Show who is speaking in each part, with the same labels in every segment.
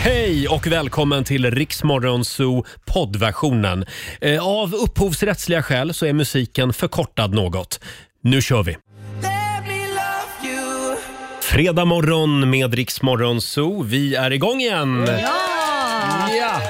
Speaker 1: Hej och välkommen till Riksmorgonzoo poddversionen. Eh, Av upphovsrättsliga skäl så är musiken förkortad något. Nu kör vi! Fredag morgon med Riksmorgonzoo. Vi är igång igen!
Speaker 2: Ja!
Speaker 1: Ja.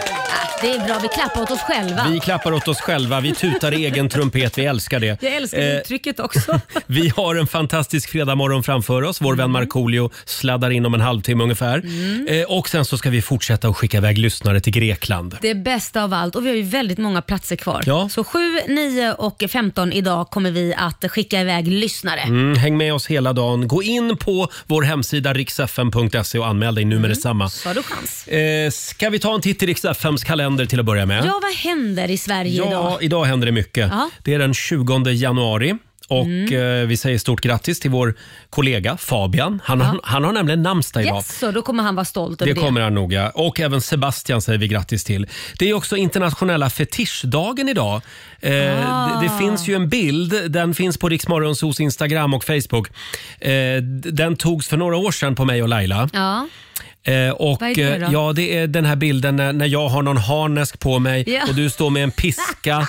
Speaker 2: Det är bra, vi klappar åt oss själva.
Speaker 1: Vi klappar åt oss själva, vi tutar i egen trumpet, vi älskar det.
Speaker 3: Jag älskar
Speaker 1: Eh,
Speaker 3: uttrycket också.
Speaker 1: Vi har en fantastisk fredagmorgon framför oss. Vår vän Markoolio sladdar in om en halvtimme ungefär.
Speaker 3: Mm.
Speaker 1: Eh, och sen så ska vi fortsätta att skicka iväg lyssnare till Grekland.
Speaker 2: Det är bästa av allt och vi har ju väldigt många platser kvar.
Speaker 1: Ja.
Speaker 2: Så 7, 9 och 15 idag kommer vi att skicka iväg lyssnare.
Speaker 1: Mm, häng med oss hela dagen. Gå in på vår hemsida riksfn.se och anmäl dig
Speaker 2: Mm.
Speaker 1: nu med detsamma.
Speaker 2: Så har du chans.
Speaker 1: Eh, ska vi ta en titt i riksfms kalender till att börja med?
Speaker 2: Ja, vad händer i Sverige
Speaker 1: Ja,
Speaker 2: idag?
Speaker 1: idag händer det mycket.
Speaker 2: Ja. Mm.
Speaker 1: Det är den 20 januari. Och eh, Vi säger stort grattis till vår kollega Fabian. Han, han, han har nämligen namnsdag idag.
Speaker 2: Yes, så då kommer han vara stolt över
Speaker 1: Det
Speaker 2: det.
Speaker 1: kommer han nog ja. Och även Sebastian säger vi grattis till. Det är också internationella fetischdagen idag. Eh, det,
Speaker 2: Ah.
Speaker 1: det finns ju en bild, den finns på Riksmorgonsos Instagram och Facebook. Eh, d- den togs för några år sedan på mig och Laila.
Speaker 2: Ja.
Speaker 1: Eh, och,
Speaker 2: Vad är det
Speaker 1: eh,
Speaker 2: då?
Speaker 1: Ja, det är den här bilden när, när jag har någon harnesk på mig
Speaker 2: Ja.
Speaker 1: och du står med en piska.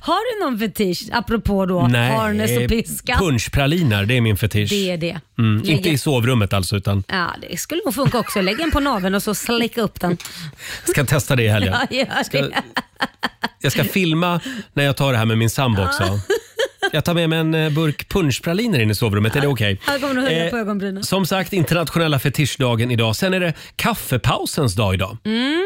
Speaker 2: Har du någon fetisch, apropå då harnes och piska?
Speaker 1: eh, punschpraliner, det är min fetisch.
Speaker 2: Det är det.
Speaker 1: Mm, inte
Speaker 2: Lägga-
Speaker 1: i sovrummet alltså, utan
Speaker 2: Ja, det skulle nog funka också. Lägg en på naveln och så slicka upp den.
Speaker 1: jag ska testa det i helgen.
Speaker 2: Ja, gör
Speaker 1: Ska-
Speaker 2: det.
Speaker 1: Jag ska filma när jag tar det här med min sambo också. Jag tar med mig en eh, burk punschpraliner in i sovrummet, är det okej?
Speaker 2: Jag kommer nog höja
Speaker 1: Eh,
Speaker 2: på ögonbrynen.
Speaker 1: Som sagt, internationella fetischdagen idag. Sen är det kaffepausens dag idag.
Speaker 2: Mm.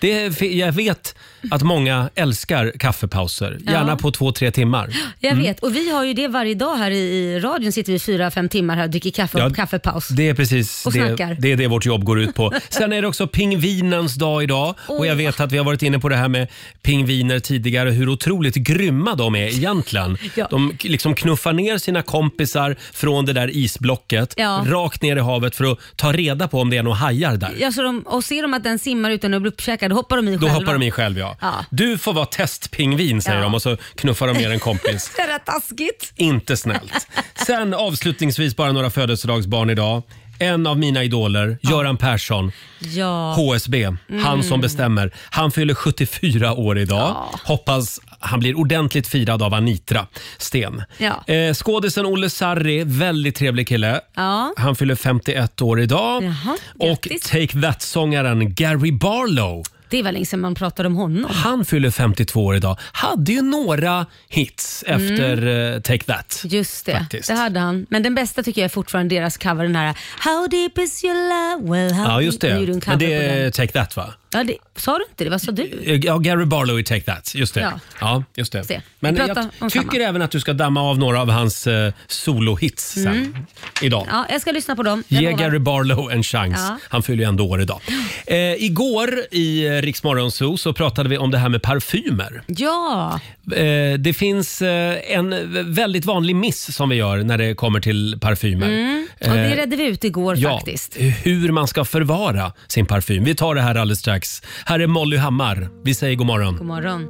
Speaker 1: Det är, fi- jag vet att många älskar kaffepauser, gärna på två, tre timmar.
Speaker 2: Jag vet, och vi har ju det varje dag här i, i radion. Sitter vi fyra, fem timmar här och dricker kaffe
Speaker 1: Ja,
Speaker 2: och kaffepaus.
Speaker 1: Det är precis
Speaker 2: Och
Speaker 1: det,
Speaker 2: snackar.
Speaker 1: det, är det vårt jobb går ut på. Sen är det också pingvinens dag idag. Och jag
Speaker 2: Åh.
Speaker 1: vet att vi har varit inne på det här med pingviner tidigare, hur otroligt grymma de är egentligen.
Speaker 2: Ja.
Speaker 1: De k- liksom knuffar ner sina kompisar från det där isblocket,
Speaker 2: Ja.
Speaker 1: rakt ner i havet för att ta reda på om det är några hajar där.
Speaker 2: Ja, så de, och ser de att den simmar utan att bli uppkäkad, då hoppar de i
Speaker 1: Då
Speaker 2: själva.
Speaker 1: hoppar de i själv ja.
Speaker 2: Ja.
Speaker 1: Du får vara testpingvin säger
Speaker 2: Ja.
Speaker 1: de och så knuffar de ner en kompis.
Speaker 2: Det är rätt taskigt.
Speaker 1: Inte snällt. Sen avslutningsvis bara några födelsedagsbarn idag. En av mina idoler, Göran Persson.
Speaker 2: Ja.
Speaker 1: HSB, han
Speaker 2: Mm.
Speaker 1: som bestämmer. Han fyller 74 år idag. Hoppas han blir ordentligt firad av Anitra Sten.
Speaker 2: Ja.
Speaker 1: Eh, skådisen Olle Sarri, väldigt trevlig kille.
Speaker 2: Ja.
Speaker 1: Han fyller 51 år idag.
Speaker 2: Jaha,
Speaker 1: Och
Speaker 2: grattis.
Speaker 1: Take That-sångaren Gary Barlow,
Speaker 2: Det var länge sedan man pratade om honom.
Speaker 1: han fyller 52 år idag. Hade ju några hits
Speaker 2: Mm.
Speaker 1: efter eh, Take That.
Speaker 2: Just det,
Speaker 1: Faktiskt.
Speaker 2: det hade han. Men den bästa tycker jag är fortfarande deras cover, den här How deep is your love? Well, how
Speaker 1: Ja, just
Speaker 2: deep- Nu
Speaker 1: det.
Speaker 2: gjorde en
Speaker 1: Men
Speaker 2: cover
Speaker 1: det
Speaker 2: på
Speaker 1: är
Speaker 2: den.
Speaker 1: Take That va?
Speaker 2: Ja, det. Sa du inte det? Vad sa du?
Speaker 1: Eh, Ja, Gary Barlow i Take That. Just det. Ja.
Speaker 2: Ja.
Speaker 1: just det.
Speaker 2: Se, vi
Speaker 1: Men
Speaker 2: pratar
Speaker 1: jag
Speaker 2: om
Speaker 1: tycker
Speaker 2: samma.
Speaker 1: även att du ska damma av några av hans eh, solohits sen idag.
Speaker 2: Mm. Ja, jag ska lyssna på dem. Jag
Speaker 1: Ge
Speaker 2: lovar.
Speaker 1: Gary Barlow en chans.
Speaker 2: Ja.
Speaker 1: Han fyller ju ändå år idag. Eh, igår i eh, Rix Morgon Zoo så pratade vi om det här med parfymer.
Speaker 2: Ja,
Speaker 1: Eh, det finns eh, en v- väldigt vanlig miss som vi gör när det kommer till parfymer. Eh,
Speaker 2: och Mm. det redde vi ut igår
Speaker 1: Ja,
Speaker 2: faktiskt.
Speaker 1: hur man ska förvara sin parfym. Vi tar det här alldeles strax. Här är Molly Hammar. Vi säger god morgon.
Speaker 2: God morgon.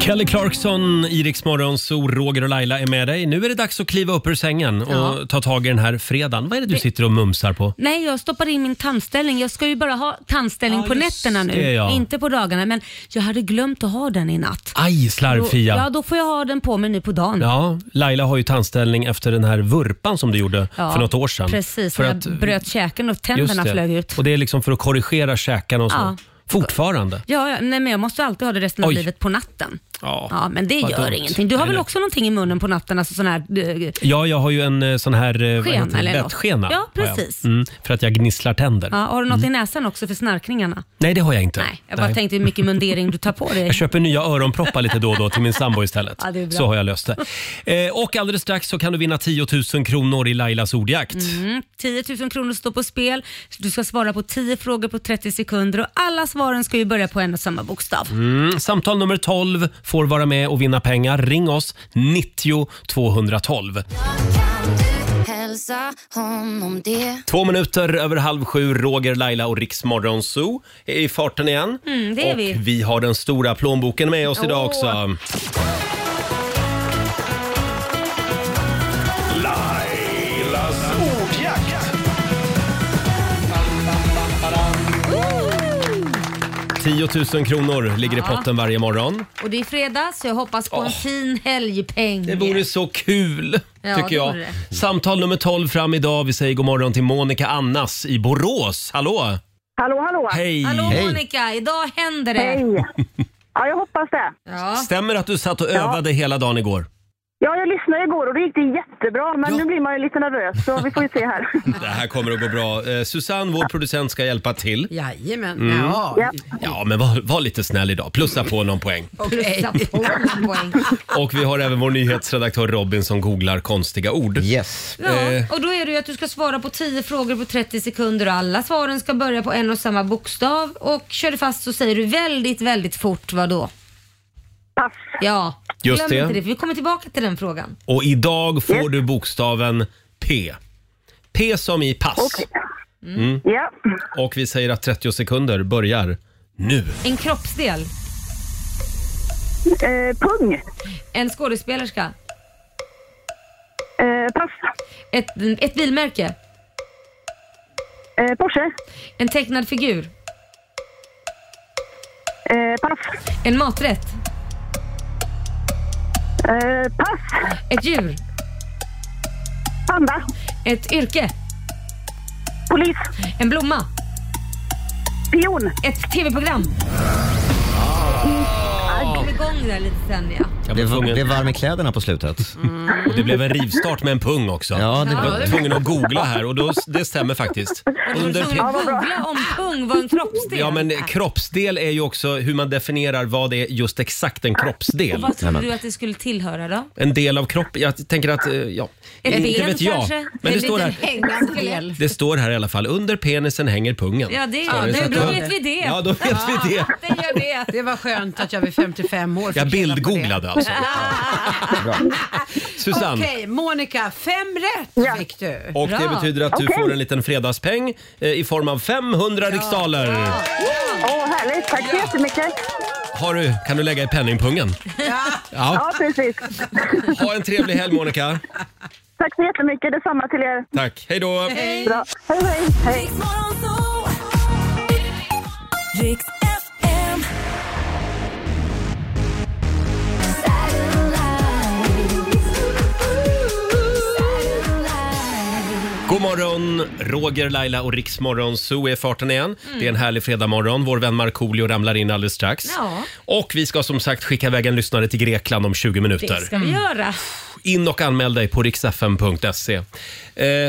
Speaker 1: Kelly Clarkson, Iriks morgonzoo, Roger och Laila är med dig. Nu är det dags att kliva upp ur sängen och
Speaker 2: Ja.
Speaker 1: ta tag i den här fredagen. Vad är det du sitter och mumsar på?
Speaker 2: Nej, jag stoppade in min tandställning. Jag ska ju bara ha tandställning
Speaker 1: Ja,
Speaker 2: på
Speaker 1: just
Speaker 2: nätterna nu,
Speaker 1: det, ja.
Speaker 2: inte på dagarna. Men jag hade glömt att ha den i natt.
Speaker 1: Aj,
Speaker 2: Då,
Speaker 1: slarvfia!
Speaker 2: ja,
Speaker 1: Ja.
Speaker 2: då får jag ha den på mig nu på dagen.
Speaker 1: Laila har ju tandställning efter den här vurpan som du gjorde
Speaker 2: Ja,
Speaker 1: för något år sedan.
Speaker 2: Precis,
Speaker 1: för
Speaker 2: för jag bröt käken och
Speaker 1: just
Speaker 2: tänderna
Speaker 1: det.
Speaker 2: flög ut.
Speaker 1: Och det är liksom för att korrigera käkarna och så.
Speaker 2: Ja.
Speaker 1: Fortfarande?
Speaker 2: Ja, ja, nej, men jag måste alltid ha det resten av
Speaker 1: Oj.
Speaker 2: livet på natten.
Speaker 1: Ja,
Speaker 2: Ja, men det
Speaker 1: vad
Speaker 2: gör
Speaker 1: dumt.
Speaker 2: ingenting. Du har
Speaker 1: Nej,
Speaker 2: väl
Speaker 1: det-
Speaker 2: också någonting i munnen på natten? Alltså sån här, eh,
Speaker 1: Ja, jag har ju en eh, sån här eh, vad
Speaker 2: Skena
Speaker 1: heter det?
Speaker 2: eller något.
Speaker 1: bettskena.
Speaker 2: Ja,
Speaker 1: har jag.
Speaker 2: precis.
Speaker 1: Mm, för att jag gnisslar tänder.
Speaker 2: ja, har du något i näsan också för snarkningarna?
Speaker 1: Mm. Nej, det har jag inte.
Speaker 2: Nej, jag bara tänkte hur mycket mundering du tar på dig.
Speaker 1: Jag köper nya öronproppar lite då och då till min sambo istället.
Speaker 2: Ja, det är bra.
Speaker 1: så har jag löst det. Eh, och alldeles strax så kan du vinna 10 000 kronor i Lailas ordjakt.
Speaker 2: Mm, 10 000 kronor står på spel. Du ska svara på 10 frågor på 30 sekunder och alla svaren ska ju börja på en och samma bokstav.
Speaker 1: Mm, samtal nummer 12 får vara med och vinna pengar. Ring oss, 90 212.
Speaker 4: Hälsa honom det.
Speaker 1: Två minuter över halv sju, Roger, Laila och Riksmorgon Zoo är i farten igen.
Speaker 2: Mm, det är
Speaker 1: och
Speaker 2: vi.
Speaker 1: vi har den stora plånboken med oss idag
Speaker 2: Åh.
Speaker 1: också.
Speaker 5: Lailas ordjakt.
Speaker 1: 10 000 kronor ligger i
Speaker 2: Ja.
Speaker 1: potten varje morgon.
Speaker 2: Och det är fredag så jag hoppas på en fin helgpeng.
Speaker 1: Det vore så kul,
Speaker 2: Ja,
Speaker 1: tycker
Speaker 2: det
Speaker 1: jag.
Speaker 2: vore det.
Speaker 1: Samtal nummer 12 fram idag. Vi säger god morgon till Monica Annas i Borås. Hallå!
Speaker 3: Hallå, hallå!
Speaker 1: Hej!
Speaker 2: Hallå Monica, idag händer det.
Speaker 3: Hej! Ja, jag hoppas det.
Speaker 2: Ja.
Speaker 1: Stämmer att du satt och övade hela dagen igår?
Speaker 3: Ja, jag lyssnade igår och det gick det jättebra, men
Speaker 1: Ja.
Speaker 3: nu blir man ju lite nervös så vi får ju se här.
Speaker 1: Det här kommer att gå bra. Eh, Susanne, vår producent, ska hjälpa till.
Speaker 4: Jajamän. Ja.
Speaker 3: Ja.
Speaker 1: Ja, men var, var lite snäll idag. Plussa på någon poäng.
Speaker 4: Okej.
Speaker 2: Plussa på några poäng.
Speaker 1: Och vi har även vår nyhetsredaktör Robin som googlar konstiga ord.
Speaker 5: Yes.
Speaker 2: Ja, och då är det ju att du ska svara på 10 frågor på 30 sekunder och alla svaren ska börja på en och samma bokstav och kör du fast så säger du väldigt, väldigt fort vad då?
Speaker 3: Pass.
Speaker 2: Ja,
Speaker 1: Just
Speaker 2: glöm
Speaker 1: det.
Speaker 2: inte det för vi kommer tillbaka till den frågan.
Speaker 1: Och idag får du bokstaven P. P som i pass.
Speaker 3: Ja.
Speaker 1: Och vi säger att 30 sekunder börjar nu.
Speaker 2: En kroppsdel,
Speaker 3: Eh, pung.
Speaker 2: en skådespelerska,
Speaker 3: Eh, pass.
Speaker 2: ett, ett bilmärke,
Speaker 3: Eh, Porsche.
Speaker 2: en tecknad figur,
Speaker 3: Eh, pass.
Speaker 2: en maträtt,
Speaker 3: Eh, pass.
Speaker 2: ett djur,
Speaker 3: Panda.
Speaker 2: ett yrke,
Speaker 3: Polis.
Speaker 2: en blomma,
Speaker 3: Pion.
Speaker 2: ett tv-program. Ah. Jag kom igång där lite sen ja.
Speaker 1: Jag
Speaker 5: Blev,
Speaker 1: var
Speaker 5: blev
Speaker 1: tvungen,
Speaker 5: varm i kläderna på slutet.
Speaker 1: och det blev en rivstart med en pung också.
Speaker 5: Ja, det
Speaker 1: Jag
Speaker 5: blev...
Speaker 1: var tvungen att googla här och då, det stämmer faktiskt.
Speaker 2: Och du
Speaker 1: Under
Speaker 2: var
Speaker 1: P-
Speaker 2: tvungen att googla om pung var en kroppsdel.
Speaker 1: Ja, men eh, kroppsdel är ju också hur man definierar vad det är just exakt en kroppsdel.
Speaker 2: Ah, Vad trodde du att det skulle tillhöra då?
Speaker 1: En del av kroppen. Jag tänker att, eh, ja.
Speaker 2: Ett
Speaker 1: inte
Speaker 2: ben
Speaker 1: vet jag.
Speaker 2: kanske?
Speaker 1: Men det
Speaker 2: En
Speaker 1: står
Speaker 2: liten
Speaker 1: här.
Speaker 2: hängande del.
Speaker 1: Det står här i alla fall, under penisen hänger pungen.
Speaker 2: Ja, det,
Speaker 1: Står
Speaker 2: ja,
Speaker 1: Så
Speaker 2: det är
Speaker 1: att
Speaker 2: bra.
Speaker 1: då-
Speaker 2: Då vet vi det.
Speaker 1: Ja, då vet vi det.
Speaker 2: Det gör det.
Speaker 4: Det var skönt att jag vid 55 år fick
Speaker 1: Jag
Speaker 4: reda på det.
Speaker 1: bildgooglade alltså. Susanne.
Speaker 4: Okej, Monica, fem rätt fick du.
Speaker 1: Och det
Speaker 2: Bra.
Speaker 1: betyder att du
Speaker 3: Okej.
Speaker 1: får en liten fredagspeng eh, i form av 500 riksdaler.
Speaker 3: Åh, härligt. Tack så jättemycket.
Speaker 1: Har du, kan du lägga i penningpungen? Ja.
Speaker 3: Ja, precis.
Speaker 1: Ha en trevlig helg Monica.
Speaker 3: Tack så jättemycket. Detsamma till er.
Speaker 1: Tack. Hej då.
Speaker 3: Bra. Hej, hej. hej.
Speaker 6: Riks FM.
Speaker 1: God morgon, Roger, Laila och Riksmorgon Zoo är i farten igen.
Speaker 2: Mm.
Speaker 1: Det är en härlig fredagmorgon. Vår vän Markoolio ramlar in alldeles strax.
Speaker 2: Ja.
Speaker 1: Och vi ska som sagt skicka iväg en lyssnare till Grekland om 20 minuter.
Speaker 2: Det ska vi göra.
Speaker 1: In och anmäl dig på riksfm.se. Eh,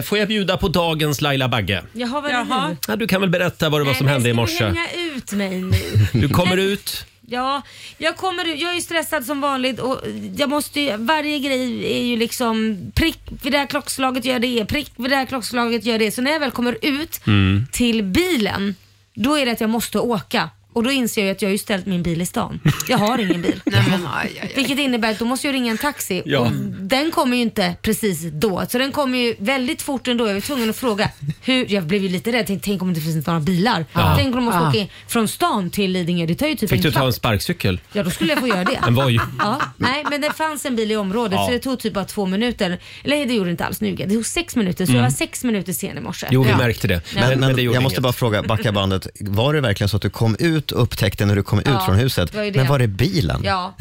Speaker 1: får jag bjuda på dagens Laila Bagge?
Speaker 2: Jaha, vad är det
Speaker 4: Jaha.
Speaker 2: nu?
Speaker 1: Ja, du kan väl berätta vad det var som
Speaker 2: Nej,
Speaker 1: hände i
Speaker 2: men
Speaker 1: morse.
Speaker 2: Ska du hänga ut mig nu?
Speaker 1: Du kommer ut.
Speaker 2: Ja, jag, kommer, jag är ju stressad som vanligt och jag måste ju, varje grej är ju liksom prick vid det här klockslaget gör det, prick vid det här klockslaget gör det. Så när jag väl kommer ut
Speaker 1: Mm.
Speaker 2: till bilen, då är det att jag måste åka. Och då inser jag ju att jag har ju ställt min bil i stan. Jag har ingen bil.
Speaker 4: Nej, men, aj, aj, aj.
Speaker 2: Vilket innebär att då måste jag ringa en taxi
Speaker 1: Ja.
Speaker 2: och den kommer ju inte precis då. Så den kommer ju väldigt fort ändå. Jag var tvungen att fråga. Hur, jag blev ju lite rädd. Tänkte, tänk om det finns några bilar. Tänk om de måste
Speaker 4: Ja.
Speaker 2: åka in från stan till Lidingö. Det tar ju typ
Speaker 1: Fick du
Speaker 2: en
Speaker 1: ta en
Speaker 2: kvart.
Speaker 1: sparkcykel?
Speaker 2: Ja, då skulle jag få göra det.
Speaker 1: Den var ju...
Speaker 2: Ja, nej, men det fanns en bil i området
Speaker 1: Ja.
Speaker 2: så det tog typ bara två minuter. Eller det gjorde det inte alls nu. Det tog sex minuter så jag var sex minuter sen i morse.
Speaker 1: Mm. Jo, vi märkte det.
Speaker 5: Men, men,
Speaker 1: det
Speaker 5: jag
Speaker 1: gjorde
Speaker 5: måste
Speaker 1: inget.
Speaker 5: bara fråga, backa bandet. Var det verkligen så att du kom ut och upptäckte när du kom ut
Speaker 2: Ja,
Speaker 5: från huset?
Speaker 2: det var ju det.
Speaker 5: Men var det bilen?
Speaker 2: Ja,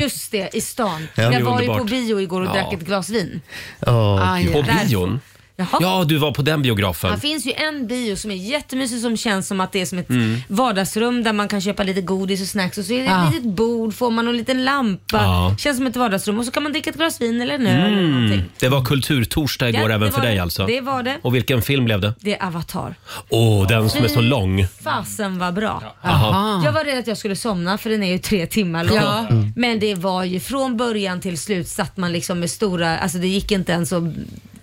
Speaker 2: just det, i stan.
Speaker 5: Ja, det
Speaker 2: jag
Speaker 5: är
Speaker 2: var ju på
Speaker 1: underbart.
Speaker 2: bio igår och
Speaker 1: Ja.
Speaker 2: drack ett glas vin.
Speaker 5: Åh,
Speaker 4: Aj,
Speaker 1: På
Speaker 4: aj.
Speaker 2: Där-
Speaker 1: bion?
Speaker 2: Jaha.
Speaker 1: Ja, du var på den biografen.
Speaker 2: Det finns ju en bio som är jättemysig som känns som att det är som ett
Speaker 1: Mm.
Speaker 2: vardagsrum där man kan köpa lite godis och snacks och så är det ett
Speaker 4: Ja.
Speaker 2: litet bord, får man någon liten lampa.
Speaker 1: Ja.
Speaker 2: Känns som ett vardagsrum och så kan man dricka ett glas vin eller en öl eller någonting.
Speaker 1: Det var kulturtorsdag igår
Speaker 2: Ja,
Speaker 1: även
Speaker 2: det
Speaker 1: för
Speaker 2: var
Speaker 1: dig
Speaker 2: det.
Speaker 1: alltså.
Speaker 2: Det var det.
Speaker 1: Och vilken film blev det?
Speaker 2: Det är Avatar.
Speaker 1: Åh, den som är så lång.
Speaker 2: Fasen var bra.
Speaker 1: Aha.
Speaker 2: Jag var rädd att jag skulle somna för den är ju tre timmar lång.
Speaker 4: Ja.
Speaker 2: Men det var ju från början till slut satt man liksom med stora, alltså det gick inte ens att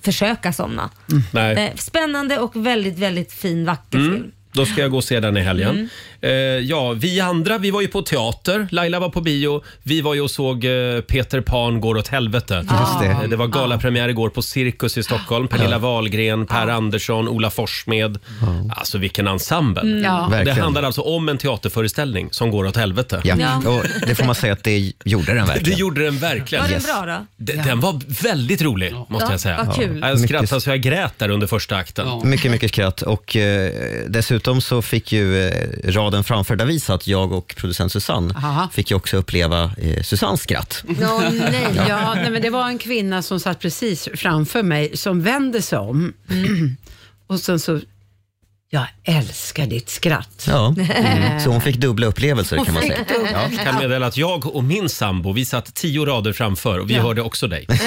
Speaker 2: försöka somna.
Speaker 1: Nej. Mm.
Speaker 2: Eh, Spännande och väldigt, väldigt fin, vacker film.
Speaker 1: Då ska jag gå och se den i helgen.
Speaker 2: Mm.
Speaker 1: Eh, ja, vi andra vi var ju på teater. Laila var på bio. Vi var ju och såg eh, Peter Pan går åt helvete.
Speaker 5: Just det.
Speaker 1: Eh, Det var galapremiär igår på Cirkus i Stockholm. Pernilla Wahlgren, Per Andersson, Ola Forssmed. Alltså vilken ensemble.
Speaker 2: Mm.
Speaker 4: Ja.
Speaker 1: Det
Speaker 5: Verkligen.
Speaker 1: handlar alltså om en teaterföreställning som går åt helvete.
Speaker 5: Ja.
Speaker 2: Ja.
Speaker 5: Och det får man säga att det gjorde den
Speaker 1: Det
Speaker 5: verkligen.
Speaker 1: gjorde den verkligen.
Speaker 2: Var den bra då?
Speaker 1: D- Den var väldigt rolig, måste
Speaker 2: Ja,
Speaker 1: jag säga.
Speaker 2: vad kul.
Speaker 1: Ja, Jag skrattade
Speaker 5: Mycket-
Speaker 1: så jag grät där under första akten.
Speaker 5: Mycket, mycket skratt och eh, dessutom så fick ju eh, raden raden framför där vi satt, jag och producent Susanne,
Speaker 4: Aha.
Speaker 5: fick ju också uppleva eh, Susannes skratt.
Speaker 2: Mm.
Speaker 4: Nå, nej, ja, nej, men det var en kvinna som satt precis framför mig som vände sig om
Speaker 2: Mm.
Speaker 4: och sen så, jag älskar ditt skratt.
Speaker 5: Ja. Mm. Så hon fick dubbla upplevelser kan man säga. Ja.
Speaker 1: kan meddela att jag och min sambo vi satt tio rader framför och vi hörde också dig. Men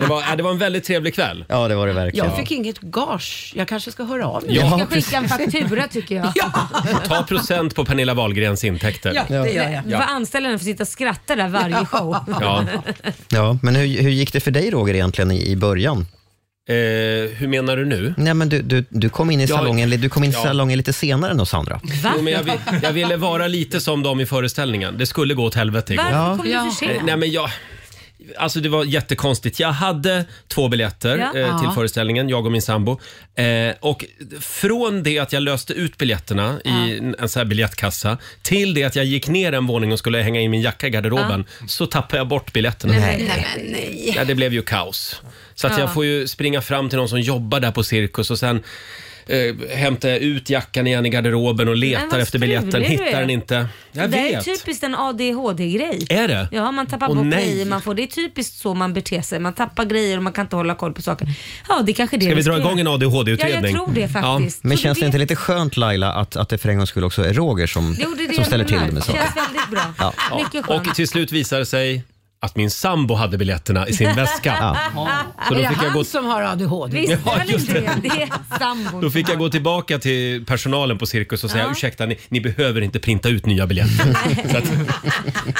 Speaker 1: det, var, ja, det var en väldigt trevlig kväll.
Speaker 5: ja, det var det verkligen.
Speaker 4: Jag fick inget gage, jag kanske ska höra av mig.
Speaker 2: Jag
Speaker 5: Ja,
Speaker 2: ska skicka en faktura tycker jag.
Speaker 1: Ta procent på Pernilla Wahlgrens intäkter. Ja.
Speaker 4: det gör jag.
Speaker 2: Du får anställa den för att sitta och skratta där varje show.
Speaker 5: Ja, men hur, hur gick det för dig Roger egentligen i, i början?
Speaker 1: Eh, hur menar du nu?
Speaker 5: Nej, men du, du, du kom in i
Speaker 1: Ja,
Speaker 5: salongen, li- du kom in i
Speaker 1: ja.
Speaker 5: salongen lite senare än oss andra.
Speaker 2: Va?
Speaker 1: Jo, men jag, vill, jag ville vara lite som dem i föreställningen. Det skulle gå åt helvete igår.
Speaker 2: Varför
Speaker 5: Ja.
Speaker 2: kom du för
Speaker 1: Eh,
Speaker 2: sent?
Speaker 1: Nej, men jag... Alltså det var jättekonstigt. Jag hade två biljetter
Speaker 2: Ja.
Speaker 1: eh, till
Speaker 4: Ja.
Speaker 1: föreställningen, jag och min sambo. Eh, och från det att jag löste ut biljetterna i en- en sån här biljettkassa till det att jag gick ner en våning och skulle hänga in min jacka i garderoben så tappade jag bort biljetterna. Ja, det blev ju kaos. Så att jag får ju springa fram till någon som jobbar där på Cirkus och sen eh, hämtar jag ut jackan igen i garderoben och letar
Speaker 2: vad
Speaker 1: efter biljetten.
Speaker 2: strulig du
Speaker 1: Hittar
Speaker 2: är.
Speaker 1: den inte. Jag
Speaker 2: det är typ
Speaker 1: vet.
Speaker 2: typiskt en ADHD-grej.
Speaker 1: Är det?
Speaker 2: Ja, man tappar
Speaker 1: Åh,
Speaker 2: bort
Speaker 1: nej.
Speaker 2: grejer. Man får, det är typiskt så man beter sig. Man tappar grejer och man kan inte hålla koll på saker. Ja, det är kanske är det
Speaker 1: Ska vi dra
Speaker 2: ska
Speaker 1: igång en
Speaker 2: göra.
Speaker 1: ADHD-utredning?
Speaker 2: Ja, jag tror det faktiskt.
Speaker 5: Men
Speaker 2: Så
Speaker 5: känns
Speaker 2: du
Speaker 5: det inte
Speaker 2: vet-
Speaker 5: lite skönt Laila att, att det för en gångs skull också är Roger som,
Speaker 2: Jo, det är det
Speaker 5: som
Speaker 2: jag
Speaker 5: ställer till
Speaker 2: menar.
Speaker 5: det med saker?
Speaker 2: känns väldigt bra.
Speaker 5: Ja.
Speaker 2: Mycket
Speaker 1: Och
Speaker 2: skönt.
Speaker 1: till slut visade det sig att min sambo hade biljetterna i sin väska. Så
Speaker 4: Är
Speaker 1: då
Speaker 4: det
Speaker 1: fick, jag
Speaker 4: han
Speaker 1: gå,
Speaker 4: som har ADHD?
Speaker 2: Visst
Speaker 1: Ja,
Speaker 2: är det
Speaker 1: just
Speaker 2: inte det? Det är sambon.
Speaker 1: då fick jag gå tillbaka till personalen på Cirkus och säga ursäkta, ni, ni behöver inte printa ut nya biljetter. så att,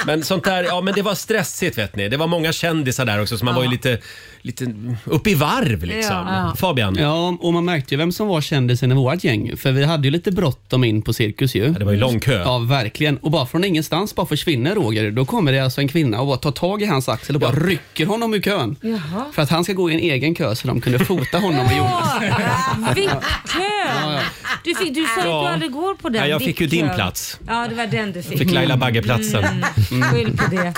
Speaker 1: men sånt där, ja men det var stressigt vet ni. Det var många kändisar där också så man var ju lite, lite upp i varv liksom.
Speaker 2: Ja.
Speaker 1: Fabian,
Speaker 7: Ja, och man märkte ju vem som var kändisen i vårt gäng. För vi hade ju lite bråttom in på Cirkus ju.
Speaker 1: det var ju lång kö.
Speaker 7: Ja, verkligen. Och bara från ingenstans bara försvinner Roger. Då kommer det alltså en kvinna och bara tar tag i hans axel och bara rycker honom ur kön.
Speaker 2: Jaha.
Speaker 7: För att han ska gå i en egen kö så de kunde fota honom och Jonas.
Speaker 2: Åh, Vippkön! Du, fick, du sa ju att
Speaker 1: Ja.
Speaker 2: du aldrig går på den.
Speaker 1: Ja, jag fick ju
Speaker 2: Vippkön.
Speaker 1: din plats.
Speaker 2: Ja, det var den du fick.
Speaker 1: Fick Mm. Laila Bagge-platsen.
Speaker 2: Mm, Skyll på det.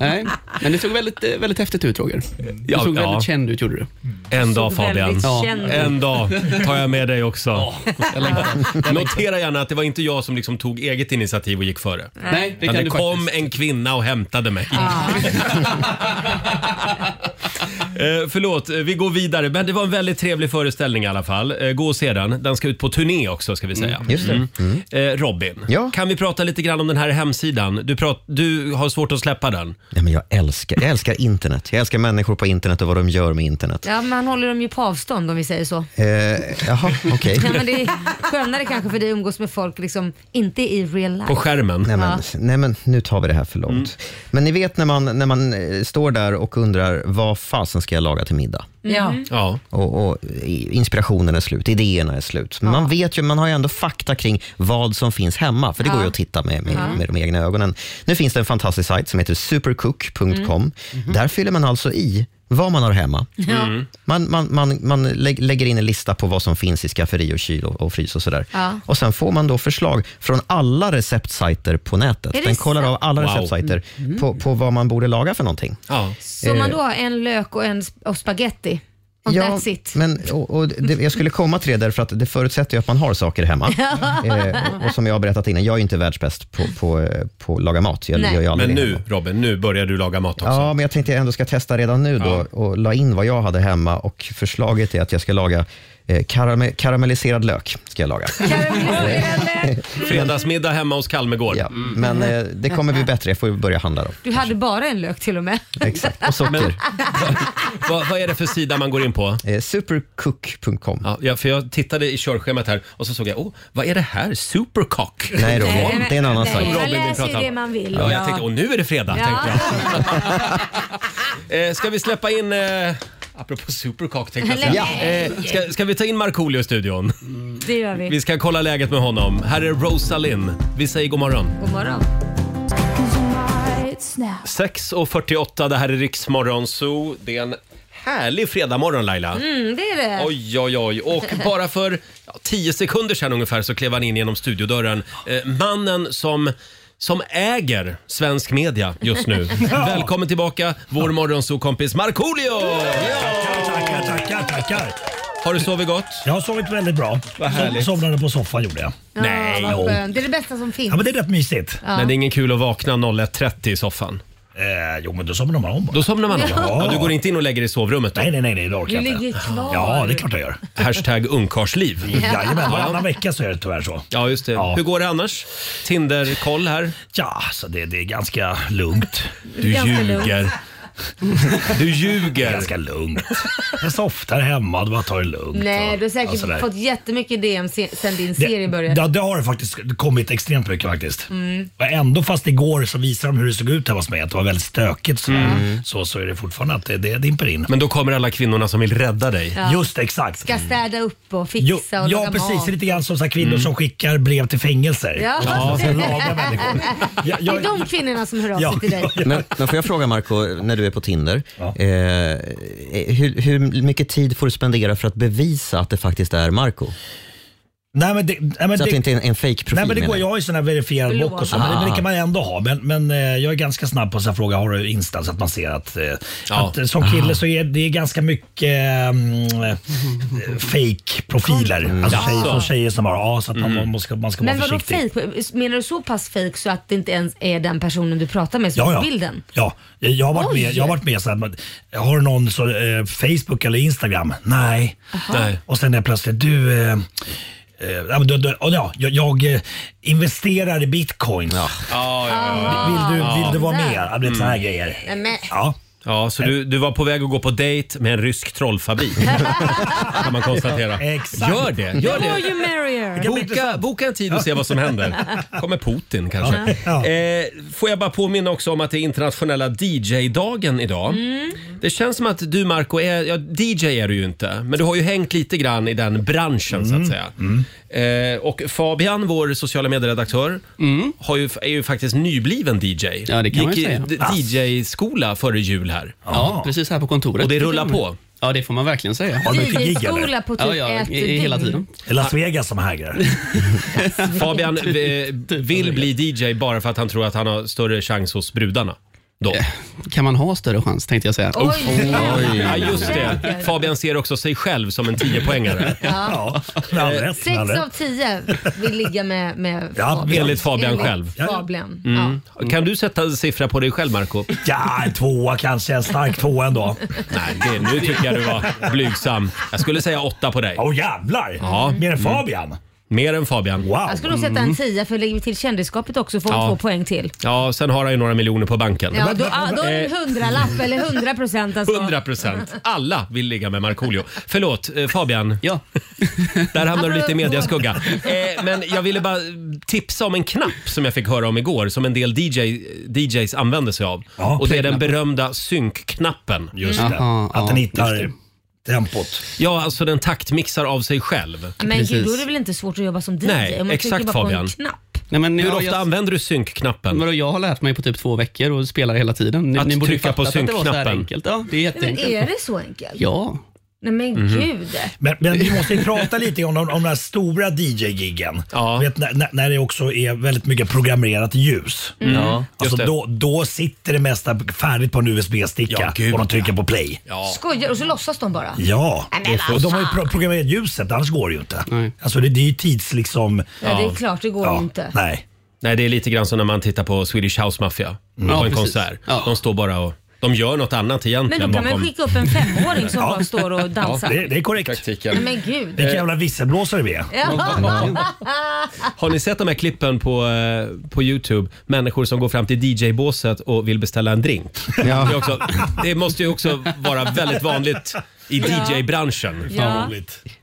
Speaker 7: Nej, men det såg väldigt, eh, väldigt häftigt ut Roger. Du
Speaker 1: Ja,
Speaker 7: såg
Speaker 1: ja.
Speaker 7: väldigt känd ut gjorde du.
Speaker 1: En dag
Speaker 2: Såg väldigt
Speaker 1: Fabian.
Speaker 7: Ja.
Speaker 2: känd ut.
Speaker 1: En dag tar jag med dig också. Notera gärna att det var inte jag som liksom tog eget initiativ och gick före.
Speaker 7: Nej, det
Speaker 1: Men
Speaker 7: kan
Speaker 1: det
Speaker 7: du
Speaker 1: kom
Speaker 7: faktiskt.
Speaker 1: en kvinna och hämtade mig. eh, förlåt, eh, vi går vidare. Men det var en väldigt trevlig föreställning i alla fall. Eh, gå och se den. Den ska ut på turné också ska vi säga.
Speaker 5: Mm. Just det.
Speaker 1: Eh, Robin,
Speaker 5: Ja.
Speaker 1: kan vi prata lite grann om den här hemsidan? Du, prat, du har svårt att släppa den.
Speaker 5: Nej, men jag, älskar, jag älskar internet. Jag älskar människor på internet och vad de gör med internet.
Speaker 2: Ja, man håller dem ju på avstånd om vi säger så.
Speaker 5: Eh, jaha, okej.
Speaker 2: Nej, men det är skönare kanske för dig att umgås med folk, liksom, inte i real life.
Speaker 1: På skärmen.
Speaker 5: Nej men, nej men nu tar vi det här för
Speaker 2: Mm.
Speaker 5: långt. Men ni vet när man, när man eh, står där och undrar vad fasen ska jag laga till middag?
Speaker 4: Ja.
Speaker 2: Mm.
Speaker 1: Ja.
Speaker 5: Och, och i- inspirationen är slut, idéerna är slut. Men man vet ju, man har ju ändå fakta kring vad som finns hemma, för det går ju att titta med, med, med de egna ögonen. Nu finns det en fantastisk sajt som heter supercook.com.
Speaker 2: Mm. Mhm.
Speaker 5: Där fyller man alltså i vad man har hemma. Man, man, man, man lä- lägger in en lista på vad som finns i skafferi och kyl och, och frys och sådär.
Speaker 2: Ja.
Speaker 5: Och sen får man då förslag från alla receptsajter på nätet.
Speaker 2: Är det
Speaker 5: Den kollar
Speaker 2: sant?
Speaker 5: av alla
Speaker 1: Wow.
Speaker 5: receptsajter på, på vad man borde laga för någonting.
Speaker 1: ja.
Speaker 2: Så man
Speaker 1: Eh.
Speaker 2: då har en lök och en sp- och spaghetti. Och Oh, that's it.
Speaker 5: Men, och, och det, jag skulle komma till det därför att det förutsätter ju att man har saker hemma. eh, och, och som jag har berättat innan, jag är ju inte världsbäst på, på, eh, på att laga mat. Jag,
Speaker 2: Nej.
Speaker 5: gör ju aldrig
Speaker 1: Men
Speaker 5: det
Speaker 1: nu
Speaker 5: hemma.
Speaker 1: Robin, nu börjar du laga mat också.
Speaker 5: Ja, men jag tänkte jag ändå ska testa redan nu då och la in vad jag hade hemma och förslaget är att jag ska laga eh, karame- karamelliserad lök. Ska jag laga.
Speaker 1: Fredagsmiddag hemma hos Kalmegård.
Speaker 5: Ja, men eh, det kommer bli bättre, jag får ju börja handla då.
Speaker 2: Du hade bara en lök till och med.
Speaker 5: Exakt. Och socker.
Speaker 1: Vad, vad är det för sida man går in på?
Speaker 5: Eh, supercook.com.
Speaker 1: Ja, Ja, för jag tittade i körschemat här och så såg jag, åh, vad är det här? Supercock?
Speaker 5: Nej, Roger, det är en annan
Speaker 2: Nej,
Speaker 5: sak.
Speaker 1: Robin
Speaker 2: Man
Speaker 1: vill
Speaker 2: läser
Speaker 1: prata
Speaker 2: ju
Speaker 1: om.
Speaker 2: det man vill.
Speaker 1: Ja, jag tänkte, åh, nu är det fredag,
Speaker 2: Ja.
Speaker 1: tänkte jag. eh, ska vi släppa in, eh, apropå Supercock tänkte jag säga. Eh, ska, ska vi ta in Markoolio i studion?
Speaker 2: Det gör vi.
Speaker 1: Vi ska kolla läget med honom. Här är Rosalind. Vi säger god morgon.
Speaker 2: God morgon.
Speaker 1: 6.48, det här är Riksmorgon Zoo. Det är en härlig fredagmorgon Laila.
Speaker 2: Mm, det är det.
Speaker 1: Oj, oj, oj. Och bara för ja, tio sekunder sedan ungefär så klev han in genom studiodörren. Eh, mannen som som äger svensk media just nu. Välkommen tillbaka, vår morgonsokompis Markoolio!
Speaker 8: Tackar, tackar, tackar, tackar.
Speaker 1: Har du sovit gott?
Speaker 9: Jag har sovit väldigt bra.
Speaker 1: Vad härligt.
Speaker 9: Som, somnade på soffan gjorde jag.
Speaker 1: Nej,
Speaker 2: vad
Speaker 1: jo.
Speaker 2: skönt. Det är det bästa som finns.
Speaker 9: Ja, men det är rätt mysigt.
Speaker 1: Men det är ingen kul att vakna 01.30 i soffan.
Speaker 9: Eh, jo, men då somnar man om bara.
Speaker 1: Då somnar man om.
Speaker 9: Ja.
Speaker 1: Ja, du går inte in och lägger dig i sovrummet då?
Speaker 9: Nej, nej, nej, nej, det orkar
Speaker 2: Du
Speaker 9: jag inte.
Speaker 2: ligger kvar.
Speaker 9: Ja, det är klart jag gör.
Speaker 1: Hashtag ungkarlsliv.
Speaker 9: Jajamän, varannan vecka så är det tyvärr så.
Speaker 1: Ja, alltså, just det.
Speaker 9: Ja.
Speaker 1: Hur går det annars? Tinder-koll här?
Speaker 9: Ja, så det, det är ganska lugnt.
Speaker 1: Du
Speaker 2: Ganska lugnt.
Speaker 1: ljuger. Du ljuger.
Speaker 9: Ganska lugnt. Jag softar hemma och bara tar det lugnt.
Speaker 2: Nej,
Speaker 9: och-
Speaker 2: du har
Speaker 9: och
Speaker 2: säkert
Speaker 9: sådär.
Speaker 2: fått jättemycket DM se- sen din serie
Speaker 9: det,
Speaker 2: började.
Speaker 9: ja, det har det faktiskt kommit extremt mycket faktiskt.
Speaker 4: Mm.
Speaker 9: Och ändå fast igår så visade de hur det såg ut hemma hos mig, att det var väldigt stökigt. Så, så, så är det fortfarande att det, det dimper in.
Speaker 1: Men då kommer alla kvinnorna som vill rädda dig.
Speaker 9: Just det, exakt.
Speaker 2: Ska städa upp och fixa
Speaker 9: Jo,
Speaker 2: och laga
Speaker 9: ja, precis.
Speaker 2: mat.
Speaker 9: Lite grann som så här kvinnor
Speaker 7: Mm.
Speaker 9: som skickar brev till fängelser.
Speaker 2: Ja.
Speaker 9: Och sen lagar människor. Ja,
Speaker 2: Det
Speaker 9: jag-
Speaker 2: är de kvinnorna som hör av sig
Speaker 9: Ja,
Speaker 2: till dig.
Speaker 9: ja,
Speaker 5: Men, men får jag fråga Marco, när du är på Tinder,
Speaker 9: Ja.
Speaker 5: eh, hur, hur mycket tid får du spendera för att bevisa att det faktiskt är Marco?
Speaker 9: Nej, men det, nej, men
Speaker 5: Så att det
Speaker 9: det,
Speaker 5: inte är en, en fake-profil
Speaker 9: nej, men det
Speaker 5: menar
Speaker 9: går, jag har ju sån här verifierad
Speaker 2: Förlåt. Ah.
Speaker 9: bock och så, men det, men det kan man ändå ha. Men, men eh, jag är ganska snabb på att fråga, har du Insta? Så att man ser att, eh, att eh, som
Speaker 2: Ah.
Speaker 9: kille så är det är ganska mycket mm, fake-profiler. Alltså tjejer,
Speaker 1: Jaså.
Speaker 9: från tjejer som har, ja, så att man, man ska, man ska
Speaker 2: Mm. Men
Speaker 9: vara
Speaker 2: vadå
Speaker 9: försiktig.
Speaker 2: fejk? Menar du så pass fejk så att det inte ens är den personen du pratar med som
Speaker 9: Ja,
Speaker 2: är
Speaker 9: ja.
Speaker 2: på bilden?
Speaker 9: Ja, jag- jag har varit
Speaker 2: Oj.
Speaker 9: med, jag har varit med så här, har du någon så, eh, Facebook eller Instagram? Nej.
Speaker 1: Nej.
Speaker 9: Och sen är plötsligt du... Eh, eh, ja, men du, du och ja, jag, jag eh, investerar i bitcoins.
Speaker 1: Ja, ja, ja.
Speaker 9: Vill, du, vill du vara
Speaker 2: Ah. Där. Mm.
Speaker 9: med? Ja, Det blir såna här grejer.
Speaker 2: Nej, men,
Speaker 9: Ja.
Speaker 1: ja så du, du var på väg att gå på dejt med en rysk trollfabrik. kan man konstatera.
Speaker 9: Exakt.
Speaker 1: Gör det. Gör
Speaker 2: more
Speaker 1: det.
Speaker 2: you merrier.
Speaker 1: Boka, boka en tid och se vad som händer. Kommer Putin kanske.
Speaker 9: Ja.
Speaker 1: Eh, får jag bara påminna också om att det är internationella DJ-dagen idag.
Speaker 9: Mm.
Speaker 1: Det känns som att du Marco är, ja, DJ är du ju inte, men du har ju hängt lite grann i den branschen så att
Speaker 10: Mm.
Speaker 1: säga. Eh, och Fabian, vår sociala medieredaktör, har ju, är ju faktiskt nybliven DJ.
Speaker 10: Mm. Ja, det kan man
Speaker 1: Gick
Speaker 10: ju
Speaker 1: i
Speaker 10: säga.
Speaker 1: d- DJ-skola före jul här.
Speaker 10: Ja, precis här på kontoret.
Speaker 1: Och det rullar på.
Speaker 10: Ja, det får man verkligen säga.
Speaker 9: Har du mycket gig eller?
Speaker 2: DJ-skola på typ
Speaker 10: Ja, ja,
Speaker 2: ett
Speaker 10: i, i hela
Speaker 2: dygn.
Speaker 10: tiden.
Speaker 9: I Las Vegas som hägrar.
Speaker 1: Fabian eh, vill bli DJ bara för att han tror att han har större chans hos brudarna. Då.
Speaker 10: Kan man ha större chans, tänkte jag säga.
Speaker 2: Oj,
Speaker 1: Ja, just det. Fabian ser också sig själv som en 10-poängare.
Speaker 9: Ja, med all rätt. Med all
Speaker 2: Sex av
Speaker 9: rätt.
Speaker 2: tio vill ligga med, med
Speaker 9: Ja,
Speaker 2: Fabian.
Speaker 1: enligt Fabian själv. Mm.
Speaker 2: Fabian.
Speaker 1: Kan du sätta en siffra på dig själv, Marco?
Speaker 9: Ja, en tvåa kanske. En stark tvåa ändå.
Speaker 1: Nej, det, nu tycker jag du var blygsam. Jag skulle säga åtta på dig.
Speaker 9: Åh jävlar!
Speaker 1: Ja. Mm.
Speaker 9: Mer än Fabian.
Speaker 1: Mer än Fabian.
Speaker 9: Wow.
Speaker 2: Jag skulle nog sätta en tia för lägger vi till kändisskapet också får vi
Speaker 1: Mm. Ja.
Speaker 2: två poäng till.
Speaker 1: Ja, sen har han ju några miljoner på banken.
Speaker 2: Ja, då, ah, då är det en
Speaker 1: Eh.
Speaker 2: hundralapp eller hundra procent. Alltså.
Speaker 1: 100 procent. Alla vill ligga med Markoolio. Förlåt, eh, Fabian.
Speaker 10: Ja,
Speaker 1: Där hamnar du lite i mediaskugga. Eh, men jag ville bara tipsa om en knapp som jag fick höra om igår som en del DJ, DJs använder sig av.
Speaker 9: Ja,
Speaker 1: och det är den berömda synkknappen.
Speaker 9: Just det.
Speaker 10: Aha, ja,
Speaker 9: Att den
Speaker 10: just
Speaker 9: hittar tempot.
Speaker 1: Ja, alltså den taktmixar av sig själv.
Speaker 2: Men gud,
Speaker 10: Precis.
Speaker 2: då är det väl inte svårt att jobba som DJ?
Speaker 1: Nej,
Speaker 2: om man trycker
Speaker 1: exakt,
Speaker 2: bara på
Speaker 1: Fabian.
Speaker 2: En knapp.
Speaker 10: Nej, men
Speaker 1: Hur
Speaker 10: jag,
Speaker 1: ofta
Speaker 10: jag,
Speaker 1: använder du synkknappen?
Speaker 10: men jag har lärt mig på typ två veckor och spelar hela tiden. Ni,
Speaker 1: Att
Speaker 10: ni borde ju
Speaker 1: trycka på
Speaker 10: fattat att det var så här
Speaker 1: synkknappen.
Speaker 10: enkelt. Ja, det är
Speaker 2: Men
Speaker 10: jätteenkelt.
Speaker 2: är det så enkelt?
Speaker 10: Ja,
Speaker 2: Nej men
Speaker 1: Mhm.
Speaker 2: gud.
Speaker 9: Men, men vi måste ju prata lite om, de- om de här stora DJ-giggen.
Speaker 1: Ja.
Speaker 9: Vet, när, när- när det också är väldigt mycket programmerat ljus.
Speaker 2: Mm.
Speaker 1: Ja, just
Speaker 9: Alltså,
Speaker 1: det.
Speaker 9: då, då sitter det mesta färdigt på en USB-sticka
Speaker 1: Ja, gud,
Speaker 9: och de trycker på play.
Speaker 1: Ja.
Speaker 2: Skojar och så låtsas de bara.
Speaker 9: Ja,
Speaker 2: Nej, men vad
Speaker 9: och de har ju
Speaker 2: fan.
Speaker 9: pro- programmerat ljuset, annars går det ju inte.
Speaker 10: Nej.
Speaker 9: Alltså det, det är ju tids liksom...
Speaker 2: Ja, det är klart, det går
Speaker 9: ja,
Speaker 2: ju inte.
Speaker 9: Nej.
Speaker 1: Nej, det är lite grann som när man tittar på Swedish House Mafia
Speaker 9: Mm.
Speaker 1: på
Speaker 10: Ja,
Speaker 1: en
Speaker 10: precis.
Speaker 1: konsert.
Speaker 10: Ja.
Speaker 1: De står bara och de gör något annat
Speaker 2: Men
Speaker 1: egentligen
Speaker 2: då kan man
Speaker 1: bakom
Speaker 2: ju skicka upp en femåring som bara står och dansar.
Speaker 9: Det, det är korrekt.
Speaker 2: Nej
Speaker 1: praktiken.
Speaker 2: men gud.
Speaker 9: Vilka jävla visselblåsare vi är.
Speaker 1: Har ni sett de här klippen på, eh, på Youtube? Människor som går fram till DJ-båset och vill beställa en drink. Det, är också, det måste ju också vara väldigt vanligt i DJ-branschen.
Speaker 2: Ja,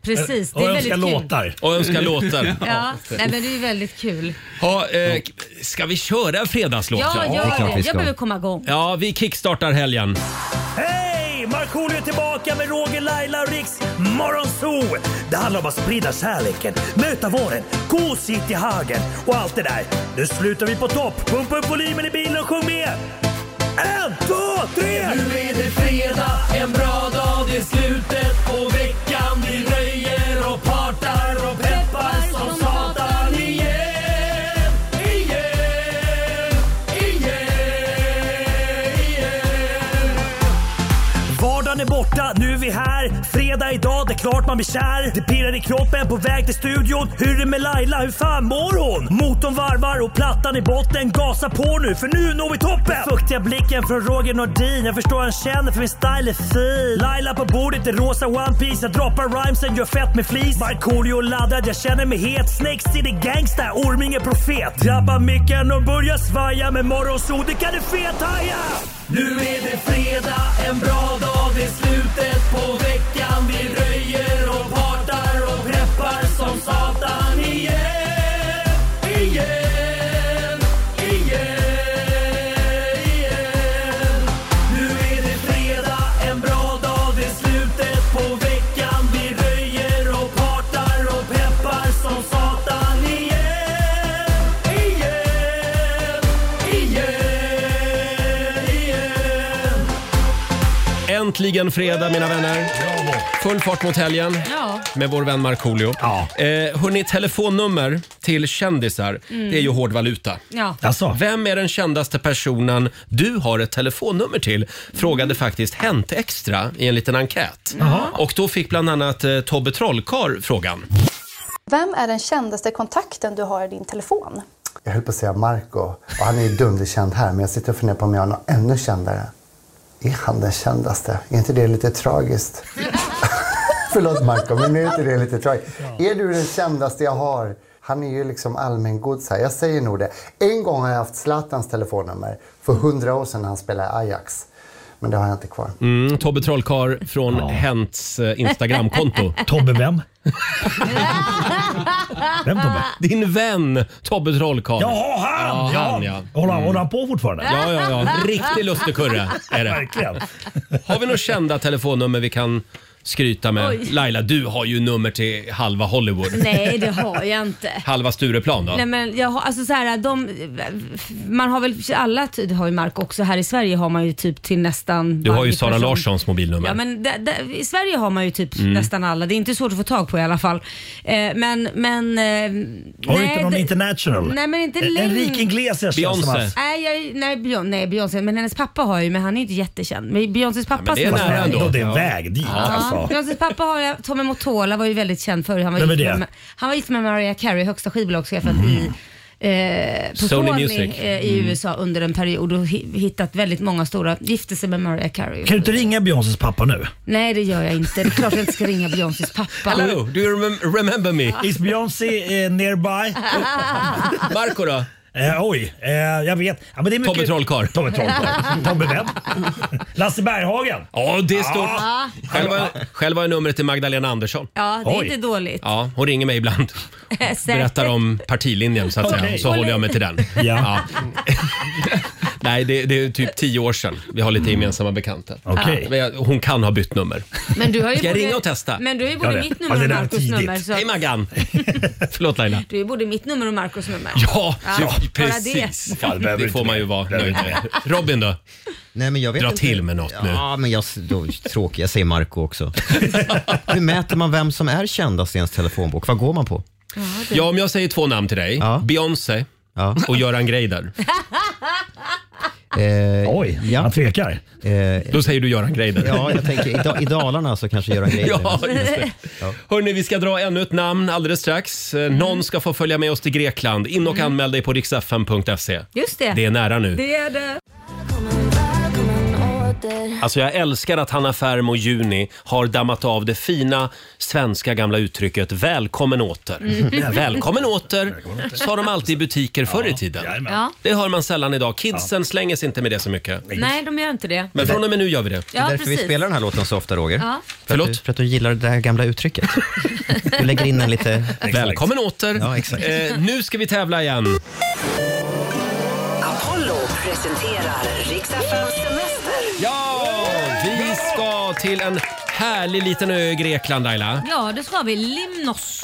Speaker 2: precis. Det är
Speaker 9: och
Speaker 2: väldigt
Speaker 9: önskar
Speaker 2: kul.
Speaker 9: låtar.
Speaker 1: Och önska låtar.
Speaker 2: Ja, nej, men det är ju väldigt kul.
Speaker 1: Ha, eh, ska vi köra en fredagslåt?
Speaker 2: Ja,
Speaker 1: ja.
Speaker 5: klart vi
Speaker 2: gör det.
Speaker 5: ska.
Speaker 2: Jag behöver komma igång.
Speaker 1: ja, vi kickstartar helgen.
Speaker 9: Hej! Markoolio är tillbaka med Roger, Laila och Riks Morgonzoo! Det handlar om att sprida kärleken, möta våren, gosigt i hagen och allt det där. Nu slutar vi på topp! Pumpa upp volymen i bilen och sjung med! En, två, tre!
Speaker 11: Nu är det fredag, en bra dag, det är slutet på veckan. Vi röjer och partar och peppar som satan igen. Igen, igen, igen.
Speaker 9: Vardagen är borta, nu är
Speaker 4: vi här. Fredag idag, det är klart man blir kär. Det pirrar i kroppen på väg till studion. Hur är det med Laila, hur fan mår hon? Motorn varvar och plattan i botten. Gasa på nu, för nu når vi toppen! Den fuktiga blicken från Roger Nordin. Jag förstår han känner för min style är fin. Laila på bordet i rosa One Piece Jag droppar rhymesen, gör fett med flis. Markoolio laddad, jag känner mig het. Snake City gangsta, Orminge profet. Drabbar micken och börjar svaja. Med morgonsol, det kan du fethaja!
Speaker 9: Nu är det fredag, en bra dag, det är slutet på veckan. Vi röjer och partar och preppar som satan igen. Igen, igen, igen. Nu är det fredag, en bra dag, det är slutet på veckan. Vi röjer och partar och peppar som satan igen. Igen, igen, igen.
Speaker 1: Äntligen fredag mina vänner. Full fart mot helgen
Speaker 2: Ja.
Speaker 1: med vår vän Markoolio.
Speaker 4: Ja.
Speaker 1: Eh, hörni, telefonnummer till kändisar, det är ju hård valuta.
Speaker 2: Mm. Ja.
Speaker 4: Alltså,
Speaker 1: Vem är den kändaste personen du har ett telefonnummer till? Frågade faktiskt Hänt Extra i en liten enkät. Och då fick bland annat eh, Tobbe Trollkarl frågan.
Speaker 12: Vem är den kändaste kontakten du har i din telefon?
Speaker 13: Jag höll på att säga Marco och han är ju dunderkänd här men jag sitter och funderar på om jag har någon ännu kändare. Är han den kändaste? Är inte det lite tragiskt? Förlåt Marco, men är inte det lite tragiskt? Är du den kändaste jag har? Han är ju liksom allmängods här. Jag säger nog det. En gång har jag haft Zlatans telefonnummer för hundra år sedan när han spelade i Ajax. Men det har jag inte kvar.
Speaker 1: Mm, Tobbe Trollkarl från Hänts eh, Instagramkonto.
Speaker 4: Tobbe vem? vem Tobbe?
Speaker 1: Din vän Tobbe Trollkarl.
Speaker 4: Jaha, han!
Speaker 1: Ja, han, ja. Mm.
Speaker 4: Håller, han- håller han på fortfarande?
Speaker 1: Ja, ja, ja. Riktig lustigkurre är det.
Speaker 4: Verkligen.
Speaker 1: Har vi några kända telefonnummer vi kan skryta med?
Speaker 2: Oj.
Speaker 1: Laila, du har ju nummer till halva Hollywood.
Speaker 2: Nej, det har jag inte.
Speaker 1: Halva Stureplan då?
Speaker 2: Nej, men jag har, alltså så här, de, man har väl alla, ty- det har ju Mark också, här i Sverige har man ju typ till nästan
Speaker 1: Du har ju
Speaker 2: varje
Speaker 1: Sara
Speaker 2: person.
Speaker 1: Larssons mobilnummer.
Speaker 2: Ja, men där- där- I Sverige har man ju typ nästan alla, det är inte svårt att få tag på i alla fall. Eh, men, men... Eh,
Speaker 4: Har du inte någon
Speaker 2: det-
Speaker 4: international?
Speaker 2: Nej, men inte
Speaker 4: En-
Speaker 2: längre.
Speaker 4: Enrique Iglesias känns som
Speaker 1: Beyoncé.
Speaker 4: hans-
Speaker 2: Nej, jag, nej Beyon- nej, Beyoncé, men hennes pappa har ju, men han är ju inte jättekänd. Men Beyoncés pappa
Speaker 1: men det är
Speaker 2: som-
Speaker 4: Fast
Speaker 1: nära ändå.
Speaker 4: ändå. Det är en
Speaker 1: Ja.
Speaker 4: väg dit
Speaker 2: Ja,
Speaker 4: alltså.
Speaker 2: Beyoncés pappa har jag, Tommy Motola var ju väldigt känd förr. Han var,
Speaker 4: Vem är
Speaker 2: gift
Speaker 4: det?
Speaker 2: med, han var gift med Mariah Carey, högsta skivbolagschefen i Eh, på
Speaker 1: Sony
Speaker 2: Sony,
Speaker 1: Music.
Speaker 2: eh, i USA under en period och hi- hittat väldigt många stora, gifte sig med Mariah Carey.
Speaker 4: Kan du inte ringa Beyoncés pappa nu?
Speaker 2: Nej det gör jag inte. Det är klart jag inte ska ringa Beyoncés pappa.
Speaker 1: Hello, do you remem- remember me?
Speaker 4: Is Beyoncé eh, nearby?
Speaker 1: Marco då?
Speaker 4: Eh, oj, eh, jag vet. Ja, men det är mycket...
Speaker 1: Tobbe Trollkarl.
Speaker 4: Tobbe Trollkarl. Tobbe vem? Lasse Berghagen.
Speaker 1: Ja, det är stort.
Speaker 4: Ja.
Speaker 1: Själv, har, själv har jag numret till Magdalena Andersson.
Speaker 2: Ja, det är
Speaker 4: Oj.
Speaker 2: inte dåligt. Eh,
Speaker 1: Ja, hon ringer mig ibland. Berättar om partilinjen så att säga.
Speaker 4: Okej.
Speaker 1: Så håller jag mig till den.
Speaker 4: Ja.
Speaker 1: Nej, det, det är typ tio år sedan. Vi har lite gemensamma bekanta.
Speaker 4: Mm. Okej.
Speaker 1: Men jag- Hon kan ha bytt nummer.
Speaker 2: Men du har ju
Speaker 1: Ska jag
Speaker 2: både,
Speaker 1: ringa och testa?
Speaker 2: Men du har ju både
Speaker 4: Gör det.
Speaker 2: mitt
Speaker 4: Ja,
Speaker 2: nummer
Speaker 4: det
Speaker 2: och
Speaker 4: där är
Speaker 2: Marcos
Speaker 4: tidigt.
Speaker 2: nummer. Så
Speaker 1: Hej Maggan! Förlåt Laila.
Speaker 2: du har ju både mitt nummer och Marcos nummer.
Speaker 1: Ja,
Speaker 2: Ja,
Speaker 1: ja
Speaker 2: bara
Speaker 1: precis.
Speaker 2: det.
Speaker 4: Fan, det
Speaker 1: det
Speaker 4: behöver inte
Speaker 1: får man
Speaker 4: mer.
Speaker 1: ju vara
Speaker 4: Behöver
Speaker 1: nöjd med. Robin då?
Speaker 5: Nej, men jag vet
Speaker 1: Dra
Speaker 5: inte.
Speaker 1: till med något nu.
Speaker 5: Ja, men jag, då, tråkigt. Jag säger Marco också. Hur mäter man vem som är kändast i ens telefonbok? Vad går man på?
Speaker 1: Ja, om jag säger två namn till dig.
Speaker 5: Ja.
Speaker 1: Beyoncé
Speaker 5: Ja.
Speaker 1: och Göran Greider.
Speaker 5: Eh,
Speaker 4: Oj, han
Speaker 5: Ja,
Speaker 4: tvekar.
Speaker 5: eh,
Speaker 1: Då säger du Göran Greider.
Speaker 5: ja, jag tänker i, da, i Dalarna så kanske Göran Greider.
Speaker 1: Ja, just det. Hörni, vi ska dra ännu ett namn alldeles strax. Eh, Någon ska få följa med oss till Grekland. In och anmäl dig på riksfn.se.
Speaker 2: Just det.
Speaker 1: Det är nära nu.
Speaker 2: Det är det.
Speaker 1: Alltså jag älskar att Hanna Färm och Juni har dammat av det fina svenska gamla uttrycket välkommen åter. Välkommen åter, sa de alltid i butiker förr i tiden.
Speaker 4: Jajamän.
Speaker 2: Ja.
Speaker 1: Det hör man sällan idag. Kidsen slänger sig inte med det så mycket.
Speaker 2: Nej, de gör inte det.
Speaker 1: Men från och med nu gör vi det.
Speaker 5: Det är
Speaker 2: Ja,
Speaker 5: därför
Speaker 2: precis.
Speaker 5: vi spelar den här låten så ofta, Roger.
Speaker 2: Ja.
Speaker 5: För, att du,
Speaker 1: Förlåt?
Speaker 5: för att du gillar det där gamla uttrycket. Du lägger in en lite...
Speaker 1: Välkommen åter.
Speaker 5: Ja, exakt.
Speaker 1: Eh, nu ska vi tävla igen.
Speaker 14: Apollo presenterar Riks-FMs semester.
Speaker 1: Ja! Vi ska till en härlig liten ö i Grekland Laila.
Speaker 2: Ja, då ska vi Limnos.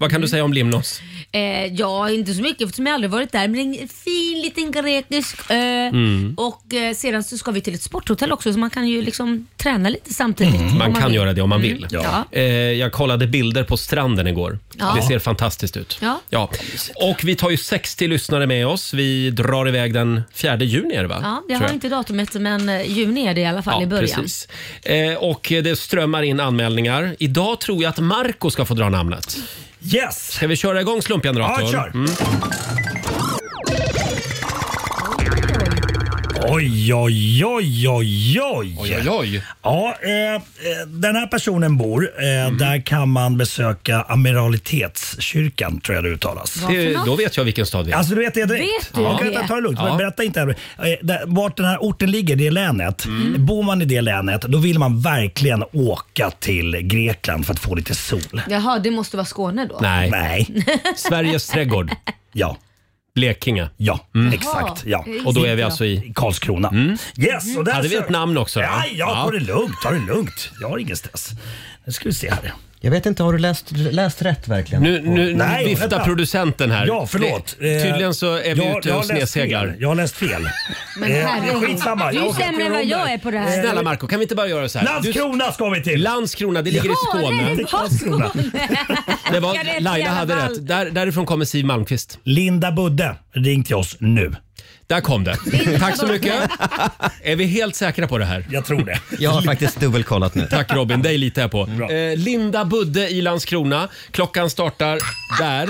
Speaker 1: Vad kan du säga om Limnos?
Speaker 2: Eh, ja, inte så mycket eftersom jag aldrig varit där. Men det är en fin liten grekisk ö.
Speaker 1: Mm.
Speaker 2: Och eh, sedan så ska vi till ett sporthotell också så man kan ju liksom träna lite samtidigt. om
Speaker 1: Mm. Man kan
Speaker 2: vill. Mm.
Speaker 1: göra det om man vill.
Speaker 2: Ja.
Speaker 1: Eh, jag kollade bilder på stranden igår.
Speaker 2: Ja.
Speaker 1: Det ser fantastiskt ut.
Speaker 2: Ja.
Speaker 1: Och vi tar ju 60 lyssnare med oss. Vi drar iväg den 4 juni är det va?
Speaker 2: Ja,
Speaker 1: Tror
Speaker 2: jag har inte datumet men eh, juni är det i alla fall i början.
Speaker 1: Precis. Eh, och eh, eh, det strömmar in anmälningar. Idag tror jag att Marco ska få dra namnet.
Speaker 9: Yes!
Speaker 1: Ska vi köra igång slumpgeneratorn?
Speaker 9: Ja, kör.
Speaker 1: Mm.
Speaker 9: Oj, oj, oj, oj, oj.
Speaker 1: Oj, oj, oj.
Speaker 9: Ja, eh, eh, den här personen bor. Eh,
Speaker 1: Mm.
Speaker 9: Där kan man besöka Amiralitetskyrkan, tror jag det uttalas.
Speaker 1: Det är- då vet jag vilken stad det är.
Speaker 9: Alltså du vet det direkt.
Speaker 1: Vet du
Speaker 9: ja.
Speaker 1: det?
Speaker 9: Vänta, ta det lugnt.
Speaker 1: Ja.
Speaker 9: Berätta inte. eh, där- Vart den här orten ligger, det är länet.
Speaker 1: Mm.
Speaker 9: Bor man i det länet, då vill man verkligen åka till Grekland för att få lite sol.
Speaker 2: Jaha, det måste vara Skåne då?
Speaker 1: Nej.
Speaker 9: Nej.
Speaker 1: Sveriges trädgård.
Speaker 9: Ja.
Speaker 1: Blekinge.
Speaker 9: Ja,
Speaker 1: Mm.
Speaker 9: exakt. Ja.
Speaker 1: Och då är vi alltså i?
Speaker 9: Karlskrona. Yes, och där
Speaker 1: Hade vi
Speaker 9: sök-
Speaker 1: ett namn också? Då?
Speaker 9: Ja, ja, ta det lugnt. Ta det lugnt. Jag har ingen stress. Nu ska vi se här.
Speaker 5: Jag vet inte, har du läst, läst rätt verkligen?
Speaker 1: Nu, nu,
Speaker 9: Nej,
Speaker 1: nu viftar
Speaker 9: vänta.
Speaker 1: producenten här.
Speaker 9: Ja, förlåt.
Speaker 1: Det,
Speaker 9: Eh,
Speaker 1: tydligen så är vi
Speaker 9: jag-
Speaker 1: ute
Speaker 9: jag
Speaker 1: och
Speaker 9: har läst
Speaker 1: snesegar.
Speaker 9: fel. Jag har läst fel.
Speaker 2: Men
Speaker 9: Eh,
Speaker 2: herregud,
Speaker 9: skitsamma.
Speaker 2: du är
Speaker 9: Jag åker
Speaker 2: sämre än vad jag är på det här.
Speaker 1: Snälla Marco, kan vi inte bara göra så här?
Speaker 9: Landskrona ska vi till!
Speaker 1: Landskrona, det ligger i Skåne.
Speaker 2: Skåne.
Speaker 1: Det
Speaker 2: Jag vet
Speaker 1: var,
Speaker 2: i
Speaker 1: Laila
Speaker 2: alla
Speaker 1: hade
Speaker 2: fall.
Speaker 1: rätt. Där, därifrån kommer Siw Malmkvist.
Speaker 9: Linda Budde, ring till oss nu.
Speaker 1: Där kom det. Tack så mycket. Är vi helt säkra på det här?
Speaker 9: Jag tror det.
Speaker 5: Jag har faktiskt dubbelkollat nu.
Speaker 1: Tack Robin, dig litar jag på.
Speaker 9: Mm.
Speaker 5: Bra.
Speaker 1: Eh, Linda Budde i Landskrona. Klockan startar där.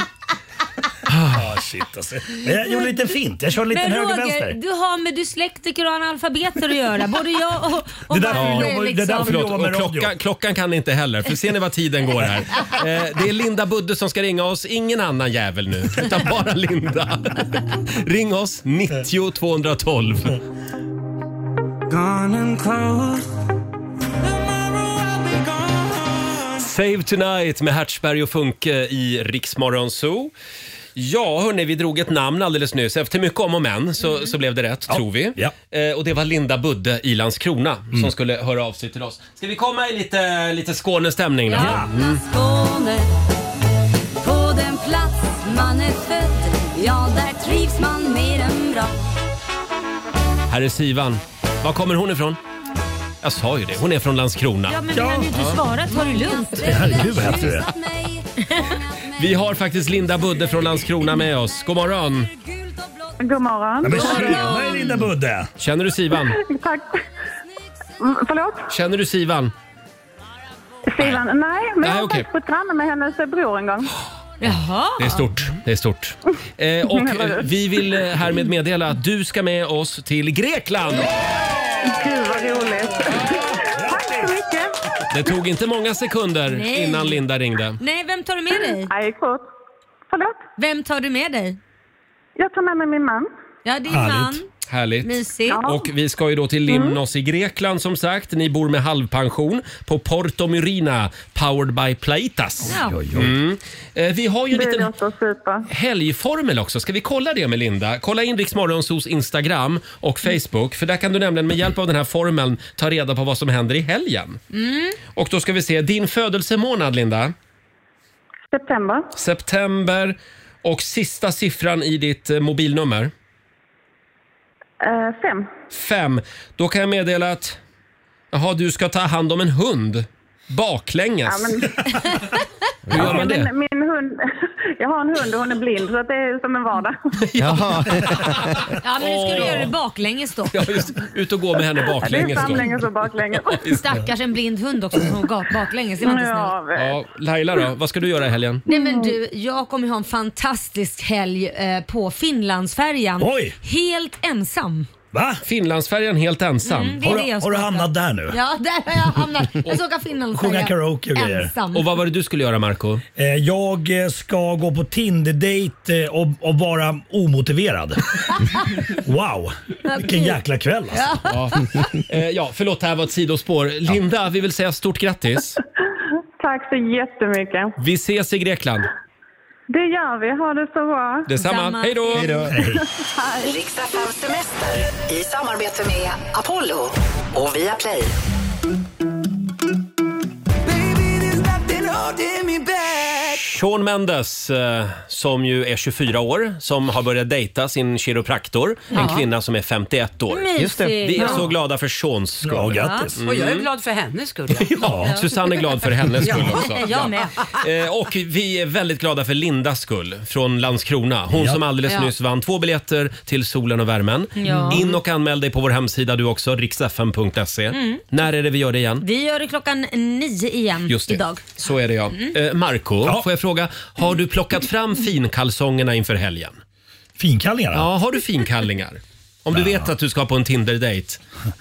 Speaker 9: Ah, shit alltså. Men jag gjorde lite fint. Jag körde lite
Speaker 2: Men
Speaker 9: höger-vänster.
Speaker 2: Roger, du har med dyslektiker och analfabeter att göra. Både jag och, och
Speaker 9: Det där får vi
Speaker 2: Marco är
Speaker 9: jobba- det
Speaker 2: liksom-
Speaker 9: där får vi
Speaker 1: Förlåt,
Speaker 9: jobbar med
Speaker 1: och klockan,
Speaker 9: radio.
Speaker 1: klockan kan inte heller, för ser ni vad tiden går här? Eh, det är Linda Budde som ska ringa oss, ingen annan jävel nu, utan bara Linda. Ring oss, 90 212. Save Tonight med Hertzberg och Funke i Riksmorgon Zoo. Ja, hörni, vi drog ett namn alldeles nyss. Efter mycket om och men så, så blev det rätt, tror vi. Eh, och det var Linda Budde i Landskrona som skulle höra av sig till oss. Ska vi komma i lite, lite Skånestämning då?
Speaker 15: Ja. Skåne På den plats man är född Ja, där trivs man mer än bra
Speaker 1: Här är Sivan. Var kommer hon ifrån? Jag sa ju det, hon är från Landskrona.
Speaker 2: Ja men vi hann ju inte svara, ta det lugnt.
Speaker 9: Herregud vad hett du är.
Speaker 1: Vi har faktiskt Linda Budde från Landskrona med oss. God morgon!
Speaker 3: God morgon.
Speaker 9: Ja, men tjenare Linda Budde!
Speaker 1: Känner du Sivan?
Speaker 3: Tack. Mm, Förlåt?
Speaker 1: Känner du Sivan?
Speaker 3: Sivan? Nej, men
Speaker 1: Nej,
Speaker 3: jag har
Speaker 1: okej.
Speaker 3: faktiskt bott granne med hennes bror en gång.
Speaker 2: Jaha.
Speaker 1: Det är stort. Det är stort. Eh, och eh, vi vill eh, härmed meddela att du ska med oss till Grekland!
Speaker 3: Gud vad roligt. Tack så mycket.
Speaker 1: Det tog inte många sekunder
Speaker 2: Nej.
Speaker 1: innan Linda ringde.
Speaker 2: Nej, vem tar du med dig?
Speaker 3: Jag gick fort. Förlåt?
Speaker 2: Vem tar du med dig?
Speaker 3: Jag tar med mig min man.
Speaker 2: Ja, din
Speaker 1: Härligt.
Speaker 2: man.
Speaker 1: Härligt.
Speaker 2: Mysigt. Ja. Mm.
Speaker 1: Och vi ska ju då till Limnos i Grekland som sagt. Ni bor med halvpension på Porto Myrina, powered by Plaitas.
Speaker 3: Ja. Oj, oj, oj.
Speaker 1: Mm. Eh, Vi har ju en
Speaker 3: Det
Speaker 1: liten
Speaker 3: låter super.
Speaker 1: helgformel också. Ska vi kolla det med Linda? Kolla in Rix Morgonzos Instagram och Facebook för där kan du nämligen med hjälp av den här formeln ta reda på vad som händer i helgen.
Speaker 3: Mm.
Speaker 1: Och då ska vi se, din födelsemånad Linda?
Speaker 3: September.
Speaker 1: September och sista siffran i ditt eh, mobilnummer?
Speaker 3: Eh, fem.
Speaker 1: Fem. Då kan jag meddela att jaha, du ska ta hand om en hund
Speaker 3: Ja,
Speaker 1: baklänges.
Speaker 3: men...
Speaker 1: Hur gör
Speaker 3: Okej,
Speaker 1: man det?
Speaker 3: men min hund, jag har en hund och hon är blind så att det är som en vardag.
Speaker 1: Jaha.
Speaker 2: Ja, men du skulle
Speaker 1: Åh.
Speaker 2: göra det baklänges då.
Speaker 1: Ja, just, ut och gå med henne
Speaker 3: det är
Speaker 1: baklänges. då.
Speaker 3: framlänges och baklänges.
Speaker 2: Stackars en blind hund också som gap baklänges. Det var inte snällt.
Speaker 1: Ja, Laila då, vad ska du göra i helgen?
Speaker 2: Nej men du, jag kommer ju ha en fantastisk helg eh, på Finlandsfärjan.
Speaker 1: Oj!
Speaker 2: Helt ensam.
Speaker 9: Va?
Speaker 1: Finlandsfärjan helt ensam.
Speaker 2: Mm, det är Har du- det jag har du ska hamnat åka.
Speaker 9: där nu?
Speaker 2: Ja, där har jag hamnat. Jag ska åka Finlandsfärjan. Ensam.
Speaker 1: Och vad var det du skulle göra Marco?
Speaker 9: Eh, Jag eh, ska gå på Tinder-dejt eh, och, och vara omotiverad. wow, vilken jäkla kväll alltså.
Speaker 1: Ja. Eh, ja, förlåt det här var ett sidospår. Linda, vi vill säga stort grattis.
Speaker 3: Tack så jättemycket.
Speaker 1: Vi ses i Grekland.
Speaker 3: Det gör vi. Ha det så bra.
Speaker 1: Detsamma. Hej då!
Speaker 12: Riksdagen semester i samarbete med Apollo och Viaplay.
Speaker 6: Baby, there's nothing holding me back.
Speaker 1: Sean Mendes, eh, som ju är 24 år, som har börjat dejta sin kiropraktor, en
Speaker 4: Ja.
Speaker 1: kvinna som är 51 år.
Speaker 4: Mysigt. Just det.
Speaker 1: Vi är
Speaker 4: Ja.
Speaker 1: så glada för Seans skull.
Speaker 4: Och jag är
Speaker 1: Mm.
Speaker 4: glad för hennes skull.
Speaker 1: Ja, Susanne är glad för hennes skull också.
Speaker 4: Jag med.
Speaker 1: Eh, och vi är väldigt glada för Lindas skull från Landskrona. Hon
Speaker 16: Ja.
Speaker 1: som alldeles
Speaker 16: Ja.
Speaker 1: nyss vann två biljetter till Solen och värmen. Mm.
Speaker 2: Ja.
Speaker 1: In och anmäl dig på vår hemsida du också, riksfm.se.
Speaker 2: Mm.
Speaker 1: E. När är det vi gör det igen?
Speaker 2: Vi gör det klockan nio igen
Speaker 1: Just det,
Speaker 2: idag. Mm.
Speaker 1: så är det ja. Eh, Marco, får jag fråga, har du plockat fram finkalsongerna inför helgen?
Speaker 9: Finkallingar?
Speaker 1: Ja, har du finkallingar? Om du vet att du ska på en Tinder-dejt.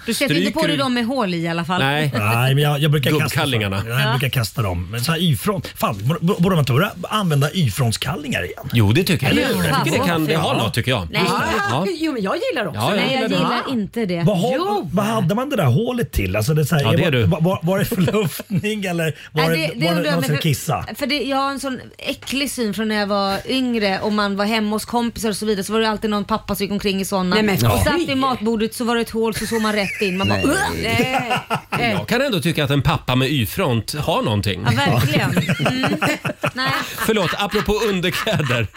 Speaker 2: Du sätter inte på
Speaker 1: stryker
Speaker 2: dig
Speaker 1: du-
Speaker 2: dem med hål i i alla fall.
Speaker 1: Nej.
Speaker 9: Nej, men jag, jag brukar kasta
Speaker 1: Gubbkallingarna.
Speaker 9: Jag brukar kasta dem. Men så här Y-front. Fan, borde- borde man inte börja använda Y-frontskallingar igen?
Speaker 1: Jo, det tycker jag.
Speaker 9: Eller hur?
Speaker 1: Jag tycker det kan det har något tycker jag.
Speaker 9: Nej.
Speaker 1: Ja.
Speaker 4: Jo, men jag gillar också
Speaker 1: Ja, jag
Speaker 4: det.
Speaker 1: Nej, jag
Speaker 9: gillar
Speaker 2: inte det.
Speaker 9: Vad, har, vad hade man det där hålet till? Alltså det är så här,
Speaker 1: Ja, det är du.
Speaker 9: Var, var, var det förluftning eller var
Speaker 2: Nej,
Speaker 9: det, var
Speaker 2: undrar
Speaker 9: det
Speaker 2: jag
Speaker 9: någon
Speaker 2: mig,
Speaker 9: som
Speaker 2: för-
Speaker 9: kissade?
Speaker 2: För det, jag har en sån äcklig syn från när jag var yngre och man var hemma hos kompisar och så vidare så var det alltid någon pappa som gick omkring i sådana.
Speaker 4: Nej, men
Speaker 2: och
Speaker 1: fy.
Speaker 2: satt vid matbordet så var det ett hål så såg man rätt in. Man bara,
Speaker 1: Nej.
Speaker 2: "Ugh!"
Speaker 1: Jag kan ändå tycka att en pappa med Y-front har någonting.
Speaker 2: Ja, verkligen. Mm.
Speaker 1: Förlåt, apropå underkläder.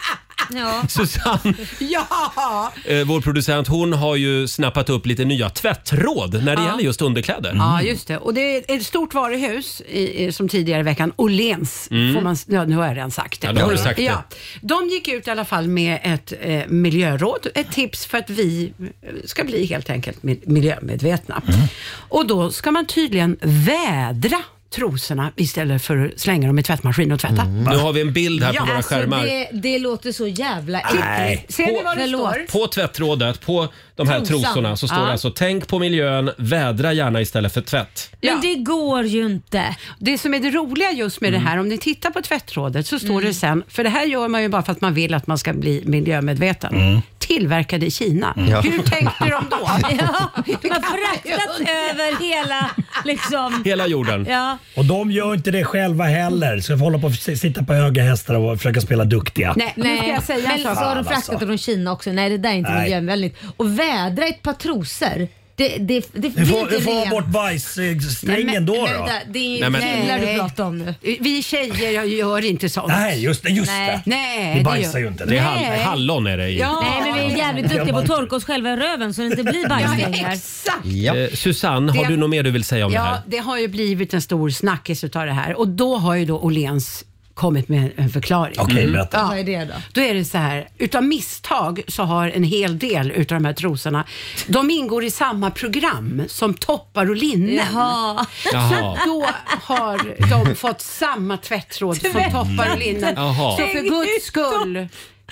Speaker 2: Ja.
Speaker 1: Susanne,
Speaker 4: Ja!
Speaker 1: eh, vår producent, hon har ju snappat upp lite nya tvättråd när det
Speaker 4: Ja.
Speaker 1: gäller just underkläder.
Speaker 4: Ja, just det. Och det är ett stort varuhus i, i- som tidigare i veckan, Åhléns,
Speaker 1: Mm.
Speaker 4: får man, ja, nu har jag redan sagt det.
Speaker 1: Ja, nu har du sagt det.
Speaker 4: Ja. De gick ut i alla fall med ett eh, miljöråd, ett tips för att vi eh, ska bli helt enkelt mil- miljömedvetna.
Speaker 1: Mm.
Speaker 4: Och då ska man tydligen vädra trosorna istället för att slänga dem i tvättmaskinen och tvätta.
Speaker 1: Nu har vi en bild här på våra
Speaker 2: alltså,
Speaker 1: skärmar.
Speaker 2: Det, det låter så jävla
Speaker 1: Nej.
Speaker 2: äckligt. Ser ni vad det står?
Speaker 1: På tvättrådet, på de här
Speaker 2: Trosan.
Speaker 1: trosorna, så står
Speaker 2: Ja.
Speaker 1: det alltså “Tänk på miljön, vädra gärna istället för tvätt”.
Speaker 4: Men
Speaker 2: det går ju inte.
Speaker 4: Det som är det roliga just med det här, om ni tittar på tvättrådet så står det sen, för det här gör man ju bara för att man vill att man ska bli miljömedveten. Tillverkade i Kina.
Speaker 16: Ja.
Speaker 4: Hur tänkte de då?
Speaker 2: Ja, man fraktat över hela liksom...
Speaker 1: Hela jorden.
Speaker 2: Ja.
Speaker 9: Och de gör inte det själva heller. Så vi får hålla på att sitta på höga hästar och försöka spela duktiga.
Speaker 4: Nej, nu ska jag säga
Speaker 2: men
Speaker 4: en sak.
Speaker 2: så har de
Speaker 4: Fan,
Speaker 2: fraktat
Speaker 4: alltså.
Speaker 2: från Kina också. Nej, det där är inte
Speaker 9: Nej.
Speaker 2: miljövänligt. Och vädra ett par trosor. Det, det, det, det
Speaker 9: Hur
Speaker 2: är
Speaker 9: får,
Speaker 2: inte
Speaker 9: hur får man
Speaker 2: rent.
Speaker 9: bort
Speaker 2: Nej,
Speaker 9: bajssträngen
Speaker 2: men-
Speaker 9: då?
Speaker 2: nej,
Speaker 9: då?
Speaker 2: det- det är ju Nej, men- jävlar du pratar om nu.
Speaker 4: Vi tjejer jag gör inte sånt.
Speaker 9: Nej, just det, just
Speaker 4: Nej.
Speaker 9: det.
Speaker 4: Nej,
Speaker 9: Vi
Speaker 4: det
Speaker 9: bajsar
Speaker 4: gör-
Speaker 9: ju inte.
Speaker 1: Det är
Speaker 4: Nej.
Speaker 1: hall- hallon är det i.
Speaker 4: Ja.
Speaker 2: Nej, men vi är jävligt duktiga på att torka oss själva i röven så det inte blir bajssträngar.
Speaker 4: Ja, exakt.
Speaker 1: Eh, Susanne, har
Speaker 4: Det-
Speaker 1: du något mer du vill säga om det
Speaker 4: ja,
Speaker 1: här?
Speaker 4: det har ju blivit en stor snackis utav det här och då har ju då Åhléns kommit med en förklaring.
Speaker 9: Okej,
Speaker 1: Mm.
Speaker 9: berätta.
Speaker 4: Ja.
Speaker 2: Vad är det då?
Speaker 4: Då är det så här, utav misstag så har en hel del utav de här trosorna, de ingår i samma program som toppar och linnen.
Speaker 2: Jaha.
Speaker 4: Så
Speaker 16: Jaha.
Speaker 4: att då har de fått samma tvättråd som
Speaker 16: Tvätta
Speaker 4: toppar och linnen.
Speaker 16: Jaha.
Speaker 4: Så för guds skull,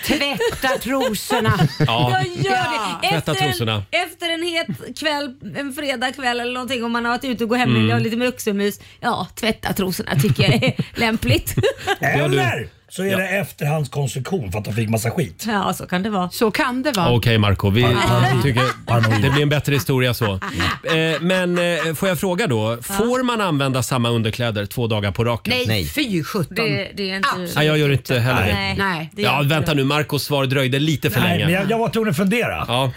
Speaker 4: tvätta trosorna.
Speaker 1: Ja.
Speaker 2: Jag gör det.
Speaker 1: Tvätta
Speaker 2: Efter en,
Speaker 1: trosorna.
Speaker 2: efter en het kväll, en fredagkväll eller någonting om man har varit ute och gått hem
Speaker 1: Mm.
Speaker 2: och har lite muxumys. Ja, tvätta trosorna tycker jag är lämpligt.
Speaker 9: Eller så är det efterhandskonstruktion för att de fick massa skit.
Speaker 2: Ja, så kan det vara.
Speaker 4: Så kan det vara.
Speaker 1: Okej Marco, vi
Speaker 4: Paranoid.
Speaker 1: tycker det blir en bättre historia så. Eh, Men eh, får jag fråga då, får man använda samma underkläder två dagar på raken?
Speaker 4: Nej, fy sjutton.
Speaker 2: Det, det är inte...
Speaker 1: Nej, jag gör inte heller det.
Speaker 2: Nej. Nej, det gör
Speaker 1: Ja,
Speaker 2: inte
Speaker 1: vänta
Speaker 2: det.
Speaker 1: nu, Marcos svar dröjde lite för
Speaker 9: Nej,
Speaker 1: länge.
Speaker 9: men jag, jag var tvungen att fundera.
Speaker 1: Ja.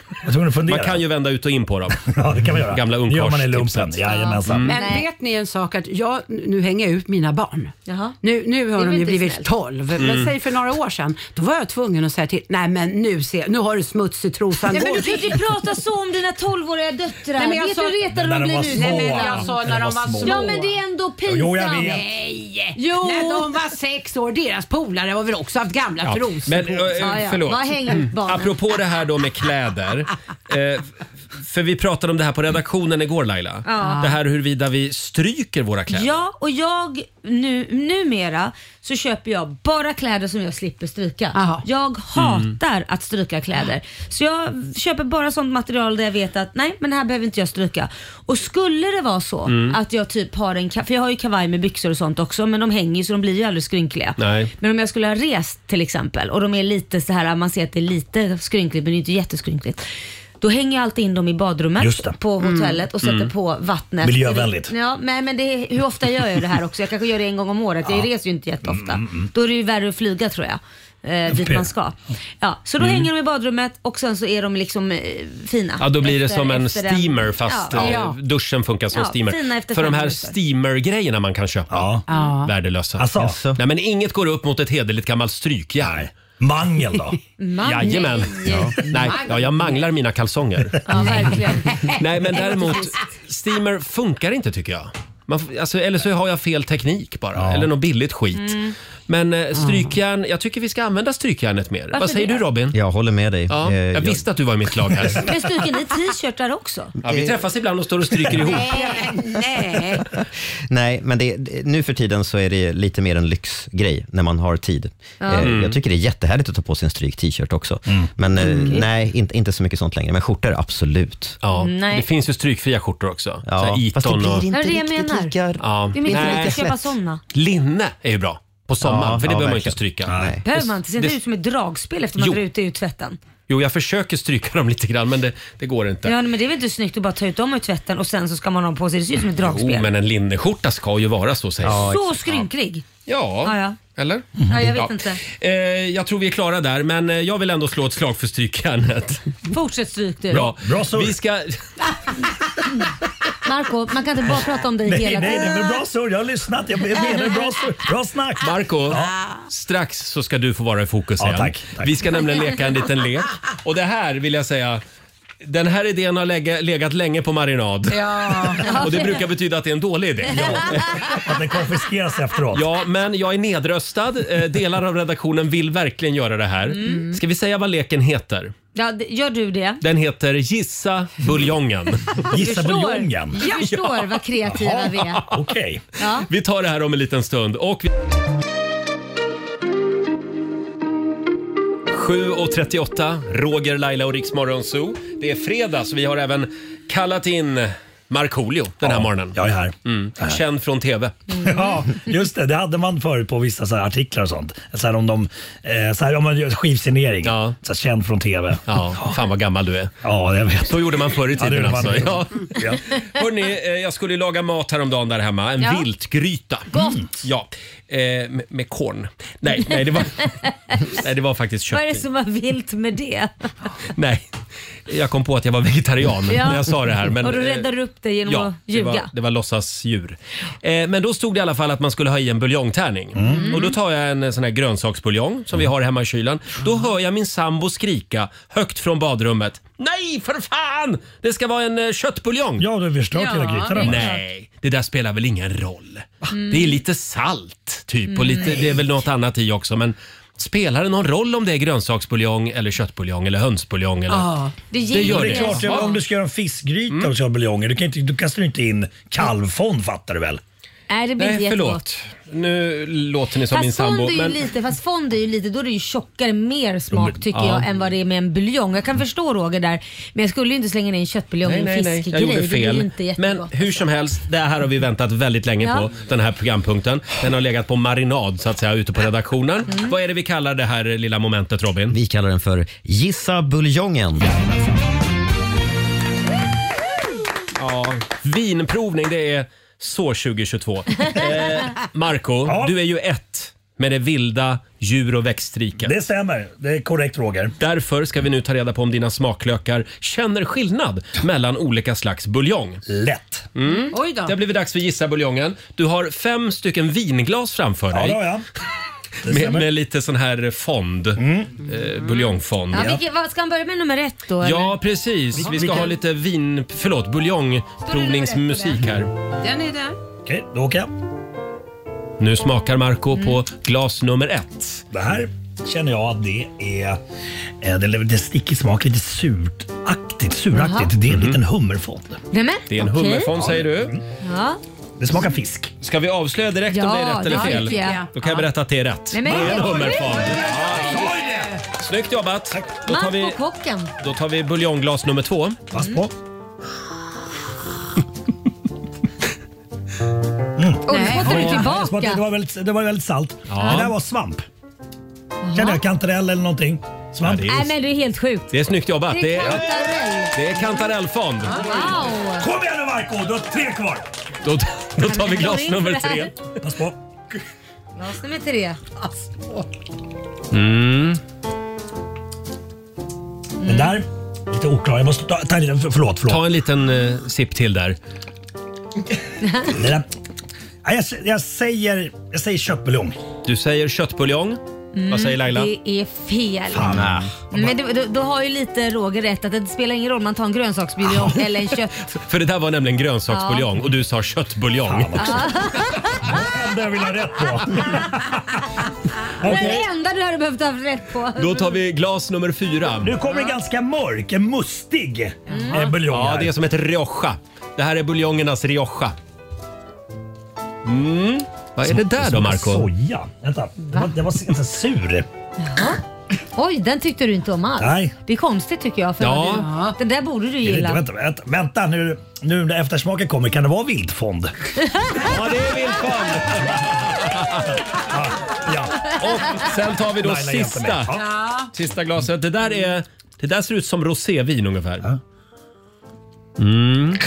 Speaker 9: fundera.
Speaker 1: Man kan ju vända ut och in på dem.
Speaker 9: Ja, det kan man göra.
Speaker 1: Gamla
Speaker 9: Det gör man i lumpen.
Speaker 1: ungkarlstipset.
Speaker 9: Jajamensan.
Speaker 1: Mm.
Speaker 4: Men vet ni en sak att jag, nu hänger jag ut mina barn. Nu, nu
Speaker 2: Det
Speaker 4: har
Speaker 2: är
Speaker 4: de
Speaker 2: väl
Speaker 4: ju
Speaker 2: inte
Speaker 4: blivit
Speaker 2: snällt.
Speaker 4: 12,
Speaker 2: Mm.
Speaker 4: men säg för några år sedan, då var jag tvungen att säga till, nej men nu ser nu har du smuts i trosan.
Speaker 2: Nej, men
Speaker 4: Gå
Speaker 2: du kan ju
Speaker 4: dit.
Speaker 2: inte prata så om dina 12-åriga döttrar.
Speaker 4: Nej, men jag
Speaker 2: Vet
Speaker 4: sa-
Speaker 2: du hur retade de
Speaker 4: När de
Speaker 2: blir
Speaker 4: var
Speaker 2: nu?
Speaker 4: små. Nej, men jag
Speaker 2: alltså,
Speaker 4: sa när När de de var var små.
Speaker 2: Ja men det är ändå pinsamt.
Speaker 4: Jo, jag vet.
Speaker 2: Nej!
Speaker 4: Jo. När de var sex år, deras polare har väl också haft gamla
Speaker 1: Ja.
Speaker 4: trosor
Speaker 1: Men
Speaker 4: på
Speaker 1: eh,
Speaker 4: sig.
Speaker 1: eh, förlåt. Mm. Apropå det här då med kläder. eh, För vi pratade om det här på redaktionen igår Laila.
Speaker 2: Ja.
Speaker 1: Det här huruvida vi stryker våra kläder.
Speaker 2: Ja, och jag nu, numera så köper jag bara kläder som jag slipper stryka. Jag
Speaker 9: Mm.
Speaker 2: hatar att stryka kläder. Så jag köper bara sånt material där jag vet att nej, men det här behöver inte jag stryka. Och skulle det vara så
Speaker 16: Mm.
Speaker 2: att jag typ har en, ka- för jag har ju kavaj med byxor och sånt också, men de hänger ju så de blir ju aldrig skrynkliga.
Speaker 16: Nej.
Speaker 2: Men om jag skulle ha rest till exempel och de är lite så här, man ser att det är lite skrynkligt men det är inte jätteskrynkligt. Då hänger jag alltid in dem i
Speaker 9: Just det.
Speaker 2: badrummet på
Speaker 9: Mm.
Speaker 2: hotellet och sätter
Speaker 9: Mm.
Speaker 2: på vattnet.
Speaker 9: Miljövänligt.
Speaker 2: Ja, men, men det är, hur
Speaker 1: Mm,
Speaker 2: ofta gör jag det här också? Jag kanske gör det en gång om året. Jag reser ju inte jätteofta. Då är det ju värre att flyga tror jag. eh, dit
Speaker 1: P.
Speaker 2: man ska. Ja, så då
Speaker 1: Mm.
Speaker 2: hänger de i badrummet och sen så är de liksom eh, fina.
Speaker 1: Ja, då blir det
Speaker 2: Efter-
Speaker 1: som en
Speaker 2: efter den-
Speaker 1: steamer fast
Speaker 2: Ja.
Speaker 1: eh,
Speaker 2: Ja.
Speaker 1: duschen funkar som
Speaker 2: Ja,
Speaker 1: steamer.
Speaker 2: fina efter
Speaker 1: För de
Speaker 2: fem
Speaker 1: här
Speaker 2: minuter.
Speaker 1: steamer-grejerna man kan köpa,
Speaker 2: Ja.
Speaker 1: värdelösa.
Speaker 9: Asså?
Speaker 1: Nej, men inget går upp mot ett hederligt gammalt strykjärn.
Speaker 9: Mangel då?
Speaker 2: Mangel.
Speaker 1: Jajamän.
Speaker 2: Ah, Ja.
Speaker 1: Nej, ja, jag manglar mina kalsonger.
Speaker 2: Ja, verkligen.
Speaker 1: Nej, men däremot steamer funkar inte tycker jag. Man, f- alltså, eller så har jag fel teknik bara, eller något billigt skit.
Speaker 2: Mm.
Speaker 1: Men eh, strykjärn, jag tycker vi ska använda strykjärnet mer.
Speaker 2: Varför
Speaker 1: Vad säger
Speaker 2: det?
Speaker 1: du Robin?
Speaker 5: Jag håller med dig.
Speaker 1: Ja,
Speaker 5: Eh,
Speaker 1: jag,
Speaker 5: jag-
Speaker 1: visste att du var i mitt lag här.
Speaker 2: Men stryker ni t-shirtar också?
Speaker 1: Ja, vi träffas ibland och står och stryker ihop.
Speaker 2: Nej, nej.
Speaker 5: Nej, men det, det- nu för tiden så är det lite mer en lyxgrej när man har tid.
Speaker 2: Ja.
Speaker 5: Eh,
Speaker 2: Mm.
Speaker 5: Jag tycker det är jättehärligt att ta på sig en stryk t-shirt också. Men eh, nej, inte, inte så mycket sånt längre. Men skjortor, absolut.
Speaker 1: Ja,
Speaker 2: Nej. det
Speaker 1: finns ju strykfria skjortor också.
Speaker 5: Ja,
Speaker 1: här
Speaker 5: fast det
Speaker 1: Eton och-
Speaker 5: blir
Speaker 2: Det
Speaker 5: inte
Speaker 2: är det jag
Speaker 5: riktigt
Speaker 2: menar.
Speaker 5: lika
Speaker 1: Ja.
Speaker 2: Det är inte
Speaker 1: Nej.
Speaker 2: lätt att köpa sådana.
Speaker 1: Linne är ju bra på sommaren,
Speaker 5: Ja,
Speaker 1: för det behöver
Speaker 5: ja,
Speaker 1: man inte
Speaker 5: verkligen.
Speaker 1: stryka.
Speaker 2: Behöver man inte? Ser inte
Speaker 1: Det-
Speaker 2: ut som ett dragspel efter man
Speaker 1: Jo.
Speaker 2: drar ut det ur tvätten?
Speaker 1: Jo, jag försöker stryka dem lite grann, men det, det går inte.
Speaker 2: Ja, men det är väl inte snyggt att bara ta ut dem ur tvätten och sen så ska man ha dem på sig. Det ser ut som ett
Speaker 1: Jo,
Speaker 2: dragspel.
Speaker 1: men en linneskjorta ska ju vara så sägs det.
Speaker 2: så skrynklig.
Speaker 1: Ja.
Speaker 2: ja, ja.
Speaker 1: Eller?
Speaker 2: Ja, jag vet
Speaker 1: Ja.
Speaker 2: inte.
Speaker 1: Eh, jag tror vi är klara där, men eh, jag vill ändå slå ett slag för strykjärnet.
Speaker 2: Fortsätt stryk du.
Speaker 1: Bra. vi ska,
Speaker 2: Marco, man kan inte bara prata om dig
Speaker 9: Nej,
Speaker 2: hela
Speaker 9: nej,
Speaker 2: tiden.
Speaker 9: nej, men bra surr. Jag har lyssnat. Jag menar bra surr. Bra snack.
Speaker 1: Marco, strax så ska du få vara i fokus
Speaker 9: Ja,
Speaker 1: igen.
Speaker 9: tack, tack.
Speaker 1: Vi ska nämligen leka en liten lek. Och det här vill jag säga, den här idén har läge, legat länge på marinad.
Speaker 9: Ja.
Speaker 1: Och det brukar betyda att det är en dålig idé.
Speaker 9: Att den konfiskeras efteråt.
Speaker 1: Ja, men jag är nedröstad. Eh, Delar av redaktionen vill verkligen göra det här.
Speaker 2: Mm.
Speaker 1: Ska vi säga vad leken heter?
Speaker 2: Ja, d- gör du det?
Speaker 1: Den heter Gissa buljongen.
Speaker 2: Gissa Förstår. buljongen? Jag förstår vad kreativa vi är.
Speaker 1: Okej.
Speaker 2: Ja.
Speaker 1: Vi tar det här om en liten stund. Och vi... 7.38, Roger, Laila och Riksmorgon Zoo. Det är fredag så vi har även kallat in Markoolio den här morgonen.
Speaker 9: Jag är här. Mm.
Speaker 1: Mm. Känd från TV.
Speaker 9: Ja, just det. Det hade man förut på vissa så här artiklar och sånt. Så här om de, eh, så här om man gör skivsignering. Så här, känd från TV.
Speaker 1: Ja, fan vad gammal du är.
Speaker 9: Ja, jag vet.
Speaker 1: Så gjorde man förr i
Speaker 9: Ja, det
Speaker 1: tiden
Speaker 9: gjorde man
Speaker 1: alltså.
Speaker 9: förr.
Speaker 1: Ja. Hörrni, eh, jag skulle ju laga mat häromdagen där hemma. En
Speaker 2: Ja.
Speaker 1: viltgryta.
Speaker 2: Gott.
Speaker 1: Ja, eh, med, med korn. Nej, nej, det var, nej, det var faktiskt
Speaker 2: Vad är
Speaker 1: kyckling.
Speaker 2: det som var vilt med det?
Speaker 1: Nej, jag kom på att jag var vegetarian
Speaker 2: Ja.
Speaker 1: när jag sa det här. Men,
Speaker 2: och du
Speaker 1: eh,
Speaker 2: räddar du upp dig genom att
Speaker 1: det
Speaker 2: ljuga.
Speaker 1: var, det var låtsasdjur. Eh, men då stod det i alla fall att man skulle ha i en buljongtärning.
Speaker 2: Mm.
Speaker 1: Och då tar jag en eh, sån här grönsaksbuljong som vi har hemma i kylen. Då hör jag min sambo skrika högt från badrummet. Nej, för fan! Det ska vara en eh, köttbuljong.
Speaker 9: Ja, du har förstört
Speaker 1: ja,
Speaker 9: hela grytan, det är klart.
Speaker 1: Nej, det där spelar väl ingen roll.
Speaker 9: Mm.
Speaker 1: Det är lite salt typ och
Speaker 2: Mm.
Speaker 1: lite, det är väl något annat i också. Men spelar det någon roll om det är grönsaksbuljong eller köttbuljong eller hönsbuljong? Eller?
Speaker 2: Ah.
Speaker 9: det är klart, ja. om du ska göra en fiskgryta
Speaker 1: Mm.
Speaker 9: och köra buljonger, du, kan inte, du kastar ju inte in kalvfond fattar du väl?
Speaker 2: Nej, det blir inte
Speaker 1: Nej,
Speaker 2: jättegott.
Speaker 1: förlåt. Nu låter ni som min
Speaker 2: Fast
Speaker 1: sambo.
Speaker 2: fond, är ju
Speaker 1: Men...
Speaker 2: lite, fast fond är ju lite, då är det ju tjockare, mer smak tycker
Speaker 1: ja.
Speaker 2: jag än vad det är med en buljong. Jag kan förstå Roger där, men jag skulle ju inte slänga in en köttbuljong i
Speaker 1: Nej, nej,
Speaker 2: en
Speaker 1: nej. Jag
Speaker 2: fiskgrej.
Speaker 1: gjorde
Speaker 2: Det blir ju
Speaker 1: fel.
Speaker 2: inte jättegott. alltså.
Speaker 1: Men hur som helst, det här har vi väntat väldigt länge
Speaker 2: Ja.
Speaker 1: på, den här programpunkten. Den har legat på marinad så att säga ute på redaktionen.
Speaker 2: Mm.
Speaker 1: Vad är det vi kallar det här lilla momentet Robin?
Speaker 5: Vi kallar den för Gissa buljongen.
Speaker 1: Ja. Vinprovning, det är så 2022. eh, Marco, du är ju ett med det vilda djur och växtriket.
Speaker 9: Det stämmer, det är korrekt Roger.
Speaker 1: Därför ska vi nu ta reda på om dina smaklökar känner skillnad mellan olika slags buljong.
Speaker 9: Lätt.
Speaker 1: Mm.
Speaker 2: Oj då.
Speaker 1: Det har blivit dags för Gissa buljongen. Du har fem stycken vinglas framför
Speaker 9: Ja,
Speaker 1: dig.
Speaker 9: det har jag. Det
Speaker 1: Med,
Speaker 9: stämmer. Mm.
Speaker 1: med lite sån här fond. Eh, buljongfond.
Speaker 2: Ja, vilket, vad, ska han börja med nummer ett då?
Speaker 1: Ja, precis. Vi ska
Speaker 2: Vilken-
Speaker 1: ha lite vin... Förlåt, buljongprovningsmusik här.
Speaker 4: Den är där.
Speaker 9: Okej, då åker jag.
Speaker 1: Nu smakar Marco
Speaker 2: Mm.
Speaker 1: på glas nummer ett.
Speaker 9: Det här känner jag att det är... eh, Det det är stickig smak, lite surtaktigt. Suraktigt.
Speaker 2: Jaha.
Speaker 9: Det är en
Speaker 1: Mhm.
Speaker 9: liten hummerfond.
Speaker 2: Nej, men,
Speaker 1: Det är en
Speaker 2: okej.
Speaker 1: hummerfond säger du.
Speaker 9: Mm.
Speaker 2: Ja.
Speaker 9: Det smakar fisk.
Speaker 1: Ska vi avslöja direkt om
Speaker 2: Ja,
Speaker 1: det är rätt eller
Speaker 2: det
Speaker 1: fel?
Speaker 2: tycker jag.
Speaker 1: Då kan jag berätta att det är rätt.
Speaker 2: Nej, men-
Speaker 1: det är en
Speaker 2: Oj!
Speaker 1: hummerfond. Snyggt jobbat! Då tar,
Speaker 2: Marco
Speaker 1: vi,
Speaker 2: kocken.
Speaker 1: då tar vi buljongglas nummer två.
Speaker 9: Pass på.
Speaker 2: Och nu spottade du
Speaker 9: Ja,
Speaker 2: tillbaka.
Speaker 9: jag smakade- Det var väldigt, det var väldigt salt.
Speaker 1: Ja.
Speaker 9: Det där var svamp. Kände jag kantarell eller någonting? Svamp.
Speaker 1: Ja, det är-
Speaker 2: Nej men det är helt sjukt.
Speaker 1: Det är snyggt jobbat. Det är,
Speaker 2: kantarell.
Speaker 1: det är kantarellfond.
Speaker 2: Wow!
Speaker 9: Kom igen nu Marco, du har tre kvar.
Speaker 1: Då, då tar vi glas nummer tre.
Speaker 9: Pass på.
Speaker 2: Glas nummer tre.
Speaker 1: Mm.
Speaker 9: Den där, lite oklar. Jag måste ta, ta en liten, förlåt, förlåt.
Speaker 1: Ta en liten eh, sipp till där.
Speaker 9: Den där. Nej, jag, jag, säger, jag säger köttbuljong.
Speaker 1: Du säger köttbuljong. Vad säger Laila?
Speaker 2: Mm, Det är fel.
Speaker 1: Fan. Ah.
Speaker 2: Men du, du, du har ju lite Roger rätt att det spelar ingen roll om man tar en grönsaksbuljong eller en kött...
Speaker 1: För det där var nämligen grönsaksbuljong
Speaker 2: Ja.
Speaker 1: och du sa köttbuljong. Ah.
Speaker 9: Det vill jag rätt på.
Speaker 2: Det är det enda du hade behövt ha rätt på.
Speaker 1: Då tar vi glas nummer fyra.
Speaker 9: Nu kommer en ganska mörk, en mustig eh, buljong
Speaker 1: Mm. Ja,
Speaker 9: här.
Speaker 1: det är som ett Rioja. Det här är buljongernas Rioja. Mm. Vad är det där då,
Speaker 9: Som en
Speaker 1: Marco?
Speaker 9: Soja. Vänta, det var, det var ganska sur.
Speaker 2: Jaha. Oj, den tyckte du inte om alls.
Speaker 9: Nej.
Speaker 2: Det är konstigt tycker jag. För
Speaker 9: Ja.
Speaker 2: vad du, den där borde du
Speaker 9: Vänta,
Speaker 2: gilla.
Speaker 9: vänta, vänta, vänta nu, nu när eftersmaken kommer, kan det vara viltfond?
Speaker 1: Ja, det är viltfond.
Speaker 9: Ah, ja.
Speaker 1: Och sen tar vi då
Speaker 16: Laila hjälper
Speaker 1: sista,
Speaker 16: mig. Ja.
Speaker 1: sista glaset. Det där, är, det där ser ut som rosévin ungefär. Mm.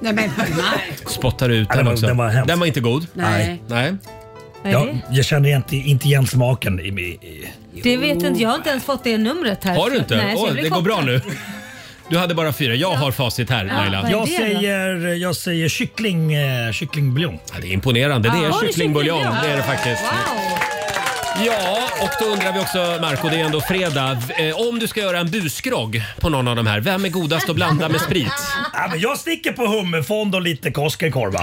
Speaker 4: Nej men Marco.
Speaker 1: Spottar ut
Speaker 9: Ja, den
Speaker 1: den
Speaker 9: var-
Speaker 1: också.
Speaker 9: den var hemsk.
Speaker 1: Den var inte god.
Speaker 4: Nej.
Speaker 1: Nej.
Speaker 2: Vad är det?
Speaker 9: Jag känner inte, inte igen smaken. I, i, i.
Speaker 2: Det vet inte jag. har inte ens fått det numret här.
Speaker 1: Har du inte?
Speaker 2: Alltså, Nej, så jag
Speaker 1: Åh,
Speaker 2: blir
Speaker 1: det går bra
Speaker 2: chockad.
Speaker 1: nu. Du hade bara fyra. Jag har facit här
Speaker 2: Ja,
Speaker 1: Laila.
Speaker 2: vad är
Speaker 9: Jag
Speaker 2: det då?
Speaker 9: säger, jag säger kyckling, eh, kycklingbuljong.
Speaker 1: Ja, det är imponerande. Det
Speaker 9: Ja.
Speaker 1: är
Speaker 9: Var det
Speaker 1: kycklingbuljong.
Speaker 9: kycklingbuljong?
Speaker 1: Det är det faktiskt. Ja, och då undrar vi också Marco, det är ändå fredag. V- eh, Om du ska göra en busgrogg på någon av de här, vem är godast att blanda med sprit?
Speaker 9: Ja, men jag sticker på hummerfond och lite Koskenkorva.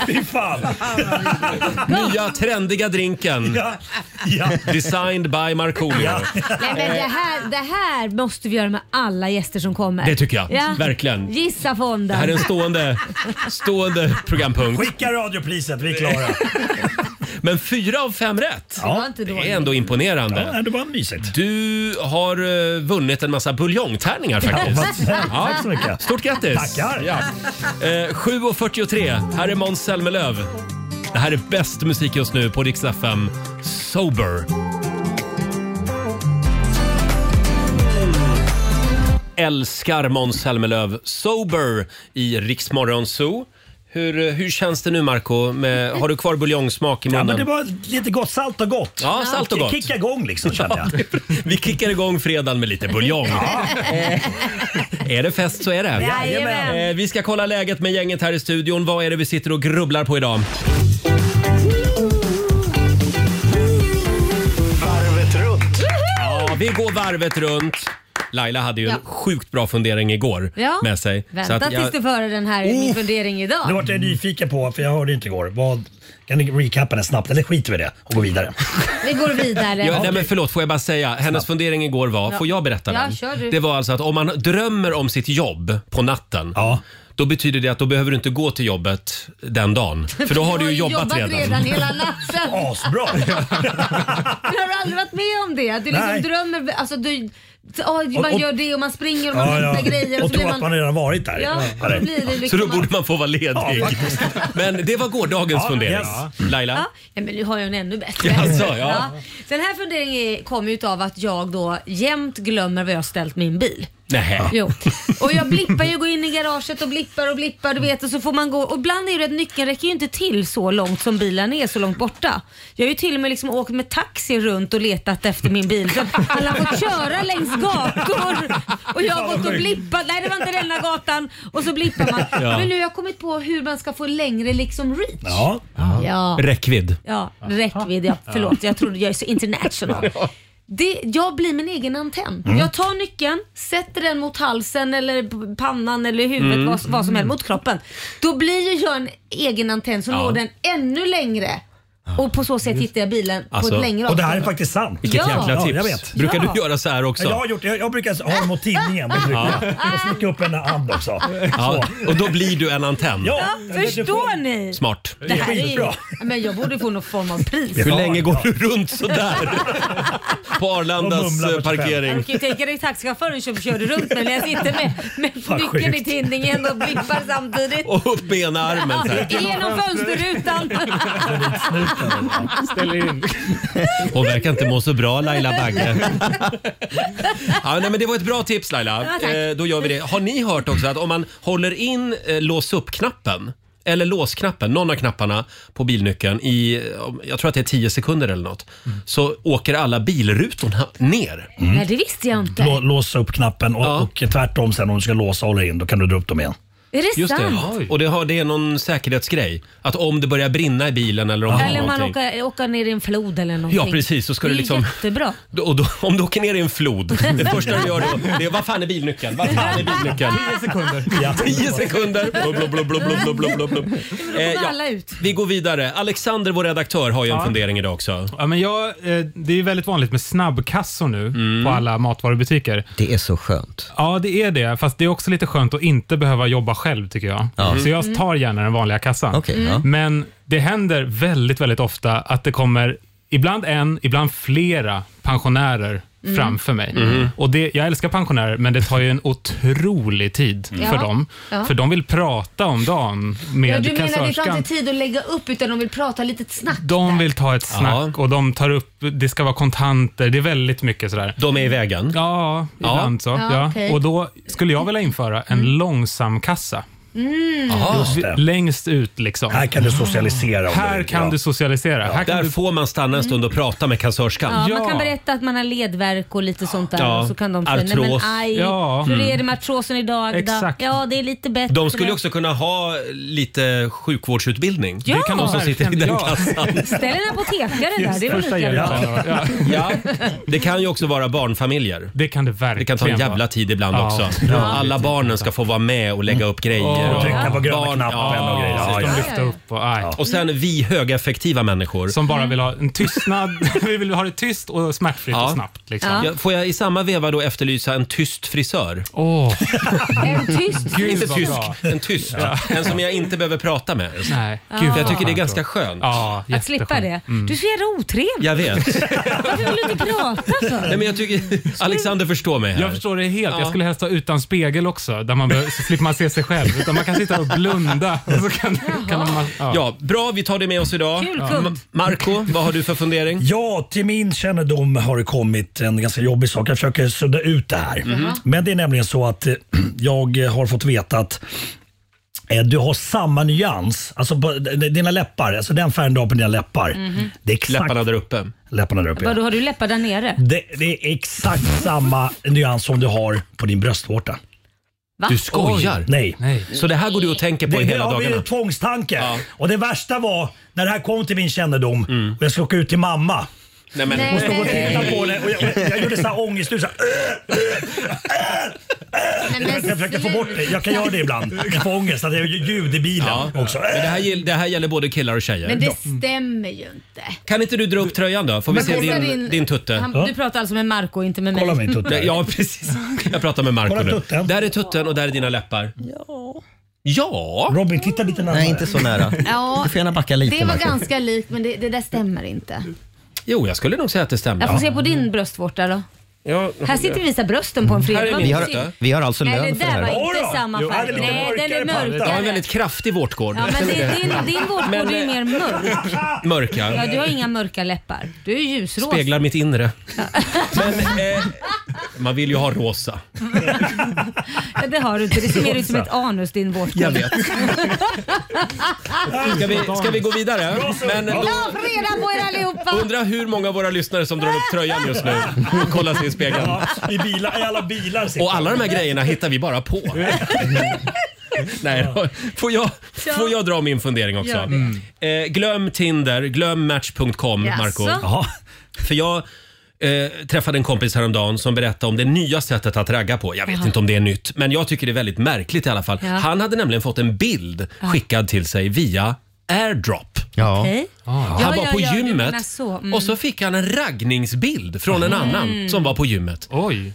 Speaker 9: Fy fan.
Speaker 1: Nya trendiga drinken. Designed by Markoolio.
Speaker 2: Nej, men det, här, det här måste vi göra med alla gäster som kommer.
Speaker 1: Det tycker jag. Verkligen.
Speaker 2: Gissa fonden.
Speaker 1: Det här är en stående, stående programpunkt.
Speaker 9: Skicka radiopriset, vi är klara.
Speaker 1: Men fyra av fem rätt.
Speaker 9: Ja. Det var inte
Speaker 1: det
Speaker 9: dåligt.
Speaker 1: är ändå imponerande.
Speaker 9: Ja, det var mysigt.
Speaker 1: Du har eh, vunnit en massa buljongtärningar faktiskt.
Speaker 9: Ja, vad snällt. Tack så mycket.
Speaker 1: Stort grattis!
Speaker 9: Tackar.
Speaker 1: Ja. Eh, 7.43, här är Måns Zelmerlöw. Det här är bäst musik just nu på Rix FM. Sober. Älskar Måns Zelmerlöw. Sober i Rix Morgon Zoo. Hur, eh, hur känns det nu Marco? Med, har du kvar buljongsmak i
Speaker 9: Ja,
Speaker 1: munnen?
Speaker 9: men det var lite gott, salt och gott.
Speaker 1: Ja, salt och gott.
Speaker 9: Kicka igång liksom kände jag.
Speaker 1: Vi kickar igång fredagen med lite buljong. Eh, Är det fest så är det.
Speaker 16: Jajamän.
Speaker 1: Eh, Vi ska kolla läget med gänget här i studion. Vad är det vi sitter och grubblar på idag?
Speaker 16: Varvet runt.
Speaker 1: Ja, vi går varvet runt. Laila hade ju en
Speaker 2: Ja.
Speaker 1: sjukt bra fundering igår
Speaker 2: Ja.
Speaker 1: med sig.
Speaker 2: Vänta
Speaker 1: att Oh.
Speaker 2: tills du får höra den här, min fundering idag.
Speaker 9: Nu vart jag nyfiken på, för jag hörde inte igår. Vad, kan ni recappa den snabbt eller skiter vi i det och går vidare?
Speaker 2: Vi går vidare.
Speaker 1: Ja, nej men förlåt, får jag bara säga. Hennes fundering igår var,
Speaker 2: Ja.
Speaker 1: får jag berätta
Speaker 2: Ja, kör
Speaker 1: den?
Speaker 2: du.
Speaker 1: Det var alltså att om man drömmer om sitt jobb på natten, då betyder det att då behöver du inte gå till jobbet den dagen. För då har du ju jobbat, redan.
Speaker 2: hela natten.
Speaker 9: Asbra!
Speaker 2: Du har aldrig varit med om det? Att du liksom
Speaker 9: Nej.
Speaker 2: drömmer, alltså du, ja, man
Speaker 9: och-
Speaker 2: gör det och man springer och man hittar grejer.
Speaker 9: Och
Speaker 2: så blir
Speaker 9: tror att man redan varit där.
Speaker 2: Ja,
Speaker 9: Ja,
Speaker 2: då blir det
Speaker 1: Så
Speaker 2: liksom
Speaker 1: då borde man få vara ledig. men det var gårdagens
Speaker 9: Ja,
Speaker 1: fundering.
Speaker 9: yes.
Speaker 1: Laila?
Speaker 2: Ja, ja, men nu har jag en ännu bättre.
Speaker 1: Jaså, ja.
Speaker 2: Den här funderingen är- kommer ju av att jag då jämt glömmer var jag har ställt min bil.
Speaker 1: Nej.
Speaker 2: Jo. Och jag blippar ju, går in i garaget och blippar och blippar du vet och så får man gå. Och ibland är ju det att nyckeln räcker ju inte till så långt som bilen är så långt borta. Jag har ju till och med liksom åkt med taxi runt och letat efter min bil. Så alla har fått köra längs gator och jag har gått och blippat. Nej det var inte denna gatan. Och så blippar man.
Speaker 1: Ja.
Speaker 2: Men nu har jag kommit på hur man ska få längre liksom reach.
Speaker 1: Ja.
Speaker 2: Ja.
Speaker 1: Räckvidd.
Speaker 2: Ja, räckvidd. Ja. Förlåt, jag trodde jag är så international. Det, jag blir min egen antenn.
Speaker 1: Mm.
Speaker 2: Jag tar nyckeln, sätter den mot halsen eller p- pannan eller huvudet,
Speaker 1: Mm.
Speaker 2: vad, vad som helst, mot kroppen. Då blir ju jag en egen antenn som
Speaker 1: Ja.
Speaker 2: når den ännu längre. Och på så sätt hittar jag bilen på
Speaker 1: Alltså,
Speaker 2: ett längre
Speaker 9: Och det här är
Speaker 2: avstånd.
Speaker 9: faktiskt sant.
Speaker 1: Vilket jäkla tips.
Speaker 9: Ja, jag vet.
Speaker 1: Brukar du göra så här också?
Speaker 9: Jag, har gjort, jag, jag brukar ha dem mot tidningen och trycka. Och sticka upp en hand också.
Speaker 1: Ja, och då blir du en antenn.
Speaker 9: Ja,
Speaker 2: Förstår ni?
Speaker 1: Smart.
Speaker 2: Det här är ju, men jag borde få någon form av pris.
Speaker 1: Hur länge går du runt sådär? På Arlandas eh,
Speaker 2: Jag
Speaker 1: parkering.
Speaker 2: kan ju tänka dig taxichauffören som körde runt mig när jag sitter med, med
Speaker 1: Fan,
Speaker 2: nyckeln i
Speaker 1: sjukt.
Speaker 2: tinningen och blippar samtidigt.
Speaker 1: Och upp med ena armen. Så här.
Speaker 2: Genom fönsterrutan.
Speaker 1: Ställer in. Hon verkar inte må så bra Laila Bagge. Ja, nej, men det var ett bra tips Laila.
Speaker 2: Ja, tack.
Speaker 1: eh, då gör vi det. Har ni hört också att om man håller in eh, lås upp-knappen eller låsknappen, någon av knapparna på bilnyckeln i, jag tror att det är 10 sekunder eller något, så åker alla bilrutorna ner.
Speaker 2: Nej, det visste jag inte.
Speaker 9: Lå, låsa upp knappen och, och tvärtom sen om du ska låsa och hålla in, då kan du dra upp dem igen.
Speaker 2: Är det
Speaker 1: Just
Speaker 2: sant?
Speaker 1: det. Och det, har, det är någon säkerhetsgrej. Att om det börjar brinna i bilen eller om det
Speaker 2: Eller
Speaker 1: är
Speaker 2: om man
Speaker 1: någonting.
Speaker 2: åker, åker ner i en flod eller någonting.
Speaker 1: Ja, precis, så ska
Speaker 2: det
Speaker 1: du
Speaker 2: är
Speaker 1: liksom-
Speaker 2: jättebra.
Speaker 1: Och då, om du åker ner i en flod, det första du gör då, det är vad fan är bilnyckeln? Vad fan är bilnyckeln? 10 sekunder. Ja, 10 sekunder. Blub, blub, blub, blub, blub, blub, blub, blub. Eh, ja.
Speaker 2: Alla ut.
Speaker 1: Vi går vidare. Alexander, vår redaktör, har ju en
Speaker 17: Ja.
Speaker 1: fundering idag också.
Speaker 17: Ja, men jag, eh, det är ju väldigt vanligt med snabbkassor nu
Speaker 1: Mm.
Speaker 17: på alla matvarubutiker.
Speaker 5: Det är så skönt.
Speaker 17: Ja, det är det. Fast det är också lite skönt att inte behöva jobba själv tycker jag.
Speaker 5: Ja.
Speaker 17: Så
Speaker 2: Mm.
Speaker 17: jag tar gärna den vanliga kassan.
Speaker 5: Okej, ja.
Speaker 17: Men det händer väldigt, väldigt ofta att det kommer ibland en, ibland flera pensionärer
Speaker 16: Mm.
Speaker 17: framför mig.
Speaker 16: Mm.
Speaker 17: Och det, jag älskar pensionärer, men det tar ju en otrolig tid
Speaker 2: Mm.
Speaker 17: för
Speaker 2: Ja,
Speaker 17: dem.
Speaker 2: ja.
Speaker 17: För de vill prata om dagen med
Speaker 2: ja, du menar det är
Speaker 17: kassörskan.
Speaker 2: inte tid att lägga upp utan de vill prata lite snack.
Speaker 17: De vill ta ett snack och de tar upp, det ska vara kontanter, det är väldigt mycket sådär.
Speaker 1: De är i vägen?
Speaker 17: Ja, ibland så.
Speaker 2: Ja,
Speaker 17: Ja,
Speaker 2: okej.
Speaker 17: Och då skulle jag vilja införa en
Speaker 4: Mm.
Speaker 17: långsam kassa.
Speaker 2: Mm.
Speaker 17: Just det. Längst ut liksom. Här
Speaker 9: kan du socialisera.
Speaker 1: om du
Speaker 17: Här
Speaker 1: vill,
Speaker 17: kan
Speaker 1: ja.
Speaker 17: du socialisera. Här kan
Speaker 1: Där
Speaker 17: du...
Speaker 1: får man stanna en stund och prata med kassörskan.
Speaker 2: Ja, Man kan berätta att man har ledvärk och lite sånt där.
Speaker 1: Ja.
Speaker 2: Och så kan de säga, nej men
Speaker 1: Artros.
Speaker 2: aj,
Speaker 1: Ja.
Speaker 2: hur är det
Speaker 1: Mm.
Speaker 2: med artrosen idag? Agda?
Speaker 1: Exakt.
Speaker 2: Ja, det är lite bättre.
Speaker 1: De skulle ju också kunna ha lite sjukvårdsutbildning.
Speaker 2: Ja.
Speaker 1: Det kan de som sitter i den
Speaker 2: Ja.
Speaker 1: kassan.
Speaker 2: Ställ en apotekare där, det är väl lika bra.
Speaker 1: Ja. Ja. Det kan ju också vara barnfamiljer.
Speaker 17: Det kan det verkligen
Speaker 1: Det kan ta en
Speaker 17: vara.
Speaker 1: jävla tid ibland
Speaker 17: Ja.
Speaker 1: också.
Speaker 17: Ja.
Speaker 1: Alla barnen ska få vara med och lägga upp grejer.
Speaker 17: Åh.
Speaker 1: och
Speaker 17: Mm. Trycka på gröna
Speaker 9: knappen och grejer.
Speaker 1: precis.
Speaker 9: Ja,
Speaker 17: De
Speaker 9: ja.
Speaker 17: lyfter upp och, aj.
Speaker 1: Och sen vi högeffektiva människor.
Speaker 17: Som bara vill ha en tystnad. vi vill ha det tyst och smärtfritt och snabbt. Liksom.
Speaker 1: Ja. Får jag i samma veva då efterlysa en tyst frisör?
Speaker 17: Åh.
Speaker 2: En tyst
Speaker 1: Gud, inte
Speaker 17: vad
Speaker 1: tysk,
Speaker 17: bra.
Speaker 1: en tyst.
Speaker 17: Ja.
Speaker 1: En som jag inte behöver prata med.
Speaker 17: Nej.
Speaker 2: Ja. Gud, vad
Speaker 1: jag tycker det är
Speaker 17: skönt
Speaker 1: ganska skönt.
Speaker 2: Att slippa det.
Speaker 1: Mm.
Speaker 2: Du är så jävla otrevlig.
Speaker 1: Jag vet.
Speaker 2: Varför vill du inte prata för?
Speaker 1: Nej, men jag tycker Alexander förstår mig här.
Speaker 17: Jag förstår det helt.
Speaker 1: Ja.
Speaker 17: Jag skulle helst ha utan spegel också, där man behöver, så slipper man se sig själv. Utan man kan sitta och blunda. Och så kan, kan man, ja.
Speaker 1: Ja, bra. Vi tar det med oss idag.
Speaker 17: Kul
Speaker 1: Ja.
Speaker 17: kund.
Speaker 1: Ma- Marco, vad har du för fundering?
Speaker 9: Ja, till min kännedom har det kommit en ganska jobbig sak. Jag försöker sudda ut det här. Mm-hmm.
Speaker 16: Mhm.
Speaker 9: Men det är nämligen så att eh, jag har fått veta att eh, du har samma nyans, alltså på d- d- dina läppar, alltså den färgen du har på dina läppar.
Speaker 2: Mhm.
Speaker 9: Det är exakt, läpparna
Speaker 1: där uppe.
Speaker 9: Läpparna där uppe. ja.
Speaker 2: Vadå, har du läppar där nere?
Speaker 9: Det, det är exakt samma nyans som du har på din bröstvårta.
Speaker 2: Va?
Speaker 1: Du skojar?
Speaker 9: Oj, nej.
Speaker 1: Så det här går du och tänker på
Speaker 9: det,
Speaker 1: i hela
Speaker 9: det har
Speaker 1: dagarna?
Speaker 9: blivit tvångstanke. Och det värsta var när det här kom till min kännedom
Speaker 1: Mm.
Speaker 9: och jag skulle åka ut till mamma.
Speaker 1: Nej, men-
Speaker 9: Hon stod och tittade
Speaker 1: Nej.
Speaker 9: på det och jag, jag, jag gjorde så här ångestljud. så här, "Åh, åh, åh, åh." Jag försöker få bort det. Jag kan göra det ibland. Jag får ångest att jag gör ljud i bilen också.
Speaker 1: Men det, här, gill- det här gäller både killar och tjejer.
Speaker 2: Men det stämmer ju inte.
Speaker 1: Kan inte du dra upp tröjan då? Får vi
Speaker 2: Men
Speaker 1: se
Speaker 2: kolla
Speaker 1: din, din, tutte?
Speaker 2: Han, Du pratar alltså med Marco inte
Speaker 9: Äh,
Speaker 2: med mig.
Speaker 1: Ja, precis. Jag pratar med Marco
Speaker 9: Kolla
Speaker 1: nu. Där är tutten och där är dina läppar. Ja. Ja!
Speaker 9: Robin, titta lite närmare.
Speaker 5: Nej, inte så nära.
Speaker 2: Ja,
Speaker 5: Du får gärna backa lite.
Speaker 2: Det var
Speaker 5: Marco.
Speaker 2: ganska likt men det, det där stämmer inte.
Speaker 1: Jo, jag skulle nog säga att det stämmer.
Speaker 2: Jag får se på din bröstvårta då.
Speaker 1: Ja.
Speaker 2: Här sitter vi och visar brösten på en fredag. Vad
Speaker 5: vi,
Speaker 2: synd.
Speaker 5: har, vi har alltså
Speaker 2: Nej,
Speaker 5: lön
Speaker 2: det
Speaker 5: för det
Speaker 2: där var
Speaker 5: här.
Speaker 2: inte samma
Speaker 1: Jo,
Speaker 2: färg. Nej, den
Speaker 1: Jag
Speaker 2: är
Speaker 1: har en
Speaker 2: mörkare.
Speaker 1: väldigt kraftig vårtgård.
Speaker 2: Ja, men det, din, din vårtgård är ju mer mörk.
Speaker 1: Mörk, ja.
Speaker 2: Ja, du har inga mörka läppar. Du är ljusrosa.
Speaker 1: Speglar mitt inre. Men, eh, man vill ju ha rosa.
Speaker 2: Ja, det har du inte. Det ser mer ut som ett anus din vårtgård.
Speaker 1: Jag vet. Ska vi, ska vi gå vidare? Men då
Speaker 2: Ja, fredag på er allihopa!
Speaker 1: undrar hur många av våra lyssnare som drar upp tröjan just nu och kollar sig i spegeln.
Speaker 9: I, bilar, I alla bilar sitter
Speaker 1: Och alla de här grejerna hittar vi bara på. Nej, då. får jag, får jag dra min fundering också?
Speaker 16: Gör det.
Speaker 1: Eh, glöm Tinder, glöm Match.com,
Speaker 16: Jaså?
Speaker 1: Marco. För jag eh, träffade en kompis häromdagen som berättade om det nya sättet att ragga på. Jag vet
Speaker 16: Jaha.
Speaker 1: inte om det är nytt, men jag tycker det är väldigt märkligt i alla fall.
Speaker 16: Ja.
Speaker 1: Han hade nämligen fått en bild
Speaker 2: Ja.
Speaker 1: skickad till sig via AirDrop.
Speaker 2: Okej.
Speaker 1: Han
Speaker 2: Ja,
Speaker 1: var
Speaker 2: ja,
Speaker 1: på
Speaker 2: ja, du menar
Speaker 1: gymmet
Speaker 2: så. Mm.
Speaker 1: och så fick han en raggningsbild från en
Speaker 2: Mm.
Speaker 1: annan som var på gymmet.
Speaker 17: Oj.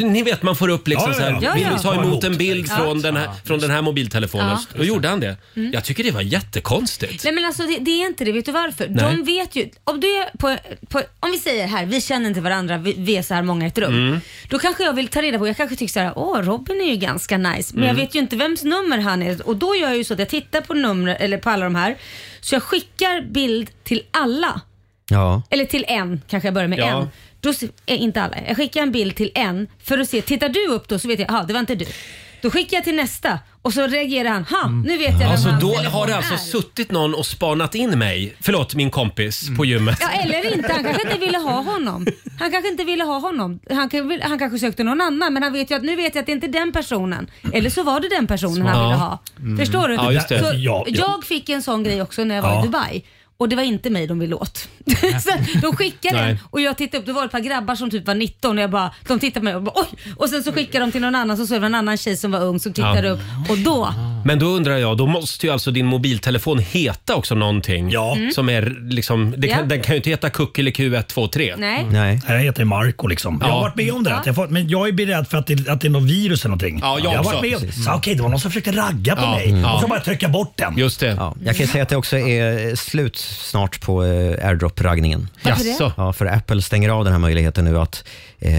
Speaker 1: Ni vet man får upp liksom
Speaker 16: Ja, ja,
Speaker 1: så här,
Speaker 16: ja.
Speaker 1: vill
Speaker 16: Ja,
Speaker 1: ni
Speaker 16: ja.
Speaker 1: ta emot en bild
Speaker 2: Ja.
Speaker 1: från, den här, från den här mobiltelefonen?
Speaker 2: Ja.
Speaker 1: Då gjorde han det.
Speaker 2: Mm.
Speaker 1: Jag tycker det var jättekonstigt.
Speaker 2: Nej men alltså det, det är inte det, vet du varför?
Speaker 1: Nej.
Speaker 2: De vet ju, om du är på, på, om vi säger här, vi känner inte varandra, vi, vi är så här många i ett rum.
Speaker 16: Mm.
Speaker 2: Då kanske jag vill ta reda på, jag kanske tycker så här, åh Robin är ju ganska nice, men
Speaker 16: Mm.
Speaker 2: jag vet ju inte vems nummer han är. Och då gör jag ju så att jag tittar på nummer, eller på alla de här, så jag skickar bild till alla.
Speaker 5: Ja.
Speaker 2: Eller till en, kanske jag börjar med
Speaker 5: Ja.
Speaker 2: en. Då, se- eh, inte alla, jag skickar en bild till en för att se, tittar du upp då så vet jag, jaha det var inte du. Då skickar jag till nästa och så reagerar han. Ha,
Speaker 5: Mm.
Speaker 2: nu vet jag vem
Speaker 1: Alltså
Speaker 2: hans
Speaker 1: då
Speaker 2: telefon
Speaker 1: har det alltså
Speaker 2: är.
Speaker 1: suttit någon och spanat in mig, förlåt min kompis, på gymmet.
Speaker 2: Ja, eller inte. Han kanske inte ville ha honom. Han kanske inte ville ha honom. Han, kan- han kanske sökte någon annan men han vet ju att nu vet jag att det inte är den personen. Eller så var det den personen han ville ha.
Speaker 9: Mm.
Speaker 2: Förstår du?
Speaker 9: Ja, just det.
Speaker 2: Så
Speaker 9: Ja, ja.
Speaker 2: Jag fick en sån grej också när jag var
Speaker 9: Ja.
Speaker 2: i Dubai. Och det var inte mig de ville åt. så de skickade
Speaker 9: Nej.
Speaker 2: den och jag tittade upp, det var ett par grabbar som typ var 19 och jag bara, de tittade på mig och bara oj! Och sen så skickade de till någon annan så såg det var en annan tjej som var ung som tittade
Speaker 1: Ja.
Speaker 2: upp och då
Speaker 1: Men då undrar jag, då måste ju alltså din mobiltelefon heta också någonting. Ja.
Speaker 2: Mm.
Speaker 1: Som är liksom, det kan,
Speaker 2: Ja.
Speaker 1: den kan ju inte heta Q123.
Speaker 2: Nej.
Speaker 1: Nej.
Speaker 9: Jag heter Marco liksom. Jag har
Speaker 1: Ja.
Speaker 9: varit med om det. Att jag fått, men jag är beredd för att det, att det är något virus eller någonting.
Speaker 1: Ja, jag
Speaker 9: har
Speaker 1: också.
Speaker 9: varit med om det.
Speaker 1: Precis.
Speaker 9: Så, Okej, det var någon som försökte ragga på
Speaker 5: Ja,
Speaker 9: mig.
Speaker 5: mm.
Speaker 9: Och så
Speaker 5: Ja.
Speaker 9: bara trycka bort den.
Speaker 1: Just det.
Speaker 5: Ja, jag kan ju säga att det också är slut snart på eh, airdrop-raggningen.
Speaker 9: Varför det? Jaså?
Speaker 5: Ja, för Apple stänger av den här möjligheten nu att... Eh,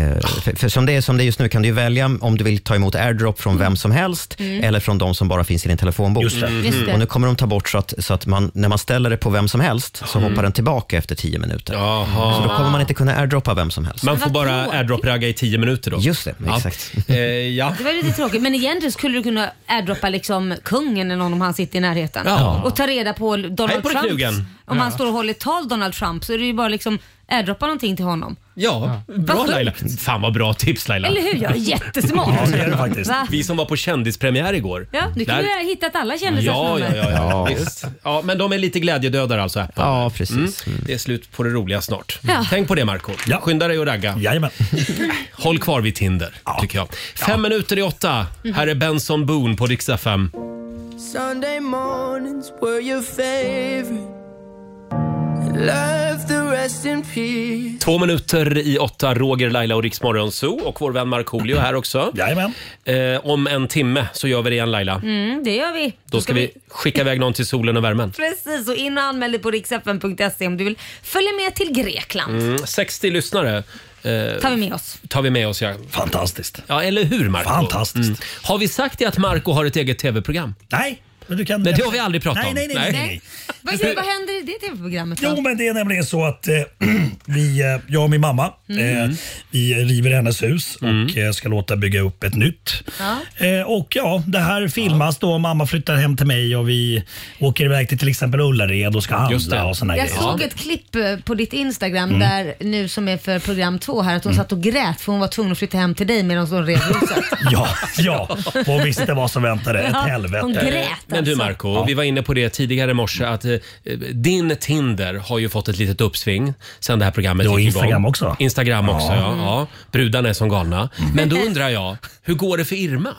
Speaker 5: för, för som, det är, som det är just nu kan du ju välja om du vill ta emot airdrop från vem som helst
Speaker 1: Mm.
Speaker 5: eller från de som bara finns i din telefonbok.
Speaker 1: Just det.
Speaker 2: Mm.
Speaker 1: Mhm. Just det.
Speaker 5: Och nu kommer de ta bort så att, så att man, när man ställer det på vem som helst så
Speaker 1: Mm.
Speaker 5: hoppar den tillbaka efter tio minuter.
Speaker 1: Jaha.
Speaker 5: Så då kommer man inte kunna airdroppa vem som helst.
Speaker 1: Man får bara airdrop-ragga i tio minuter då. Just det, exakt. Ja. Eh, ja.
Speaker 2: Det var lite tråkigt men egentligen skulle du kunna airdroppa liksom kungen eller någon om han sitter i närheten.
Speaker 1: Ja.
Speaker 2: Och ta reda på
Speaker 1: Hej
Speaker 2: Donald
Speaker 1: på dig,
Speaker 2: Trump.
Speaker 1: knugen.
Speaker 2: Om han
Speaker 1: Ja.
Speaker 2: står och håller ett tal Donald Trump så är det ju bara liksom airdroppa någonting till honom.
Speaker 1: Ja, bra
Speaker 2: Vad
Speaker 1: Laila. Fan vad bra tips Laila.
Speaker 2: Eller hur? Jag är jättesmart.
Speaker 1: Ja, det är du faktiskt.
Speaker 2: Va?
Speaker 1: Vi som var på kändispremiär igår.
Speaker 2: Ja, nu
Speaker 1: Där-
Speaker 2: kunde vi ha hittat alla kändisars
Speaker 1: Ja, ja,
Speaker 2: nummer.
Speaker 1: ja, ja. Visst. ja. Men de är lite glädjedödare alltså, Apple. Ja, precis.
Speaker 5: Mm.
Speaker 1: Det är slut på det roliga snart.
Speaker 2: Ja.
Speaker 1: Tänk på det, Marco Skynda dig och ragga.
Speaker 9: Jajamän.
Speaker 1: Håll kvar vid Tinder, tycker jag. Fem minuter i åtta.
Speaker 2: Mhm.
Speaker 1: Här är Benson Boone på Dix FM.
Speaker 16: Sunday mornings were your favorite. Love the rest in peace.
Speaker 1: Två minuter i åtta, Roger, Laila och Riksmorgon Zoo och vår vän Markoolio här också.
Speaker 9: Jajamän.
Speaker 1: Eh, om en timme så gör vi det igen, Laila.
Speaker 2: Mm, det gör vi.
Speaker 1: Då ska vi skicka iväg någon till solen och värmen.
Speaker 2: Precis, och in och anmäl dig på riksfn.se om du vill följa med till Grekland.
Speaker 1: Mm, 60 lyssnare eh,
Speaker 2: tar vi med oss.
Speaker 1: tar vi med oss. Ja.
Speaker 9: Fantastiskt.
Speaker 1: Ja, eller hur Marco?
Speaker 9: Fantastiskt.
Speaker 1: Mm. Har vi sagt det att Marco har ett eget tv-program?
Speaker 9: Nej, men du kan...
Speaker 1: Nej, det har vi aldrig pratat
Speaker 9: Nej,
Speaker 1: om.
Speaker 9: nej, nej, nej, nej.
Speaker 2: Vad, gör- vad händer i det tv-programmet då?
Speaker 9: Jo, men det är nämligen så att eh, vi, eh, jag och min mamma,
Speaker 2: Mm.
Speaker 9: eh, vi river hennes hus och eh, ska låta bygga upp ett nytt. Eh, och ja, det här filmas då. Mamma flyttar hem till mig och vi åker iväg till till exempel Ullared och ska
Speaker 1: Just det.
Speaker 9: handla och såna
Speaker 2: Jag
Speaker 9: grejer.
Speaker 2: såg ett klipp eh, på ditt Instagram
Speaker 9: Mm.
Speaker 2: där nu som är för program två här att
Speaker 1: Mm.
Speaker 2: hon satt och grät för hon var tvungen att flytta hem till dig medan hon rev huset.
Speaker 9: Ja, ja. Hon visste vad som väntade. Ett
Speaker 2: Ja,
Speaker 9: helvete.
Speaker 2: hon grät alltså.
Speaker 1: Men du Marco, vi var inne på det tidigare i morse att eh, din Tinder har ju fått ett litet uppsving sen det här programmet
Speaker 9: Jo,
Speaker 1: gick
Speaker 9: Instagram
Speaker 1: igång.
Speaker 9: också.
Speaker 1: Instagram också. Ja.
Speaker 9: Mm.
Speaker 1: Ja, Brudarna är som galna. Men då undrar jag, hur går det för Irma?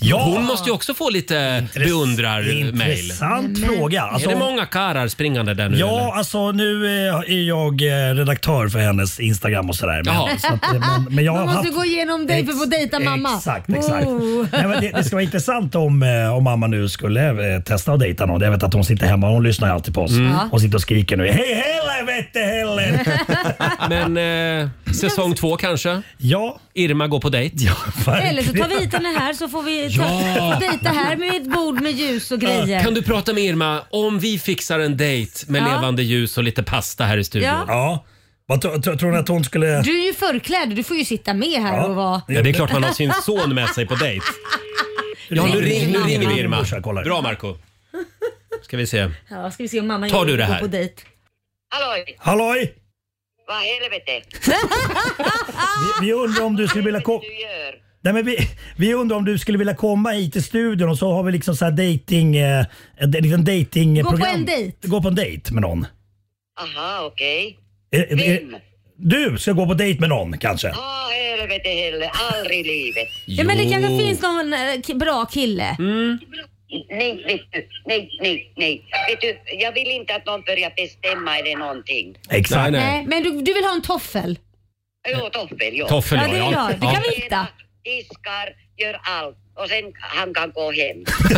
Speaker 9: Ja.
Speaker 1: Hon måste ju också få lite beundrar-mail.
Speaker 9: Intressant fråga. Alltså,
Speaker 1: är det många karar springande där nu?
Speaker 9: Ja, alltså nu eh, är jag eh, redaktör för hennes Instagram och sådär.
Speaker 1: Jaha.
Speaker 9: Men, så att, eh, men, men jag
Speaker 2: Man
Speaker 9: har
Speaker 2: måste
Speaker 9: haft...
Speaker 2: gå igenom dig för att få dejta mamma.
Speaker 9: Exakt, exakt.
Speaker 2: Oh.
Speaker 9: Nej, men det, det skulle vara intressant om, eh, om mamma nu skulle eh, testa att dejta någon. Jag vet att hon sitter hemma, hon lyssnar ju alltid på oss.
Speaker 1: Mm. Ja.
Speaker 9: Hon sitter och skriker nu. Hej helvete Helen!
Speaker 1: eller? Men eh, säsong två kanske?
Speaker 9: Ja.
Speaker 1: Irma går på dejt?
Speaker 2: Eller så tar vi hit henne här så får vi ta,
Speaker 1: Ja.
Speaker 2: dejta här med ett bord med ljus och grejer.
Speaker 1: Kan du prata med Irma om vi fixar en dejt med
Speaker 2: Ja.
Speaker 1: levande ljus och lite pasta här i studion?
Speaker 2: Ja.
Speaker 9: Vad tro- tro- tror ni att hon skulle...
Speaker 2: Du är ju förklädd, du får ju sitta med här och vara...
Speaker 1: Ja, det är klart man har sin son med sig på dejt. Ja, nu, ring, nu ringer vi Irma. Bra Marco Ska vi se.
Speaker 2: Ja, ska vi se om mamma
Speaker 1: Tar
Speaker 2: inte
Speaker 1: du det
Speaker 2: går
Speaker 1: här?
Speaker 2: på dejt.
Speaker 12: Halloj!
Speaker 9: Halloj!
Speaker 12: Vad i helvete?
Speaker 9: Vi, vi undrar om du skulle vilja komma... Nej, men vi, vi undrar om du skulle vilja komma hit till studion och så har vi liksom så här dating... Eh, en liten dating eh,
Speaker 12: Gå på en dejt.
Speaker 9: Gå på en dejt med någon.
Speaker 12: Aha, okej.
Speaker 9: Är- är- är-
Speaker 12: Mm.
Speaker 9: Du ska gå på dejt med någon kanske?
Speaker 12: Ah, helvete heller. Aldrig i livet.
Speaker 2: Ja, men det kanske finns någon eh, k- bra kille.
Speaker 1: Mm.
Speaker 12: Nej, vet du. Nej, nej, nej. Vet du, jag vill inte att någon börjar bestämma eller någonting.
Speaker 9: Exakt.
Speaker 2: Nej, men du, du vill ha en toffel?
Speaker 12: Jo, toffel, ja.
Speaker 2: Toffel, Ja, ja, det ja. gör- det kan vi hitta.
Speaker 12: Diskar, gör allt. Och sen han kan gå hem.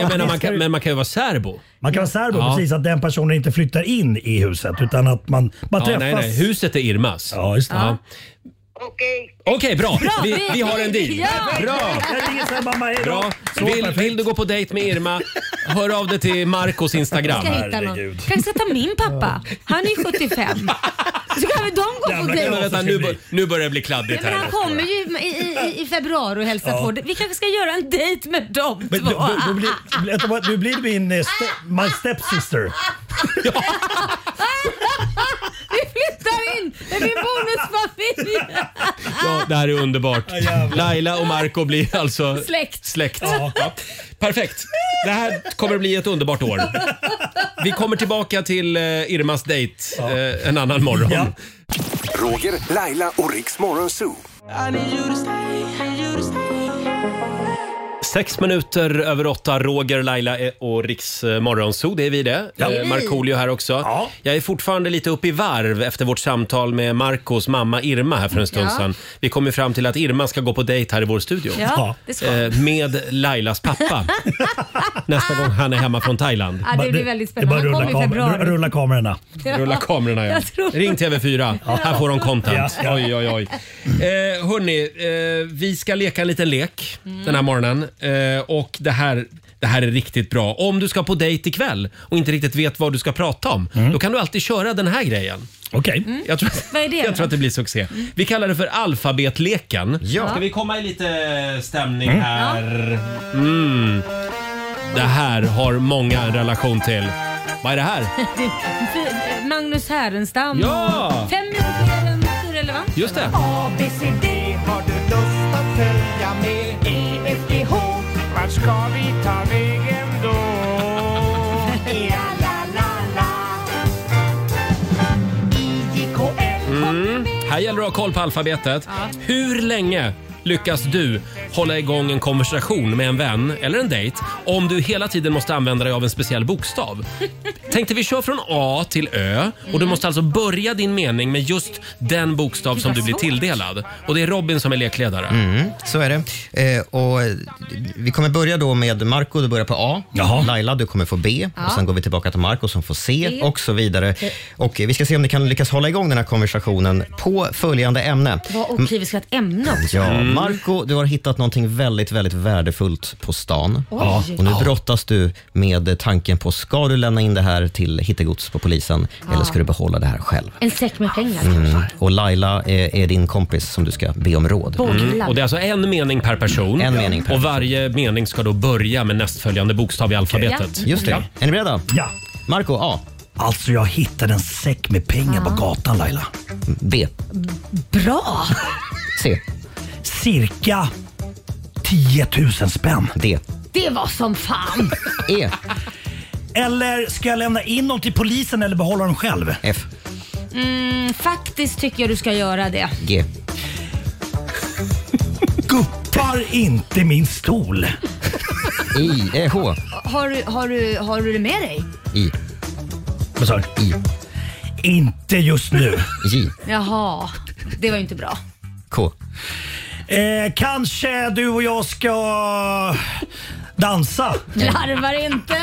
Speaker 1: Jag menar, man kan, men man kan ju vara särbo.
Speaker 9: Man kan vara särbo,
Speaker 1: Ja.
Speaker 9: precis. Att den personen inte flyttar in i huset utan att man bara
Speaker 1: Ja,
Speaker 9: träffas.
Speaker 1: nej, nej. Huset är Irmas.
Speaker 9: Ja, just
Speaker 1: det. Okej, bra.
Speaker 9: Bra,
Speaker 1: Vi,
Speaker 9: vi-
Speaker 1: vi har en deal.
Speaker 9: Ja.
Speaker 1: Bra.
Speaker 9: Jag ringer sen, mamma. Hej då.
Speaker 1: Bra.
Speaker 9: Så
Speaker 1: Vill,
Speaker 9: perfekt.
Speaker 1: vill du gå på dejt med Irma, hör av dig till Marcos Instagram.
Speaker 2: Ska hitta någon. Kanske ska ta min pappa. Han är ju 75. Så kan väl de gå på
Speaker 1: Jävla
Speaker 2: dejt?
Speaker 1: Men vänta, nu, bör, nu börjar det bli kladdigt
Speaker 2: Men
Speaker 1: här.
Speaker 2: han kommer ju i, i, i februari och hälsar
Speaker 9: Ja.
Speaker 2: på. Vi kanske ska göra en dejt med dem
Speaker 9: Men
Speaker 2: två.
Speaker 9: då, då, då blir, vänta, vad- du blir min eh, ste, my stepsister.
Speaker 2: Vi flyttar in med min bonusfamilj! Ah.
Speaker 1: Ja, det här är underbart. Laila och Marco blir alltså
Speaker 2: Släkt.
Speaker 1: släkt.
Speaker 2: Ja.
Speaker 1: Ja. Perfekt. Det här kommer att bli ett underbart år. Vi kommer tillbaka till eh, Irmas dejt eh, en annan morgon.
Speaker 18: Roger, Laila och Riks Morgonzoo.
Speaker 1: Sex minuter över åtta, Roger, Laila eh, och Riks eh, Morgonzoo, det är vi det.
Speaker 9: Ja.
Speaker 1: Eh, Markoolio här också. Jag är fortfarande lite upp i varv efter vårt samtal med Marcos mamma Irma här för en stund
Speaker 2: Ja.
Speaker 1: sedan. Vi kom ju fram till att Irma ska gå på dejt här i vår studio.
Speaker 2: Ja, det ska.
Speaker 1: Eh, Med Lailas pappa. Nästa gång han är hemma från Thailand.
Speaker 2: Ja, det blir väldigt spännande.
Speaker 9: Det är
Speaker 2: Han
Speaker 9: bara rulla,
Speaker 2: kommer i
Speaker 9: kamer-
Speaker 2: februari.
Speaker 9: rulla, rulla kamerorna.
Speaker 2: Ja.
Speaker 1: Rulla kamerorna ja.
Speaker 2: Jag tror-
Speaker 1: Ring TV4, här får de
Speaker 9: Ja,
Speaker 1: content.
Speaker 9: ja.
Speaker 1: Oj, oj, oj. Eh, hörni, eh, vi ska leka en liten lek
Speaker 2: Mm.
Speaker 1: den här morgonen. Eh, och det här, det här är riktigt bra. Om du ska på dejt ikväll och inte riktigt vet vad du ska prata om,
Speaker 2: Mm.
Speaker 1: då kan du alltid köra den här grejen.
Speaker 9: Okej.
Speaker 1: Jag, tror,
Speaker 2: Vad är det
Speaker 1: jag
Speaker 2: då?
Speaker 1: tror att det blir succé. Vi kallar det för alfabetleken.
Speaker 2: Ja.
Speaker 1: Ska vi komma i lite stämning här? Mm. Det här har många en relation till. Vad är det här?
Speaker 2: Du, eh, Magnus Härenstam.
Speaker 1: Ja!
Speaker 2: Fem minuter än hur relevant.
Speaker 1: Just det.
Speaker 16: A, B, C, D har du lust att följa med. E, F, G, H. Vart ska vi ta vägen då? Ja, la, la, la. I, J, K, L.
Speaker 1: Mm. Här gäller det att ha koll på alfabetet. Hur länge lyckas du hålla igång en konversation med en vän eller en dejt om du hela tiden måste använda dig av en speciell bokstav? Tänkte vi kör från A till Ö och
Speaker 5: Mm.
Speaker 1: du måste alltså börja din mening med just den bokstav som du blir tilldelad. Och det är Robin som är lekledare.
Speaker 5: Mm, så är det. Eh, och eh, vi kommer börja då med Marco, du börjar på A. Laila, du kommer få B.
Speaker 16: Ja.
Speaker 5: Och sen går vi tillbaka till Marco som får C
Speaker 16: B.
Speaker 5: och så vidare. Och eh, vi ska se om ni kan lyckas hålla igång den här konversationen på följande ämne.
Speaker 2: Vad okej, vi ska ha ett ämne också.
Speaker 5: Ja, Marco, du har hittat någonting väldigt, väldigt värdefullt på stan.
Speaker 2: Oj.
Speaker 5: Ja. Och nu
Speaker 2: Ja.
Speaker 5: brottas du med tanken på, ska du lämna in det här till hittegods på polisen eller ska du behålla det här själv?
Speaker 2: En säck med pengar.
Speaker 5: Mm. Och Laila är, är din kompis som du ska be om råd.
Speaker 1: Och det är alltså en mening per person.
Speaker 5: En mening per
Speaker 1: och varje mening ska då börja med nästföljande bokstav i alfabetet.
Speaker 5: Just det. Är ni beredda?
Speaker 9: Ja.
Speaker 5: Marco A.
Speaker 9: Alltså jag hittade en säck med pengar på gatan Laila.
Speaker 5: B.
Speaker 2: Bra!
Speaker 5: C.
Speaker 9: Cirka 10 000 spänn.
Speaker 5: D.
Speaker 2: Det var som fan.
Speaker 5: E.
Speaker 9: Eller ska jag lämna in dem till polisen eller behålla dem själv?
Speaker 5: F.
Speaker 2: Mm, faktiskt tycker jag du ska göra det.
Speaker 5: G.
Speaker 9: Guppar inte min stol.
Speaker 5: I. Eh, H.
Speaker 2: Har, du- har, du, har du det med dig?
Speaker 5: I.
Speaker 9: Vad sa du?
Speaker 5: I.
Speaker 9: Inte just nu.
Speaker 5: J.
Speaker 2: Jaha, det var ju inte bra.
Speaker 5: K.
Speaker 9: Eh, kanske du och jag ska dansa.
Speaker 2: Larvar inte.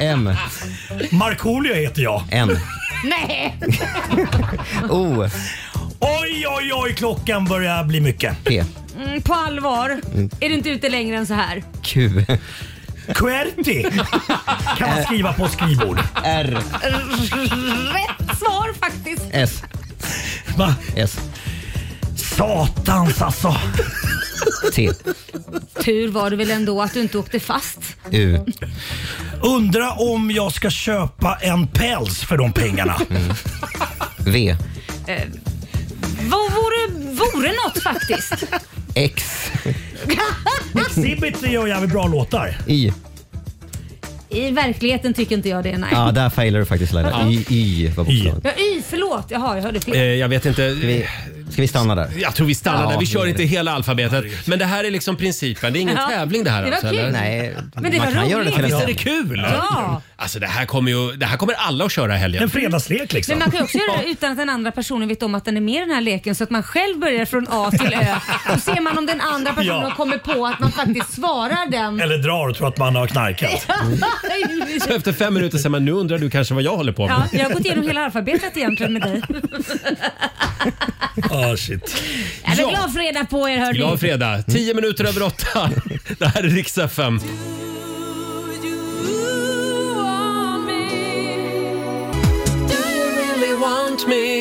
Speaker 5: M.
Speaker 9: Markoolio heter jag.
Speaker 5: N.
Speaker 2: Nej.
Speaker 5: O.
Speaker 9: Oj, oj, oj, klockan börjar bli mycket.
Speaker 5: P.
Speaker 2: Mm, på allvar.
Speaker 5: Mm.
Speaker 2: Är du inte ute längre än så här?
Speaker 5: Q.
Speaker 9: QWERTY kan man skriva på skrivbord.
Speaker 5: R.
Speaker 2: Rätt svar faktiskt.
Speaker 5: S.
Speaker 9: Va?
Speaker 5: S.
Speaker 9: Satans alltså.
Speaker 5: T.
Speaker 2: Tur var det väl ändå att du inte åkte fast.
Speaker 5: U.
Speaker 9: Undra om jag ska köpa en päls för de pengarna.
Speaker 5: V.
Speaker 2: Eh, vad vore, vore något faktiskt?
Speaker 5: X.
Speaker 9: Exhibit gör jävligt bra låtar.
Speaker 5: I.
Speaker 2: I verkligheten tycker inte jag det, nej.
Speaker 5: Ja, där failar du faktiskt Laila. I. I var bokstaven.
Speaker 2: Ja, y, förlåt. Jaha, jag hörde fel.
Speaker 1: Eh, jag vet inte.
Speaker 5: Ska vi stanna där?
Speaker 1: Jag tror vi stannar
Speaker 5: Ja,
Speaker 1: där. Vi
Speaker 5: det
Speaker 1: kör
Speaker 5: är
Speaker 1: inte hela alfabetet. Men det här är liksom principen. Det är ingen
Speaker 2: Ja.
Speaker 1: tävling det här
Speaker 2: Det var
Speaker 1: alltså,
Speaker 2: kul.
Speaker 1: eller?
Speaker 2: Nej, Men det man var kan göra det roligt. till en
Speaker 1: Visst är det
Speaker 2: tävling.
Speaker 1: kul?
Speaker 2: Ja.
Speaker 1: Alltså det här kommer ju, det här kommer alla att köra i helgen.
Speaker 9: En fredagslek liksom.
Speaker 2: Men man kan ju också göra det utan att den andra personen vet om att den är med i den här leken så att man själv börjar från A till Ö. Då ser man om den andra personen
Speaker 9: Ja.
Speaker 2: kommer på att man faktiskt svarar den.
Speaker 9: Eller drar och tror att man har knarkat.
Speaker 1: Så efter fem minuter säger man, nu undrar du kanske vad jag håller på med.
Speaker 2: Ja, jag har gått igenom hela alfabetet egentligen med dig.
Speaker 9: Ah, shit.
Speaker 2: Jag är glad fredag på er hörni.
Speaker 1: Glad fredag! Tio minuter över åtta. Det här är riks FM.
Speaker 16: Do you really want me?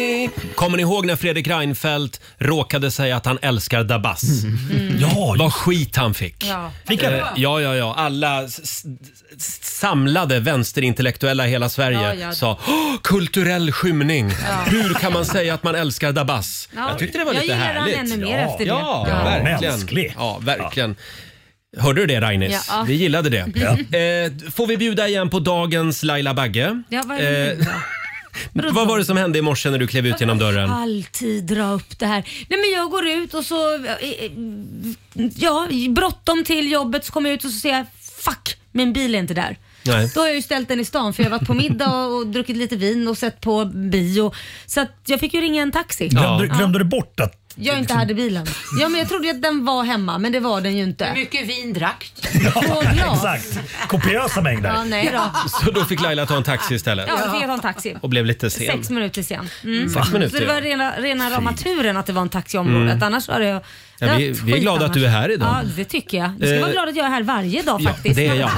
Speaker 1: Kommer ni ihåg när Fredrik Reinfeldt råkade säga att han älskar Dabas?
Speaker 9: Ja,
Speaker 17: Mm.
Speaker 1: Vad skit han fick.
Speaker 2: Ja.
Speaker 9: Vilka
Speaker 1: Eh, Ja, ja, ja. Alla s- s- s- samlade vänsterintellektuella i hela Sverige
Speaker 2: Ja, ja.
Speaker 1: sa "Åh, kulturell skymning.
Speaker 2: Ja.
Speaker 1: Hur kan man säga att man älskar Dabas?
Speaker 2: Ja.
Speaker 1: Jag tyckte det var
Speaker 2: Jag
Speaker 1: lite
Speaker 2: gillar han
Speaker 1: härligt.
Speaker 2: ännu mer
Speaker 1: ja.
Speaker 2: efter det.
Speaker 1: Ja,
Speaker 2: Ja.
Speaker 1: verkligen. Ja, verkligen. Hörde du det Rainis?
Speaker 2: Ja.
Speaker 1: Vi gillade det. Eh, får vi bjuda igen på dagens Laila Bagge?
Speaker 2: Ja, vad är det nu då?
Speaker 1: Eh. vad var det som hände i morse när du klev ut genom dörren?
Speaker 2: Alltid dra upp det här. Nej men jag går ut och så, eh, eh, ja bråttom till jobbet så kommer jag ut och så ser jag, fuck min bil är inte där.
Speaker 1: Nej.
Speaker 2: Då har jag ju ställt den i stan för jag har varit på middag och, och druckit lite vin och sett på bio. Så att jag fick ju ringa en taxi.
Speaker 9: Glömde, glömde du bort att...
Speaker 2: Jag inte hade bilen. Ja men jag trodde ju att den var hemma men det var den ju inte.
Speaker 4: mycket vin drack
Speaker 2: Två glas.
Speaker 9: Exakt. Kopiösa mängder.
Speaker 2: Ja, nej då.
Speaker 1: Så då fick Laila ta en taxi istället
Speaker 2: Ja, så fick jag ta en taxi.
Speaker 1: och blev lite sen.
Speaker 2: Sex minuter sen. Mm.
Speaker 1: Sex minuter,
Speaker 2: så det var
Speaker 1: ja.
Speaker 2: rena, rena rama turen att det var en taxi i området.
Speaker 1: Mm.
Speaker 2: Annars var det ju...
Speaker 1: Ja, vi- vi är glada att du är här idag.
Speaker 2: Ja, det tycker jag. Du ska
Speaker 1: Eh,
Speaker 2: vara glad att jag är här varje dag
Speaker 1: Ja,
Speaker 2: faktiskt.
Speaker 1: det är jag.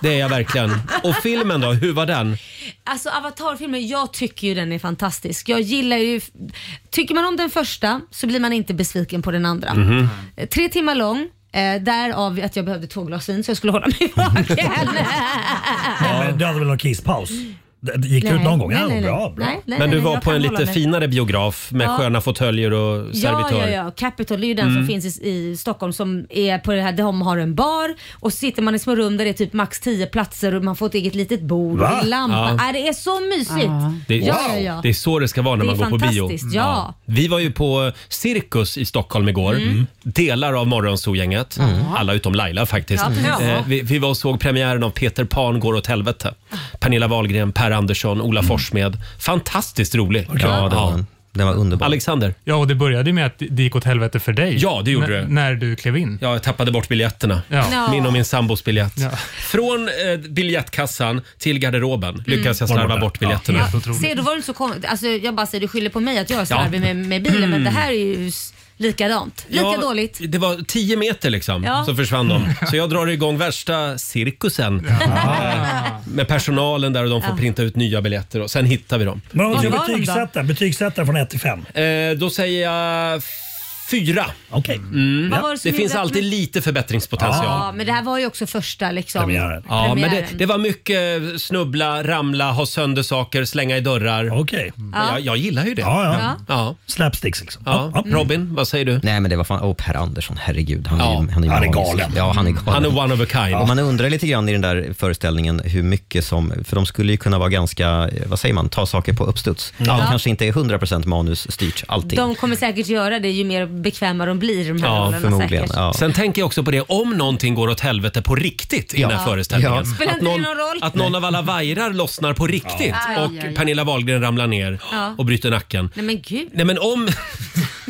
Speaker 1: Det är jag verkligen. Och filmen då, hur var den?
Speaker 2: Alltså Avatar-filmen, jag tycker ju den är fantastisk. Jag gillar ju... Tycker man om den första så blir man inte besviken på den andra.
Speaker 16: Mhm.
Speaker 2: Eh, Tre timmar lång. Eh, därav att jag behövde två glas vin så jag skulle hålla mig vaken.
Speaker 9: Nej, men du hade väl någon kisspaus? Det- det Gick du ut
Speaker 2: Nej,
Speaker 9: någon gång?
Speaker 2: nej,
Speaker 9: Ja,
Speaker 2: nej, nej.
Speaker 9: bra, bra.
Speaker 2: Nej, nej,
Speaker 1: Men du
Speaker 2: nej,
Speaker 1: var
Speaker 2: jag
Speaker 1: på
Speaker 2: kan
Speaker 1: en
Speaker 2: hålla
Speaker 1: lite
Speaker 2: mig.
Speaker 1: finare biograf med
Speaker 2: Ja.
Speaker 1: sköna fåtöljer och servitör.
Speaker 2: Ja, ja, ja. Capitol det är ju den
Speaker 1: Mm.
Speaker 2: som finns i, i Stockholm som är på det här, de har en bar och så sitter man i små rum där det är typ max 10 platser och man får ett eget litet bord
Speaker 1: Va?
Speaker 2: och en lampa.
Speaker 1: Ja.
Speaker 2: Ja. det är så mysigt.
Speaker 1: Det,
Speaker 2: ja, ja, ja.
Speaker 1: det är så det ska vara när
Speaker 2: Det
Speaker 1: man
Speaker 2: är
Speaker 1: går på bio. Mm,
Speaker 2: fantastiskt, ja.
Speaker 1: Vi var ju på Cirkus i Stockholm igår.
Speaker 2: Mm.
Speaker 1: Delar av Morgonzoo-gänget. Alla utom Laila faktiskt.
Speaker 16: Ja, ja.
Speaker 1: Eh, vi, vi var och såg premiären av Peter Pan går åt helvete. Pernilla Wahlgren, Per Andersson, Ola
Speaker 2: Mm.
Speaker 1: Forssmed. Fantastiskt rolig.
Speaker 5: Ja, det var den.
Speaker 1: Den var underbar. Alexander?
Speaker 17: Ja, och det började ju med att det gick åt helvete för dig.
Speaker 1: Ja, det gjorde
Speaker 17: N-
Speaker 1: det.
Speaker 17: När du klev in.
Speaker 1: Ja, jag tappade bort biljetterna.
Speaker 17: Ja. Ja.
Speaker 1: Min och min sambos biljett.
Speaker 17: Ja.
Speaker 1: Från eh, biljettkassan till garderoben lyckades jag slarva
Speaker 17: Var det?
Speaker 1: bort biljetterna.
Speaker 17: Ja, helt otroligt.
Speaker 2: Ser du var det inte så konstigt? Alltså, jag bara säger du skyller på mig att jag är
Speaker 1: Ja.
Speaker 2: slarvig med, med bilen men det här är ju s- likadant. Lika
Speaker 1: Ja,
Speaker 2: dåligt.
Speaker 1: Det var 10 meter liksom,
Speaker 2: Ja.
Speaker 1: så försvann
Speaker 17: Mm.
Speaker 1: de. Så jag drar igång värsta cirkusen. Eh, Med personalen där och de får
Speaker 9: Ja.
Speaker 1: printa ut nya biljetter och sen hittar vi dem.
Speaker 9: Men om du
Speaker 1: Mm.
Speaker 9: ska betygsätta, betygsätta från 1 till 5.
Speaker 1: Eh, då säger jag fyra.
Speaker 9: Okej.
Speaker 1: Mm.
Speaker 2: Vad var det som
Speaker 1: Det finns
Speaker 2: gjorde att-
Speaker 1: alltid lite förbättringspotential.
Speaker 2: Ja, men det här var ju också första liksom, premiären.
Speaker 1: Ja, men det, det var mycket snubbla, ramla, ha sönder saker, slänga i dörrar.
Speaker 9: Okej.
Speaker 2: Ja.
Speaker 1: Jag, jag gillar ju det.
Speaker 9: Ja, ja.
Speaker 2: Ja.
Speaker 9: Slapsticks liksom.
Speaker 1: Ja. Mm. Robin, vad säger du?
Speaker 5: Nej men det var fan, åh Per Andersson, herregud. Han,
Speaker 1: Ja,
Speaker 5: är, han, är,
Speaker 1: han är
Speaker 5: magisk.
Speaker 1: galen.
Speaker 5: Ja, han är galen.
Speaker 1: Han är one of a kind.
Speaker 5: Och man undrar lite grann i den där föreställningen hur mycket som, för de skulle ju kunna vara ganska, eh, vad säger man, ta saker på uppstuds.
Speaker 2: Ja.
Speaker 5: Det kanske inte är 100% manusstyrt allting.
Speaker 2: De kommer säkert göra det ju mer bekväma de blir de här rollerna säkert.
Speaker 1: Sen tänker jag också på det om någonting går åt helvete på riktigt i
Speaker 5: Ja.
Speaker 1: den här föreställningen.
Speaker 5: Ja.
Speaker 2: Spelar
Speaker 1: Att,
Speaker 2: inte det
Speaker 1: någon,
Speaker 2: någon roll?
Speaker 1: att någon av alla vajrar lossnar på riktigt
Speaker 2: Ja.
Speaker 1: och
Speaker 2: Aj, aj, aj.
Speaker 1: Pernilla Wahlgren ramlar ner
Speaker 2: Ja.
Speaker 1: och bryter nacken.
Speaker 2: Nej men gud.
Speaker 1: Nej men om...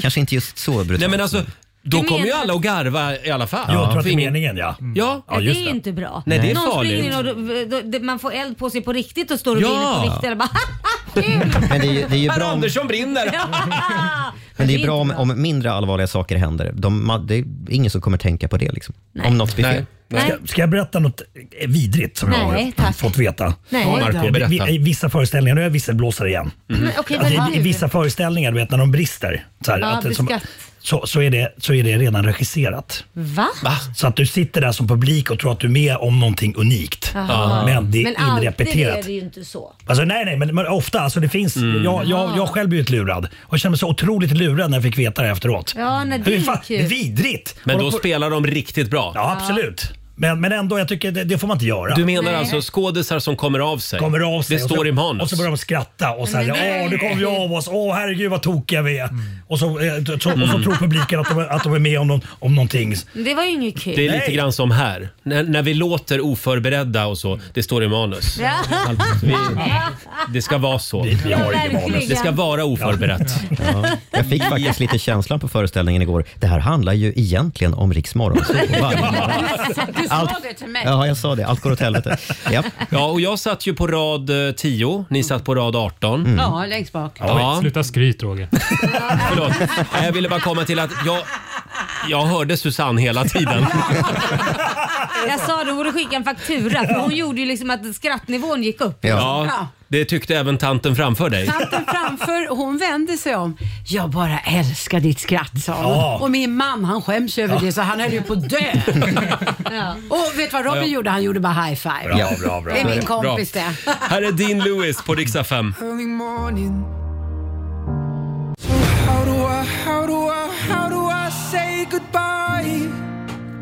Speaker 5: Kanske inte just så brutalt.
Speaker 1: Nej men alltså, då
Speaker 2: Du
Speaker 1: kommer ju
Speaker 2: menar-
Speaker 1: alla att garva i alla fall.
Speaker 9: Jag tror att det är
Speaker 1: För ingen-
Speaker 9: meningen ja.
Speaker 1: Ja,
Speaker 2: Ja, det är ju inte bra.
Speaker 1: Nej, det är
Speaker 2: Någon
Speaker 1: farligt.
Speaker 2: springer in och då- då- då- man får eld på sig på riktigt och står och
Speaker 5: Ja.
Speaker 2: brinner på riktigt. Eller bara, Kul!
Speaker 5: Men det är ju, det är ju
Speaker 1: Per
Speaker 5: bra om,
Speaker 1: Andersson brinner!
Speaker 5: men det är
Speaker 2: inte
Speaker 5: bra om, om mindre allvarliga saker händer. De, ma- det är ingen som kommer tänka på det liksom. Om något blir fel.
Speaker 9: Ska, ska jag berätta något eh, vidrigt som
Speaker 2: Nej,
Speaker 9: jag har
Speaker 2: tack.
Speaker 9: fått veta?
Speaker 2: Nej. Ja, Marco,
Speaker 9: Vi-
Speaker 1: berätta.
Speaker 9: I vissa föreställningar, nu är jag visselblåsare igen.
Speaker 2: Men okej,
Speaker 9: Att
Speaker 2: vad är
Speaker 9: i, I
Speaker 2: du?
Speaker 9: Alltså, vissa föreställningar, du vet när de brister, så, här,
Speaker 2: Ja,
Speaker 9: att, som,
Speaker 2: beskatt. Mm.
Speaker 9: så, så, är det, så är det redan regisserat.
Speaker 2: Va?
Speaker 9: Så att du sitter där som publik och tror att du är med om någonting unikt.
Speaker 2: Jaha.
Speaker 9: Men det är
Speaker 2: men alltid
Speaker 9: inrepeterat.
Speaker 2: är det ju inte så.
Speaker 9: Alltså, nej, nej, men, men ofta. Alltså, det finns,
Speaker 1: Mm.
Speaker 9: jag, jag, jag själv blivit lurad och kände mig så otroligt lurad när jag fick veta det efteråt.
Speaker 2: Ja, nej, det
Speaker 9: Hur
Speaker 2: är
Speaker 9: fan-
Speaker 2: ju kul.
Speaker 9: Vidrigt!
Speaker 1: Men
Speaker 9: Och
Speaker 1: då
Speaker 9: de-
Speaker 1: spelar de riktigt bra.
Speaker 9: Ja, absolut. Men, men ändå, jag tycker det, det får man inte göra.
Speaker 1: Du menar alltså skådisar som kommer av sig?
Speaker 9: kommer av sig.
Speaker 1: Det
Speaker 9: och så-
Speaker 1: står i
Speaker 9: Och
Speaker 1: manus.
Speaker 9: så börjar de skratta och så här,
Speaker 1: Men nej. Mm.
Speaker 9: åh nu kom vi av oss, åh herregud vad tokiga vi är. Och, så, eh, t- så, och så tror publiken att de, är- att de är med om, någon, om någonting.
Speaker 2: Men Det var ju inget kul.
Speaker 1: Det är lite grann som här. När, när vi låter oförberedda och så, det står i manus.
Speaker 2: Ja.
Speaker 1: Allt- vi- Det ska vara så.
Speaker 9: vi har
Speaker 2: inget manus. Verkligen.
Speaker 1: Det ska vara oförberett.
Speaker 5: Ja. Jag fick faktiskt lite känslan på föreställningen igår. Det här handlar ju egentligen om Riks Morgonzoo. varje morgon.
Speaker 4: Du sa
Speaker 5: Allt-
Speaker 4: det till mig.
Speaker 5: Ja, jag sa det. Allt går åt helvete. Ja.
Speaker 1: Ja, och jag satt ju på rad eh, 10. Ni satt på rad 18.
Speaker 4: Ja, längst bak.
Speaker 1: Ja.
Speaker 17: Mm. Sluta skryt Roger.
Speaker 1: Förlåt. Nej, Jag ville bara komma till att jag, jag hörde Susanne hela tiden.
Speaker 2: Jag sa hon borde skicka en faktura för hon gjorde ju liksom att skrattnivån gick upp.
Speaker 1: Ja, det tyckte även tanten framför dig.
Speaker 4: Tanten framför, hon vände sig om. Jag bara älskar ditt skratt, sa hon.
Speaker 1: Ja.
Speaker 4: Och min man, han skäms över
Speaker 1: Ja.
Speaker 4: det så han höll ju på att dö. Och vet du vad Robin
Speaker 1: Ja.
Speaker 4: gjorde? Han gjorde bara high five.
Speaker 1: Bra, bra, bra.
Speaker 4: Det är
Speaker 1: Bra.
Speaker 4: min kompis det.
Speaker 1: Här är Dean Lewis på riksdag 5.
Speaker 16: Early morning.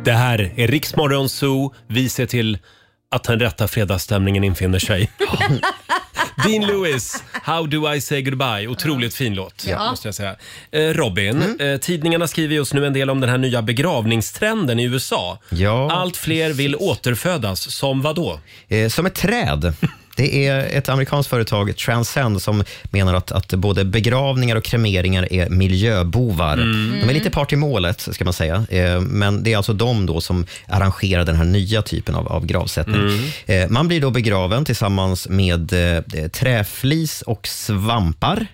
Speaker 1: Det här är Riksmorgon Zoo. Vi ser till att den rätta fredagsstämningen infinner sig. Dean Lewis, How do I say goodbye? Otroligt fin låt,
Speaker 16: Ja.
Speaker 1: måste jag säga. Eh, Robin,
Speaker 2: Mm.
Speaker 1: eh, tidningarna skriver just nu en del om den här nya begravningstrenden i USA. Allt fler vill återfödas, som vadå?
Speaker 5: Eh, som ett träd. Det är ett amerikanskt företag, Transcend, som menar att, att både begravningar och kremeringar är miljöbovar.
Speaker 16: Mm.
Speaker 5: De är lite part i målet, ska man säga. Eh, Men det är alltså de då som arrangerar den här nya typen av, av gravsättning.
Speaker 16: Mm.
Speaker 5: Eh, Man blir då begraven tillsammans med eh, träflis och svampar.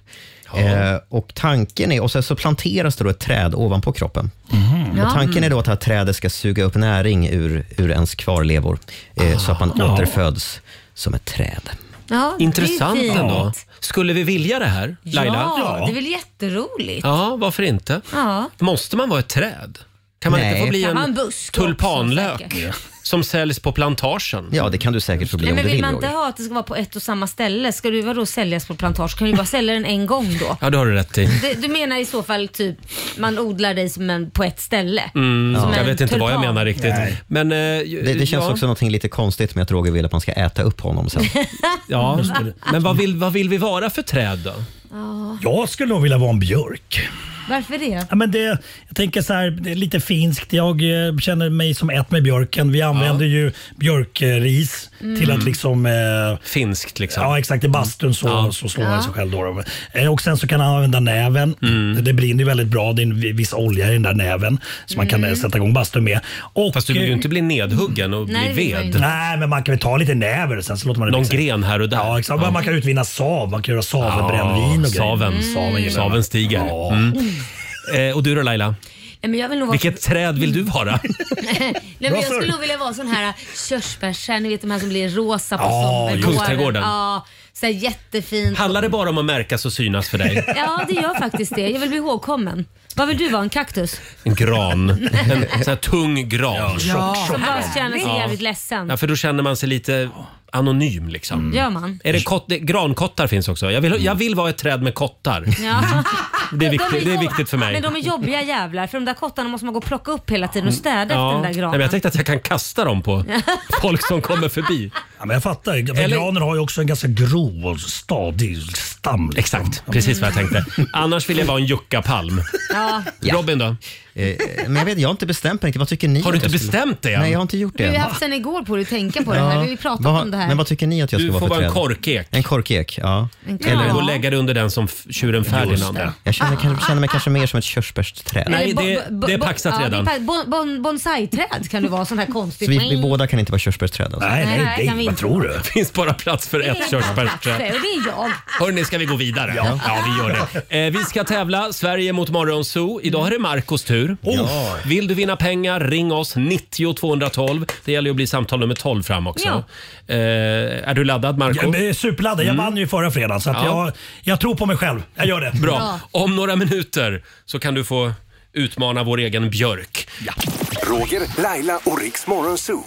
Speaker 5: Eh, och tanken är, och sen så planteras det då ett träd ovanpå kroppen. Och tanken är då att det här trädet ska suga upp näring ur, ur ens kvarlevor, eh, så att man
Speaker 1: Ah.
Speaker 5: återföds som ett träd.
Speaker 2: Ja, det är
Speaker 1: Intressant
Speaker 2: fint.
Speaker 1: ändå. Skulle vi vilja det här, Laila?
Speaker 2: Ja, det är väl jätteroligt.
Speaker 1: Ja, varför inte?
Speaker 2: Ja.
Speaker 1: Måste man vara ett träd? Kan man
Speaker 5: Nej.
Speaker 1: inte få bli
Speaker 2: Kan vara en
Speaker 1: en
Speaker 2: busk också,
Speaker 1: tulpanlök
Speaker 2: säkert.
Speaker 1: som säljs på plantagen?
Speaker 5: Ja, det kan du säkert få
Speaker 2: Nej, men vill man inte ha att det ska vara på ett och samma ställe? Ska du vadå säljas på plantage? Kan du ju bara sälja den en gång då?
Speaker 1: Ja, det har du rätt i.
Speaker 2: Du, du menar i så fall typ man odlar dig som en, på ett ställe?
Speaker 1: Mm,
Speaker 2: Som
Speaker 1: Jag
Speaker 2: en
Speaker 1: vet inte vad jag
Speaker 2: tulpan.
Speaker 1: menar riktigt.
Speaker 5: Nej.
Speaker 1: Men, eh,
Speaker 5: Det, det känns
Speaker 1: ja.
Speaker 5: också något lite konstigt med att Roger vill att man ska äta upp honom sen.
Speaker 1: Ja, men vad vill, vad vill vi vara för träd då?
Speaker 2: Ja.
Speaker 9: Jag skulle nog vilja vara en björk.
Speaker 2: Varför det?
Speaker 9: Ja, men det, jag tänker så här, det är lite finskt. Jag eh, känner mig som ett med björken. Vi använder ju björkris
Speaker 16: Mm.
Speaker 9: till att liksom... Eh,
Speaker 1: finskt liksom.
Speaker 9: Ja, exakt. I bastun så, så slår
Speaker 16: Ja.
Speaker 9: han sig själv. Då. då. Eh, Och sen så kan han använda näven.
Speaker 1: Mm.
Speaker 9: Det brinner ju väldigt bra. Det är en vi- viss olja i den där näven som man kan eh,
Speaker 2: Mm.
Speaker 9: sätta igång bastun med. Och,
Speaker 1: Fast du vill ju inte bli nedhuggen och
Speaker 9: Nej,
Speaker 1: bli ved.
Speaker 9: Nej, men man kan väl ta lite näver och sen så låter man det
Speaker 1: Någon
Speaker 9: växa.
Speaker 1: gren här och där.
Speaker 9: Ja, exakt.
Speaker 1: Ja.
Speaker 9: Man kan utvinna sav. Man kan göra savelbrännvin och grejer.
Speaker 1: saven.
Speaker 9: Mm. gillar jag.
Speaker 1: saven stiger. Mm. Eh, och du då Laila?
Speaker 2: Nej, men jag vill nog vara...
Speaker 1: Vilket träd vill du vara?
Speaker 2: Nej, men jag
Speaker 1: Bra
Speaker 2: skulle
Speaker 1: sörj.
Speaker 2: nog vilja vara sån här körsbärstjärna, ni vet de här som blir rosa på
Speaker 1: Ja,
Speaker 2: sommaren.
Speaker 1: Kungsträdgården.
Speaker 2: Ja, så här jättefint.
Speaker 1: Handlar det bara om att märkas och synas för dig?
Speaker 2: Ja, det gör faktiskt det. Jag vill bli ihågkommen. Vad vill du vara? En kaktus?
Speaker 1: En gran. En sån här tung gran.
Speaker 2: Som bara känner sig
Speaker 1: Ja.
Speaker 2: jävligt ledsen.
Speaker 1: Ja, för då känner man sig lite anonym liksom.
Speaker 2: Gör man?
Speaker 1: Är det kott, det, grankottar finns också. Jag vill, jag vill vara ett träd med kottar.
Speaker 2: Ja.
Speaker 1: Mm. Det är
Speaker 2: De
Speaker 1: viktigt, det är
Speaker 2: jobb-
Speaker 1: viktigt för mig.
Speaker 2: Men de är jobbiga jävlar för de där kottarna måste man gå och plocka upp hela tiden och
Speaker 1: Mm. Ja.
Speaker 2: städa efter den där
Speaker 1: Nej, men
Speaker 2: granen.
Speaker 1: jag tänkte att jag kan kasta dem på folk som kommer förbi.
Speaker 9: Ja, men jag fattar. För
Speaker 1: Eller-
Speaker 9: Granen har ju också en ganska grov och stadig stam. Liksom. Exakt.
Speaker 1: Precis vad jag tänkte. Annars vill jag vara en juckapalm.
Speaker 2: Ja.
Speaker 1: Robin då?
Speaker 5: Eh, Men jag, vet, jag har inte bestämt mig riktigt. Vad tycker ni?
Speaker 1: Har du
Speaker 5: att jag
Speaker 1: inte
Speaker 5: skulle-
Speaker 1: bestämt dig än?
Speaker 5: Nej, jag har inte gjort det
Speaker 2: Du har
Speaker 5: än.
Speaker 2: haft sen igår på dig att tänka på det
Speaker 5: Ja.
Speaker 2: här. Vi har ju pratat
Speaker 5: Vad-
Speaker 2: om det här.
Speaker 5: Men vad tycker ni att jag
Speaker 1: Du
Speaker 5: ska
Speaker 1: får
Speaker 5: vara för
Speaker 1: vara en
Speaker 5: träd?
Speaker 1: korkek.
Speaker 5: En korkek, ja.
Speaker 2: En
Speaker 1: Eller gå och lägga dig under den som f- tjuren Ferdinand.
Speaker 5: Jag känner, kan- känner mig kanske mer som ett körsbärsträd.
Speaker 1: Nej,
Speaker 2: Eller
Speaker 1: det-
Speaker 2: bo- bo-
Speaker 1: det är
Speaker 2: bo-
Speaker 1: paxat
Speaker 2: ja, det är
Speaker 1: redan.
Speaker 2: pa- Bon, bon, bonsai-träd kan du vara, sån här
Speaker 5: Så
Speaker 2: konstigt.
Speaker 5: vi, vi båda kan inte vara körsbärsträd alltså.
Speaker 2: Nej, nej, Nej, nej, kan vi vad inte. tror
Speaker 1: du? Det finns bara plats för ett körsbärsträd.
Speaker 2: Och Mm. det är jag.
Speaker 1: Hörni, ska vi gå vidare?
Speaker 16: Ja.
Speaker 1: vi gör det. Eh, vi ska tävla Sverige mot Morgonzoo. Idag
Speaker 18: Mm.
Speaker 1: är det Marcos tur.
Speaker 16: Ja.
Speaker 1: Vill du vinna pengar, ring oss 90 212. Det gäller ju att bli samtal nummer 12 fram också. Eh, är du laddad Marco?
Speaker 9: Jag är superladdad. Jag
Speaker 1: Mm.
Speaker 9: vann ju förra fredagen så att
Speaker 1: Ja.
Speaker 9: jag, jag tror på mig själv. Jag gör det.
Speaker 1: Bra. Om några minuter så kan du få utmana vår egen Björk.
Speaker 18: Roger, Laila och Riks Morgonzoo.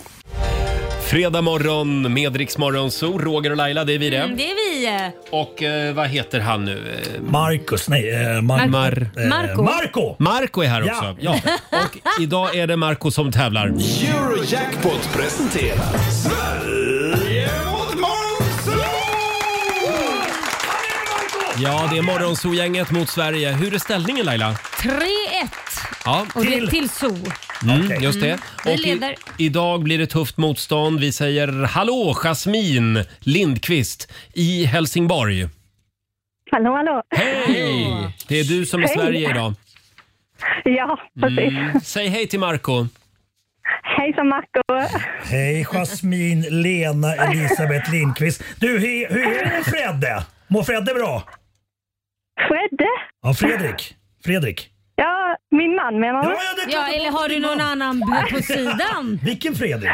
Speaker 1: Fredag morgon med Rix Morgonzoo. Roger och Laila, det är vi det.
Speaker 2: Mm, det är vi.
Speaker 1: Och eh, vad heter han nu? Eh,
Speaker 9: Marcus, nej. Eh, Mar-
Speaker 1: Mar-
Speaker 9: eh,
Speaker 1: Marco.
Speaker 9: Marco!
Speaker 1: Marco är här
Speaker 9: Ja.
Speaker 1: också. Ja. Och idag är det Marco som tävlar.
Speaker 16: Eurojackpot presenterar Sverige mot
Speaker 1: Ja, det är Morgonzoo-gänget mot Sverige. Hur är ställningen Laila?
Speaker 2: 3-1
Speaker 1: Ja.
Speaker 2: och det är till zoo.
Speaker 1: Mm, Just det.
Speaker 2: Mm. Vi
Speaker 1: Och i,
Speaker 2: leder.
Speaker 1: idag blir det tufft motstånd. Vi säger hallå Jasmine Lindqvist i Helsingborg.
Speaker 19: Hallå, hallå.
Speaker 1: Hej! Det är du som är
Speaker 19: Hej.
Speaker 1: Sverige idag. Mm.
Speaker 19: Ja, precis.
Speaker 1: Säg hej till Marco.
Speaker 19: Hejsan Marco.
Speaker 9: Hej Jasmine, Lena, Elisabeth Lindqvist. Du, he, hur är det med Fredde? Mår Fredde bra?
Speaker 19: Fredde?
Speaker 9: Ja, Fredrik. Fredrik.
Speaker 19: Ja, min man menar du?
Speaker 2: Ja, eller har du någon annan b- på sidan?
Speaker 9: Vilken Fredrik?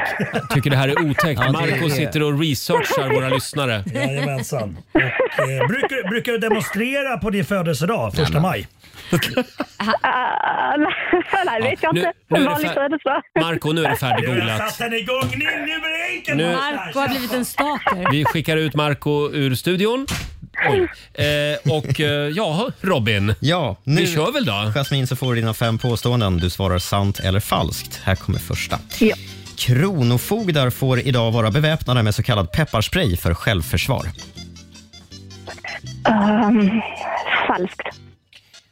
Speaker 1: Tycker det här är otäckt.
Speaker 9: Ja, det är-
Speaker 1: Marco sitter och researchar våra lyssnare.
Speaker 9: Jajamensan. Och, eh, brukar, brukar du demonstrera på din födelsedag, första maj?
Speaker 19: Nej, vet jag
Speaker 1: nu-
Speaker 19: inte.
Speaker 1: nu är
Speaker 19: En
Speaker 1: det
Speaker 19: vanlig
Speaker 1: fär-
Speaker 19: födelsedag.
Speaker 1: Marco, nu är det
Speaker 9: Jag
Speaker 1: färdiggooglat.
Speaker 9: satte den igång. Ninni Brinken!
Speaker 1: Nu-
Speaker 2: Marco har blivit en stalker.
Speaker 1: Vi skickar ut Marco ur studion. Oj. Eh, och eh, ja, Robin.
Speaker 5: Ja, nu,
Speaker 1: Vi kör väl då?
Speaker 5: Jasmin, så får du dina fem påståenden. Du svarar sant eller falskt. Här kommer första.
Speaker 19: Ja.
Speaker 5: Kronofogdar får idag vara beväpnade med så kallad pepparspray för självförsvar.
Speaker 19: Ehm, falskt.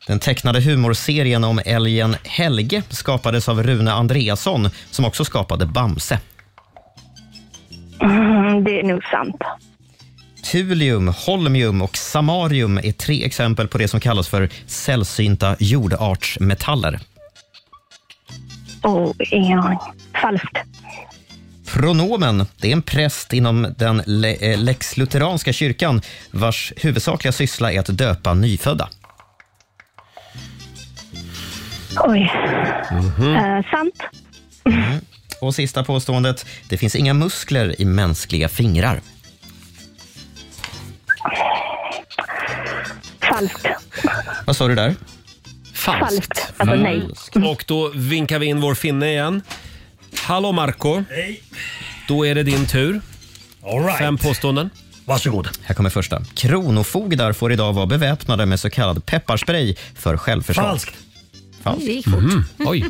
Speaker 5: Den tecknade humorserien om älgen Helge skapades av Rune Andreasson som också skapade Bamse.
Speaker 19: Mm, det är nog sant.
Speaker 5: Thulium, holmium och samarium är tre exempel på det som kallas för sällsynta jordartsmetaller.
Speaker 19: Oh, ingen aning. Falskt.
Speaker 5: Pronomen, det är en präst inom den le- eh, läxlutheranska kyrkan vars huvudsakliga syssla är att döpa nyfödda.
Speaker 19: Oj.
Speaker 5: Mhm.
Speaker 19: Eh, sant.
Speaker 5: Och sista påståendet, det finns inga muskler i mänskliga fingrar.
Speaker 19: Falskt.
Speaker 5: Vad sa du där?
Speaker 19: Falskt. Alltså, nej.
Speaker 1: Och då vinkar vi in vår finne igen. Hallå Marco.
Speaker 9: Hej.
Speaker 1: Då är det din tur.
Speaker 9: right.
Speaker 1: Fem påståenden.
Speaker 9: Varsågod.
Speaker 5: Här kommer första. Kronofogdar får idag vara beväpnade med så kallad pepparspray för självförsvar.
Speaker 9: Falskt.
Speaker 5: Falskt.
Speaker 9: Det gick fort.
Speaker 1: Mm.
Speaker 5: Mhm. Oj.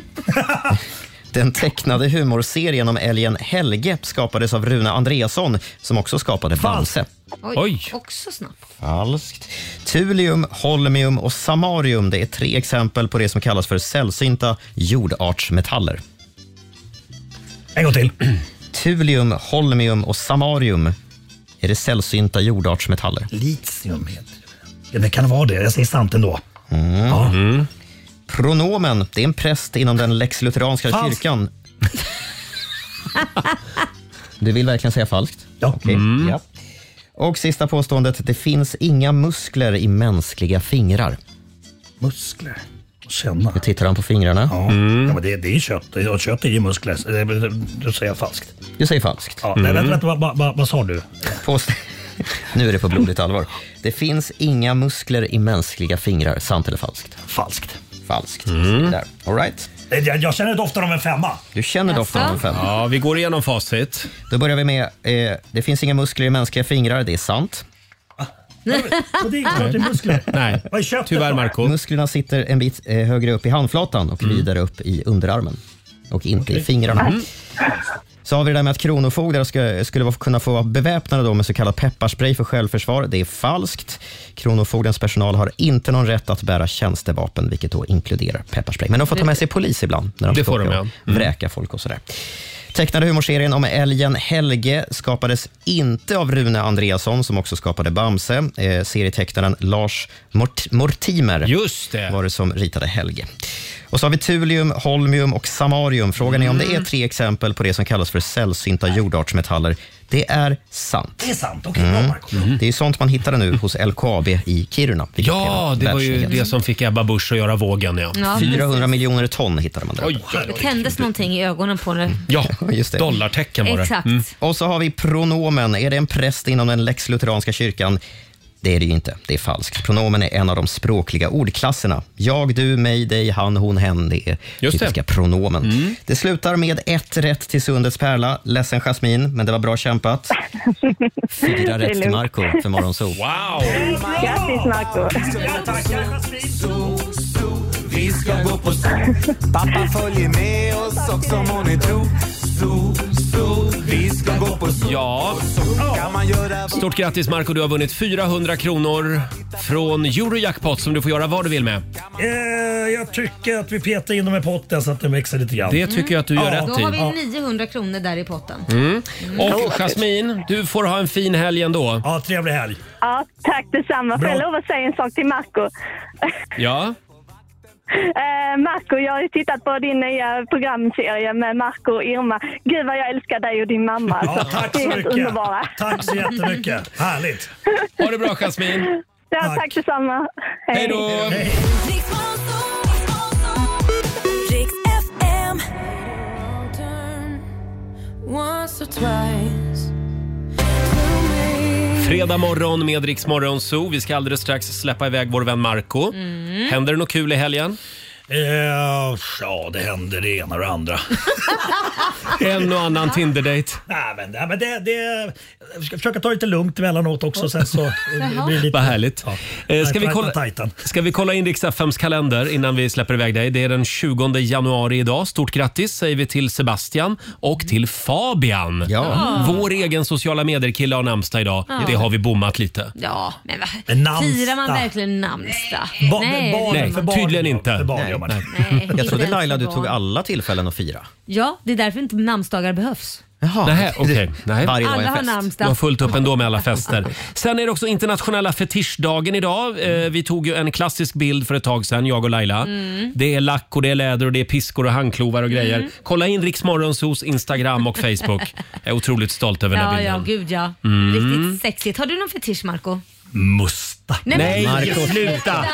Speaker 5: Den tecknade humorserien om älgen Helge skapades av Rune Andreasson som också skapade Bamse.
Speaker 2: Också snabbt.
Speaker 5: Falskt. Thulium, holmium och samarium det är tre exempel på det som kallas för sällsynta jordartsmetaller.
Speaker 9: En gång till.
Speaker 5: Thulium, holmium och samarium är det sällsynta jordartsmetaller.
Speaker 9: Litium heter det. Det kan vara det. Jag säger sant ändå.
Speaker 5: Mm. Pronomen, det är en präst inom den läxlutheranska
Speaker 9: Falskt.
Speaker 5: kyrkan. Du vill verkligen säga falskt?
Speaker 9: Ja. Mm.
Speaker 5: ja. Och sista påståendet, det finns inga muskler i mänskliga fingrar.
Speaker 9: Muskler? Känna.
Speaker 5: Nu tittar han på fingrarna.
Speaker 9: Ja. Ja, men det, det är ju kött. Det- och Kött är ju muskler. Så det- det- Då säger jag falskt.
Speaker 5: Du säger falskt.
Speaker 9: Ja, nej, vänta, vänta, vad, vad, vad, vad sa du?
Speaker 5: Påst- nu är det på blodigt allvar. Det finns inga muskler i mänskliga fingrar. Sant eller falskt?
Speaker 9: Falskt.
Speaker 5: Falskt. Där. All right.
Speaker 9: Nej, Jag, jag känner doften av en femma.
Speaker 5: Du känner doften av en femma.
Speaker 1: Ja, vi går igenom facit.
Speaker 5: Då börjar vi med, eh, det finns inga muskler i mänskliga fingrar. Det är sant.
Speaker 9: Och det är klart det är muskler.
Speaker 1: Nej,
Speaker 9: Vad är köttet
Speaker 5: tyvärr
Speaker 9: då?
Speaker 5: Marco. Musklerna sitter en bit eh, högre upp i handflatan och
Speaker 1: Mm.
Speaker 5: vidare upp i underarmen och inte i fingrarna.
Speaker 9: Mm.
Speaker 5: Så har vi det där med att kronofogdar ska, skulle vara- kunna få vara beväpnade då med så kallad pepparspray för självförsvar. Det är falskt. Kronofogdens personal har inte någon rätt att bära tjänstevapen, vilket då inkluderar pepparspray. Men de får ta med sig polis ibland när de
Speaker 1: Det
Speaker 5: ska
Speaker 1: får de,
Speaker 5: åka
Speaker 1: ja.
Speaker 5: och vräka folk och sådär. Tecknade humorserien om älgen Helge skapades inte av Rune Andreasson som också skapade Bamse. Eh, serietecknaren Lars Mort- Mortimer
Speaker 1: Just det.
Speaker 5: var det som ritade Helge. Och så har vi Thulium, Holmium och Samarium. Frågan är om
Speaker 1: Mm.
Speaker 5: det är tre exempel på det som kallas för sällsynta jordartsmetaller. Det är sant.
Speaker 9: Det är sant. Okej, bra
Speaker 5: Mm.
Speaker 9: Marco.
Speaker 5: Det är ju sånt man hittar nu hos LKAB i Kiruna. vilket är
Speaker 1: Ja, det var ju
Speaker 5: världsnyhet.
Speaker 1: det som fick Ebba Busch att göra vågen. Ja.
Speaker 2: Ja,
Speaker 5: 400 miljoner ton hittade man där.
Speaker 1: Oj,
Speaker 2: Det tändes någonting i ögonen på henne.
Speaker 1: Ja,
Speaker 5: just det.
Speaker 1: dollartecken var det.
Speaker 2: Exakt.
Speaker 1: Mm.
Speaker 5: Och så har vi pronomen. Är det en präst inom den läxlutheranska kyrkan? Det är det ju inte. Det är falskt. Pronomen är en av de språkliga ordklasserna. Jag, du, mig, dig, han, hon, hen. Det är
Speaker 1: Just det. Mm.
Speaker 5: typiska pronomen. Det slutar med ett rätt till Sundets pärla. Ledsen Jasmin, men det var bra kämpat. Fyra rätt till Marco för Morgonzoo.
Speaker 1: Wow!
Speaker 9: Eh,
Speaker 19: Grattis Marco.
Speaker 16: Vi ska gå på zoo Pappa följer med oss också om hon är tro Zoo, zoo Vi ska gå på zoo
Speaker 1: Ja.
Speaker 16: Kan man göra
Speaker 1: Stort grattis Marco, du har vunnit 400 kronor från Eurojackpot som du får göra vad du vill med.
Speaker 9: Eh, jag tycker att vi petar in dem i potten så att den växer lite grann.
Speaker 1: Det tycker jag att du gör
Speaker 2: Då
Speaker 1: rätt
Speaker 2: har
Speaker 1: i. Ja.
Speaker 2: vi 900 kronor där i potten.
Speaker 1: Mm.
Speaker 2: Mm.
Speaker 1: Och Jasmin, du får ha en fin helg ändå.
Speaker 9: Ja, trevlig helg.
Speaker 19: Ja, tack detsamma. Får jag lov att säga en sak till Marco?
Speaker 1: Ja,
Speaker 19: Eh, Marco, jag har ju tittat på din nya programserie med Marco och Irma. Gud vad jag älskar dig och din mamma.
Speaker 9: Ja,
Speaker 19: alltså.
Speaker 9: tack
Speaker 19: Ni är
Speaker 9: så
Speaker 19: helt
Speaker 9: mycket.
Speaker 19: underbara.
Speaker 9: Tack så jättemycket. Härligt.
Speaker 1: ha det bra Jasmin.
Speaker 19: Ja, tack detsamma.
Speaker 1: Hej då!
Speaker 6: Riksmorgon, så, Riksmorgon,
Speaker 16: once or twice.
Speaker 1: Fredag morgon med Rix Morgon Zoo. Vi ska alldeles strax släppa iväg vår vän Marco.
Speaker 16: Mm.
Speaker 1: Händer det något kul i helgen?
Speaker 9: Eh, ja, det händer det ena och det andra.
Speaker 1: en och annan Tinder-date.
Speaker 9: Nej, men, nej, men det, det, jag ska försöka ta det lite lugnt emellanåt också. Sen så eh, det blir lite...
Speaker 1: Vad härligt. Eh, Ska vi,
Speaker 9: Titan,
Speaker 1: kolla,
Speaker 9: Titan.
Speaker 1: ska vi kolla in Riks-FMs kalender innan vi släpper iväg dig? Det är den 20 januari idag. Stort grattis säger vi till Sebastian och till Fabian. Ah.
Speaker 2: Ja.
Speaker 1: Vår egen sociala medier-kille har namnsdag idag.
Speaker 2: Ja.
Speaker 1: Det har vi bommat lite.
Speaker 2: Ja, men va?
Speaker 1: Men namnsdag.
Speaker 2: Firar man verkligen namnsdag?
Speaker 1: Ba-
Speaker 2: Nej, det gör
Speaker 1: Nej,
Speaker 2: man inte.
Speaker 1: tydligen inte.
Speaker 5: Nej.
Speaker 2: Nej, inte
Speaker 5: Jag trodde
Speaker 2: ens
Speaker 5: Laila
Speaker 2: för
Speaker 5: du
Speaker 2: barn.
Speaker 5: tog alla tillfällen att fira.
Speaker 2: Ja, det är därför inte namnsdagar behövs.
Speaker 5: Jaha.
Speaker 1: Nej, okej. Nej.
Speaker 5: Varje
Speaker 2: dag är Alla har fest. namnsdag.
Speaker 1: Du har fullt upp ändå med alla fester. Sen är det också internationella fetischdagen idag. Eh, vi tog ju en klassisk bild för ett tag sedan, jag och Laila.
Speaker 16: Mm.
Speaker 1: Det är lack och det är läder och det är piskor och handklovar och grejer.
Speaker 2: Mm.
Speaker 1: Kolla in Rix Morgonzos Instagram och Facebook. Jag är otroligt stolt över den här
Speaker 2: Ja, ja,
Speaker 1: bilden.
Speaker 2: gud ja.
Speaker 1: Mm.
Speaker 2: Riktigt sexigt. Har du någon fetisch Marco?
Speaker 1: Musta. Nej,
Speaker 2: men-
Speaker 1: Marco, sluta!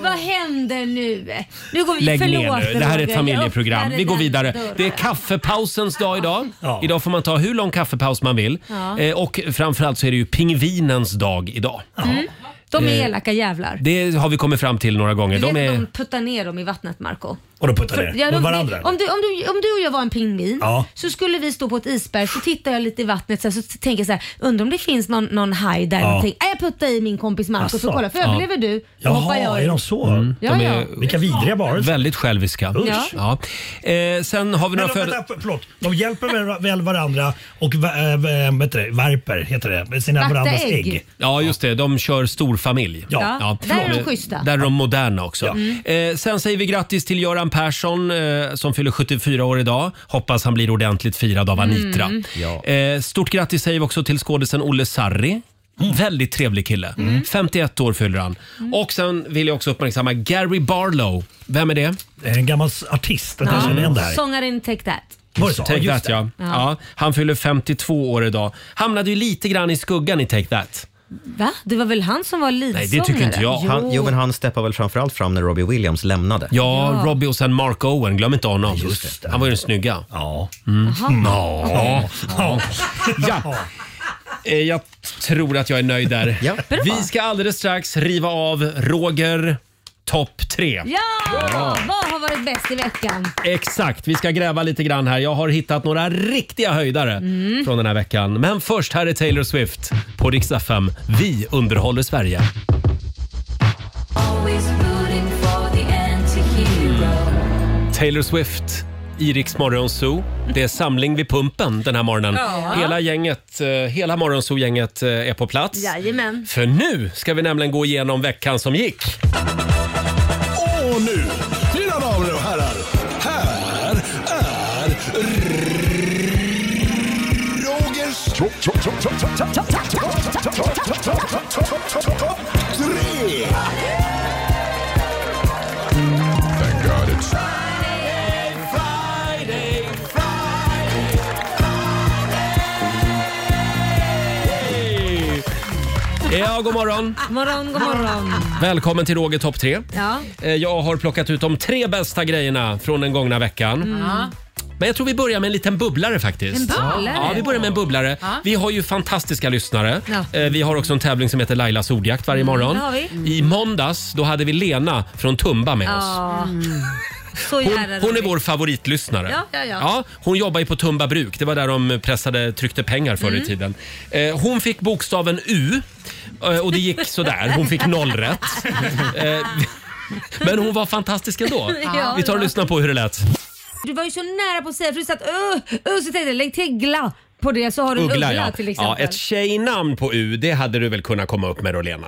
Speaker 2: Vad händer nu? nu går vi,
Speaker 1: Lägg
Speaker 2: förlåt,
Speaker 1: ner nu. Det här är ett
Speaker 2: Roger. Jag
Speaker 1: familjeprogram.
Speaker 2: öppnade
Speaker 1: Vi går
Speaker 2: den
Speaker 1: vidare.
Speaker 2: dörren.
Speaker 1: Det är kaffepausens dag idag. Idag får man ta hur lång kaffepaus man vill.
Speaker 2: Ja.
Speaker 1: Eh, Och framförallt så är det ju pingvinens dag idag.
Speaker 2: Mm. De är
Speaker 1: Eh,
Speaker 2: elaka jävlar.
Speaker 1: Det har vi kommit fram till några gånger.
Speaker 2: Du vet
Speaker 1: De
Speaker 2: att
Speaker 1: är...
Speaker 2: de puttar ner dem i vattnet Marco.
Speaker 1: Och de
Speaker 2: För- ja, de- Om du, om, du, om du och jag var en pingvin
Speaker 1: Ja.
Speaker 2: så skulle vi stå på ett isberg så tittar jag lite i vattnet så, här, så tänker jag så här, undrar om det finns någon, någon haj där.
Speaker 1: Ja.
Speaker 2: Någonting. Äh, jag puttar i min kompis Marco
Speaker 1: Asså.
Speaker 2: så kolla, för
Speaker 1: Ja.
Speaker 2: överlever du så hoppar jag i.
Speaker 1: så? Mm.
Speaker 2: Ja,
Speaker 1: de
Speaker 2: ja.
Speaker 1: är Vilka vidriga varelser. Väldigt själviska.
Speaker 9: Usch.
Speaker 1: Ja. Eh, sen har vi
Speaker 9: Men
Speaker 1: några
Speaker 9: de,
Speaker 1: föd-
Speaker 9: vänta, förlåt, de hjälper väl- väl varandra och va- eh, eh, vad heter det, värper heter det, med sina
Speaker 2: Vakta
Speaker 9: varandras ägg.
Speaker 2: ägg.
Speaker 1: Ja, just det. De kör storfamilj.
Speaker 2: Ja. Där är de
Speaker 1: Eh,
Speaker 2: schyssta. Mm.
Speaker 1: Där är de moderna också.
Speaker 2: Ja.
Speaker 1: Eh, sen säger vi grattis till Göran Persson eh, som fyller 74 år idag. Hoppas han blir ordentligt firad av Anitra.
Speaker 2: Mm. Ja.
Speaker 1: Eh, stort grattis säger vi också till skådisen Olle Sarri.
Speaker 2: Mm.
Speaker 1: Väldigt trevlig kille. 51 år fyller han. Och sen vill jag också uppmärksamma Gary Barlow. Vem är det? En gammal artist.
Speaker 2: Sångaren Take That.
Speaker 1: Take That, ja.
Speaker 2: Ja.
Speaker 1: Ja. Han fyller 52 år idag. Hamnade ju lite grann i skuggan i Take That.
Speaker 2: Va? Det var väl han som var leadsångare?
Speaker 5: Han, jo, men han steppade väl framförallt fram när Robbie Williams lämnade.
Speaker 1: Ja, Robbie och sen Mark Owen. Glöm inte honom. Han var ju den snygga. Ja. Mm.
Speaker 5: Jaha.
Speaker 1: Ja. Ja. ja. Eh, Jag tror att jag är nöjd där. Vi ska alldeles strax riva av Roger topp tre.
Speaker 2: Ja!
Speaker 1: Ja.
Speaker 2: Vad har varit bäst i veckan?
Speaker 1: Exakt, vi ska gräva lite grann här. Jag har hittat några riktiga höjdare
Speaker 2: Mm.
Speaker 1: från den här veckan. Men först, här är Taylor Swift på riksdag 5. Vi underhåller Sverige.
Speaker 16: Always rooting for the anti-hero.
Speaker 1: Taylor Swift i Rix Morgon Zoo. Det är samling vid pumpen den här morgonen.
Speaker 2: Ja.
Speaker 1: Hela gänget, eh, hela Morgonzoo-gänget eh, är på plats.
Speaker 2: Jajamän.
Speaker 1: För nu ska vi nämligen gå igenom veckan som gick.
Speaker 16: Och nu, mina damer och herrar, här är Rogers topp tre. Thank God it's...
Speaker 1: Ja, god morgon.
Speaker 2: Morgon, god morgon.
Speaker 1: Välkommen till Roger topp 3.
Speaker 2: Ja.
Speaker 1: Eh, Jag har plockat ut de tre bästa grejerna från den gångna veckan.
Speaker 2: Ja.
Speaker 1: Men jag tror vi börjar med en liten bubblare faktiskt.
Speaker 2: En bubblare?
Speaker 1: Ja, vi börjar med en bubblare.
Speaker 2: Ja.
Speaker 1: Vi har ju fantastiska lyssnare.
Speaker 2: Ja. Mm.
Speaker 1: Eh, Vi har också en tävling som heter Lailas ordjakt varje morgon.
Speaker 2: det har vi.
Speaker 1: I måndags då hade vi Lena från Tumba med oss.
Speaker 2: Ja.
Speaker 5: Mm.
Speaker 2: Så
Speaker 1: Hon,
Speaker 2: jävla
Speaker 1: hon är
Speaker 2: roligt.
Speaker 1: vår favoritlyssnare.
Speaker 2: Ja, ja, ja.
Speaker 1: hon jobbar ju på Tumba bruk. Det var där de pressade, tryckte pengar förr i
Speaker 2: Mm.
Speaker 1: tiden. Eh, hon fick bokstaven U eh, och det gick sådär. Hon fick noll rätt. Eh, men hon var fantastisk ändå.
Speaker 2: Ja,
Speaker 1: Vi tar och
Speaker 2: ja.
Speaker 1: lyssnar på hur det lät.
Speaker 2: Du var ju så nära på att säga för du satt öh, öh, så tänkte jag lägg till gla på det så har du en uggla,
Speaker 1: Uggla, ja.
Speaker 2: till
Speaker 1: ja.
Speaker 2: exempel.
Speaker 1: Ett tjejnamn på U, det hade du väl kunnat komma upp med då, Lena?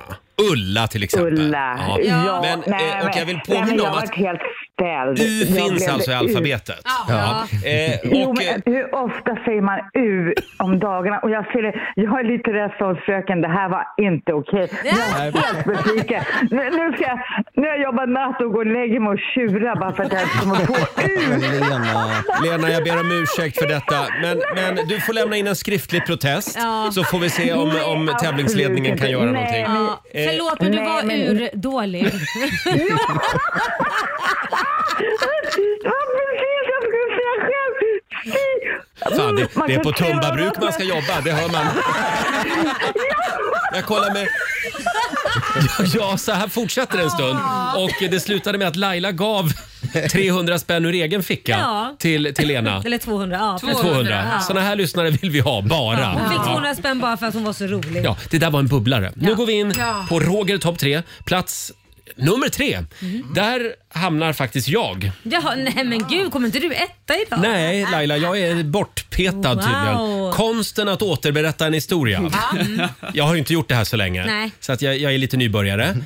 Speaker 1: Ulla till exempel.
Speaker 3: Ulla. Ja.
Speaker 1: Men,
Speaker 3: Nej,
Speaker 1: eh, och jag vill
Speaker 3: nej, men
Speaker 1: påminna om
Speaker 3: jag
Speaker 1: att
Speaker 3: vart helt ställd.
Speaker 1: U
Speaker 3: Jag
Speaker 1: finns
Speaker 3: blev
Speaker 1: alltså i
Speaker 3: U.
Speaker 1: alfabetet. Ja. Eh,
Speaker 3: Jo,
Speaker 1: och, eh,
Speaker 3: men hur ofta säger man U om dagarna? Och jag, ser, jag är lite rädd som fröken, det här var inte okej. Jag är helt besviken. Nu, nu, ska jag, nu har jag jobbat natt och går och lägger mig och tjurar bara för att jag inte kommer på U.
Speaker 5: eh,
Speaker 1: Lena. Lena, jag ber om ursäkt för detta. Men, men du får lämna in en skriftlig protest
Speaker 2: Ja.
Speaker 1: så får vi se om,
Speaker 2: Nej,
Speaker 1: om
Speaker 2: absolut
Speaker 1: tävlingsledningen kan
Speaker 2: inte.
Speaker 1: göra
Speaker 2: Nej,
Speaker 1: någonting.
Speaker 2: Ja,
Speaker 1: Eh,
Speaker 2: förlåt men du
Speaker 3: Nej,
Speaker 2: var
Speaker 3: men-
Speaker 2: urdålig.
Speaker 3: Vad precis jag skulle säga själv! Fy
Speaker 1: Fan, det,
Speaker 16: Man
Speaker 1: det är
Speaker 16: kan
Speaker 1: på
Speaker 16: skriva
Speaker 1: Tumba
Speaker 16: något
Speaker 1: bruk man
Speaker 16: med-
Speaker 1: ska jobba, det hör man. Jag kollar med... Ja, Ja, så här fortsatte det en stund och det slutade med att Laila gav 300 spänn ur egen ficka
Speaker 2: Ja.
Speaker 1: till, till Lena.
Speaker 2: Eller 200. Ja,
Speaker 1: 200.
Speaker 2: Ja.
Speaker 1: Såna här lyssnare vill vi ha, bara.
Speaker 2: Hon fick
Speaker 1: Ja.
Speaker 2: 200 spänn bara för att hon var så rolig.
Speaker 1: Ja, det där var en bubblare. Nu
Speaker 2: Ja.
Speaker 1: går vi in
Speaker 2: Ja.
Speaker 1: på Roger topp tre. Plats nummer tre.
Speaker 2: Mhm.
Speaker 1: Där hamnar faktiskt jag.
Speaker 2: Jaha, nej men gud, kommer inte du etta idag?
Speaker 1: Nej, Laila, jag är bortpetad
Speaker 2: Wow.
Speaker 1: tydligen. Konsten att återberätta en historia. Jag har ju inte gjort det här så länge,
Speaker 2: Nej.
Speaker 1: så att jag, jag är lite nybörjare.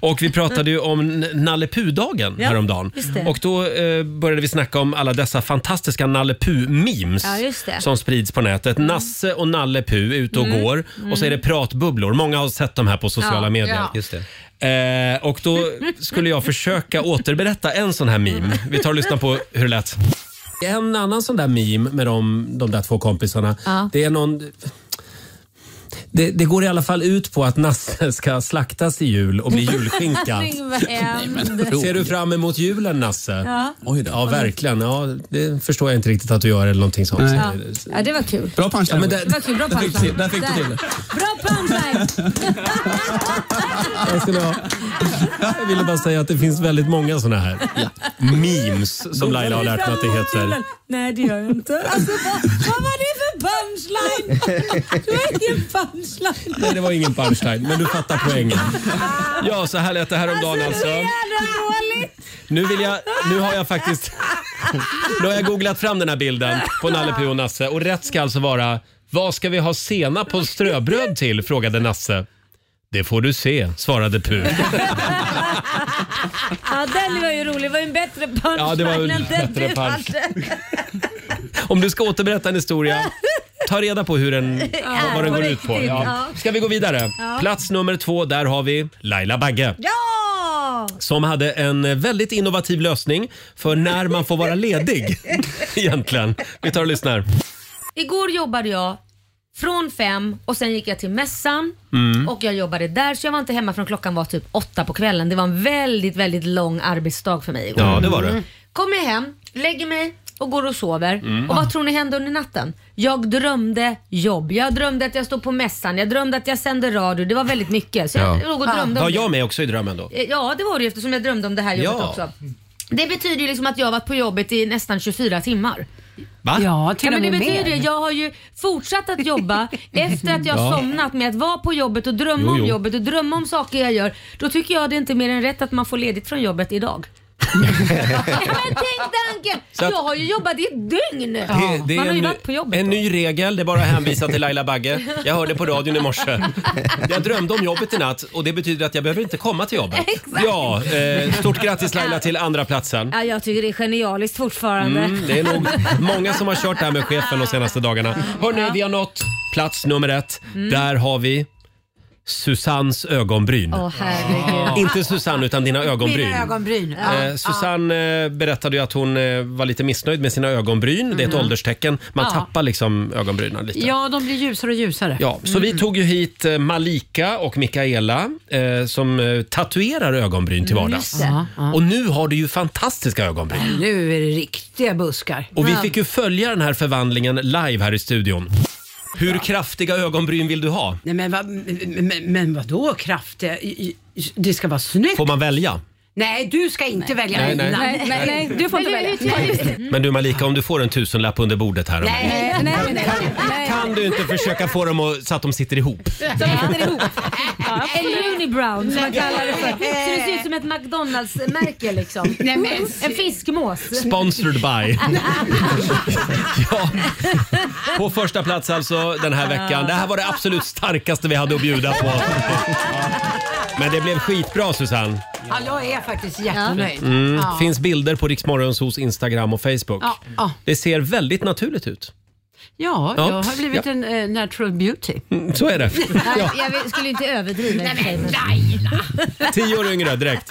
Speaker 1: Och vi pratade ju om N- Nalle Puh-dagen
Speaker 2: Ja,
Speaker 1: häromdagen.
Speaker 2: just det.
Speaker 1: Och då eh, började vi snacka om alla dessa fantastiska Nalle Puh-memes
Speaker 2: Ja, just det.
Speaker 1: som sprids på nätet. Nasse och Nalle Puh är ute och
Speaker 2: Mm,
Speaker 1: går och så är det pratbubblor. Många har sett de här på sociala
Speaker 2: Ja,
Speaker 1: medier.
Speaker 2: ja.
Speaker 1: Just det. Eh, och då skulle jag försöka återberätta en sån här meme. Vi tar och lyssnar på hur det lät. En annan sån där meme med de, de där två kompisarna.
Speaker 16: Ja.
Speaker 1: Det är någon... Det, det går i alla fall ut på att Nasse ska slaktas i jul och bli julskinka.
Speaker 16: Vad
Speaker 1: Ser du fram emot julen Nasse?
Speaker 2: Ja.
Speaker 1: Oj då. Ja, verkligen. Ja, det förstår jag inte riktigt att du gör eller någonting sånt.
Speaker 2: Ja. ja, det var kul.
Speaker 1: Bra punchline. Ja, men
Speaker 2: Det var
Speaker 1: där,
Speaker 2: kul, bra
Speaker 1: Där fick
Speaker 2: punchline.
Speaker 1: du- där fick du till det.
Speaker 2: Bra punchline!
Speaker 1: jag, skulle ha, jag ville bara säga att det finns väldigt många såna här memes som Laila har lärt mig att det heter.
Speaker 2: Nej, det gör jag inte. Alltså, vad, vad var det för punchline? Det var ingen punchline.
Speaker 1: Nej, det var ingen punchline, men du fattar poängen. Ja, så här lät det häromdagen
Speaker 2: Alltså,
Speaker 1: alltså.
Speaker 2: det är jävla dåligt.
Speaker 1: Nu, vill jag, nu har jag faktiskt nu har jag googlat fram den här bilden på Nalle Puh och Nasse och rätt ska alltså vara Vad ska vi ha sena på ströbröd till? frågade Nasse. Det får du se, svarade Puh.
Speaker 2: Ja, den var ju rolig. Det var ju en bättre punchline
Speaker 1: Ja, det var en
Speaker 2: än den
Speaker 1: bättre
Speaker 2: du
Speaker 1: punch.
Speaker 2: hade.
Speaker 1: Om du ska återberätta en historia, ta reda på hur den, vad, vad den
Speaker 2: på
Speaker 1: går ut
Speaker 2: riktigt,
Speaker 1: på. Ja.
Speaker 2: ja.
Speaker 1: Ska vi gå vidare?
Speaker 2: Ja.
Speaker 1: Plats nummer två, där har vi Laila Bagge.
Speaker 2: Ja!
Speaker 1: Som hade en väldigt innovativ lösning för när man får vara ledig egentligen. Vi tar och lyssnar.
Speaker 2: Igår jobbade jag från fem och sen gick jag till mässan
Speaker 1: Mm.
Speaker 2: och jag jobbade där så jag var inte hemma från klockan var typ åtta på kvällen. Det var en väldigt, väldigt lång arbetsdag för mig igår.
Speaker 16: Ja, det var det. Mm.
Speaker 2: Kommer jag hem, lägger mig och går och sover.
Speaker 16: Mm.
Speaker 2: Och vad tror ni hände under natten? Jag drömde jobb. Jag drömde att jag stod på mässan. Jag drömde att jag sände radio. Det var väldigt mycket. Så jag låg och drömde
Speaker 1: Var
Speaker 2: om det.
Speaker 1: jag med också i drömmen då?
Speaker 2: Eh, Ja, det var det ju eftersom jag drömde om det här jobbet
Speaker 1: Ja.
Speaker 2: också. Det betyder ju liksom att jag har varit på jobbet i nästan 24 timmar.
Speaker 1: Va?
Speaker 4: Ja, till
Speaker 2: Ja, men
Speaker 4: och
Speaker 2: det
Speaker 4: med
Speaker 2: betyder
Speaker 4: mer.
Speaker 2: ju, jag har ju fortsatt att jobba efter att jag
Speaker 4: Ja.
Speaker 2: somnat med att vara på jobbet och drömma
Speaker 4: Jo,
Speaker 2: om
Speaker 4: jo.
Speaker 2: jobbet och drömma om saker jag gör. Då tycker jag det är inte mer än rätt att man får ledigt från jobbet idag. ja, men tänk tanken!
Speaker 1: Så att-
Speaker 2: jag har ju jobbat i ett dygn.
Speaker 1: Det, det
Speaker 2: man
Speaker 1: är
Speaker 2: har ju
Speaker 1: en,
Speaker 2: varit på jobbet.
Speaker 1: en
Speaker 2: då.
Speaker 1: ny regel, det är bara att hänvisa till Laila Bagge. Jag hörde på radion i morse. Jag drömde om jobbet i natt och det betyder att jag behöver inte komma till jobbet.
Speaker 2: Exakt.
Speaker 1: Ja, eh, stort grattis Laila till andra platsen.
Speaker 2: Ja, jag tycker det är genialiskt fortfarande.
Speaker 1: Mm, det är nog många som har kört det här med chefen de senaste dagarna. Hörni, vi har nått plats nummer ett.
Speaker 2: Mm.
Speaker 1: Där har vi Susannes ögonbryn.
Speaker 2: Åh herregud.
Speaker 1: Inte Susanne, utan dina ögonbryn.
Speaker 4: Mina ögonbryn.
Speaker 1: Eh, Susanne eh, berättade ju att hon eh, var lite missnöjd med sina ögonbryn. Det är ett
Speaker 4: Mm.
Speaker 1: ålderstecken. Man
Speaker 4: Ja.
Speaker 1: tappar liksom ögonbrynen lite.
Speaker 4: Ja, de blir ljusare och ljusare.
Speaker 1: Ja, så
Speaker 4: Mm.
Speaker 1: vi tog ju hit eh, Malika och Mikaela eh, som eh, tatuerar ögonbryn till
Speaker 4: Mm,
Speaker 1: vardags.
Speaker 4: just det. Ja.
Speaker 1: Och nu har du ju fantastiska ögonbryn.
Speaker 4: Nu är det riktiga buskar.
Speaker 1: Och vi fick ju följa den här förvandlingen live här i studion. Hur kraftiga ögonbryn vill du ha?
Speaker 4: Nej, men, vad, men, men vadå kraftiga? I- i- Det ska vara snyggt.
Speaker 1: Får man välja?
Speaker 4: Nej, du ska inte välja
Speaker 1: Nej, nej.
Speaker 4: mina.
Speaker 1: Nej,
Speaker 16: nej, nej,
Speaker 2: du får inte välja.
Speaker 1: Men du Malika, om du får en tusenlapp under bordet här.
Speaker 16: Nej, nej, nej, nej.
Speaker 1: Kan du inte försöka få dem att, så att de sitter ihop?
Speaker 2: Som hänger ihop. En unibrown som man kallar det för. Så det ser ut som ett McDonalds-märke liksom.
Speaker 4: Nej, men-
Speaker 2: En fiskmås.
Speaker 1: Sponsored by. På första plats alltså den här veckan. Det här var det absolut starkaste vi hade att bjuda på. Men det blev skitbra Susanne.
Speaker 4: Ja, jag är faktiskt jättenöjd.
Speaker 1: Mm.
Speaker 4: Ja.
Speaker 1: Finns bilder på Riksmorgons hos Instagram och Facebook.
Speaker 4: Ja, ja.
Speaker 1: Det ser väldigt naturligt ut.
Speaker 4: ja,
Speaker 1: Ja.
Speaker 4: jag har blivit en eh, natural beauty.
Speaker 1: Mm, så är det. Ja.
Speaker 2: Jag vill- skulle inte överdriva. Nej, men
Speaker 1: Tio år yngre direkt.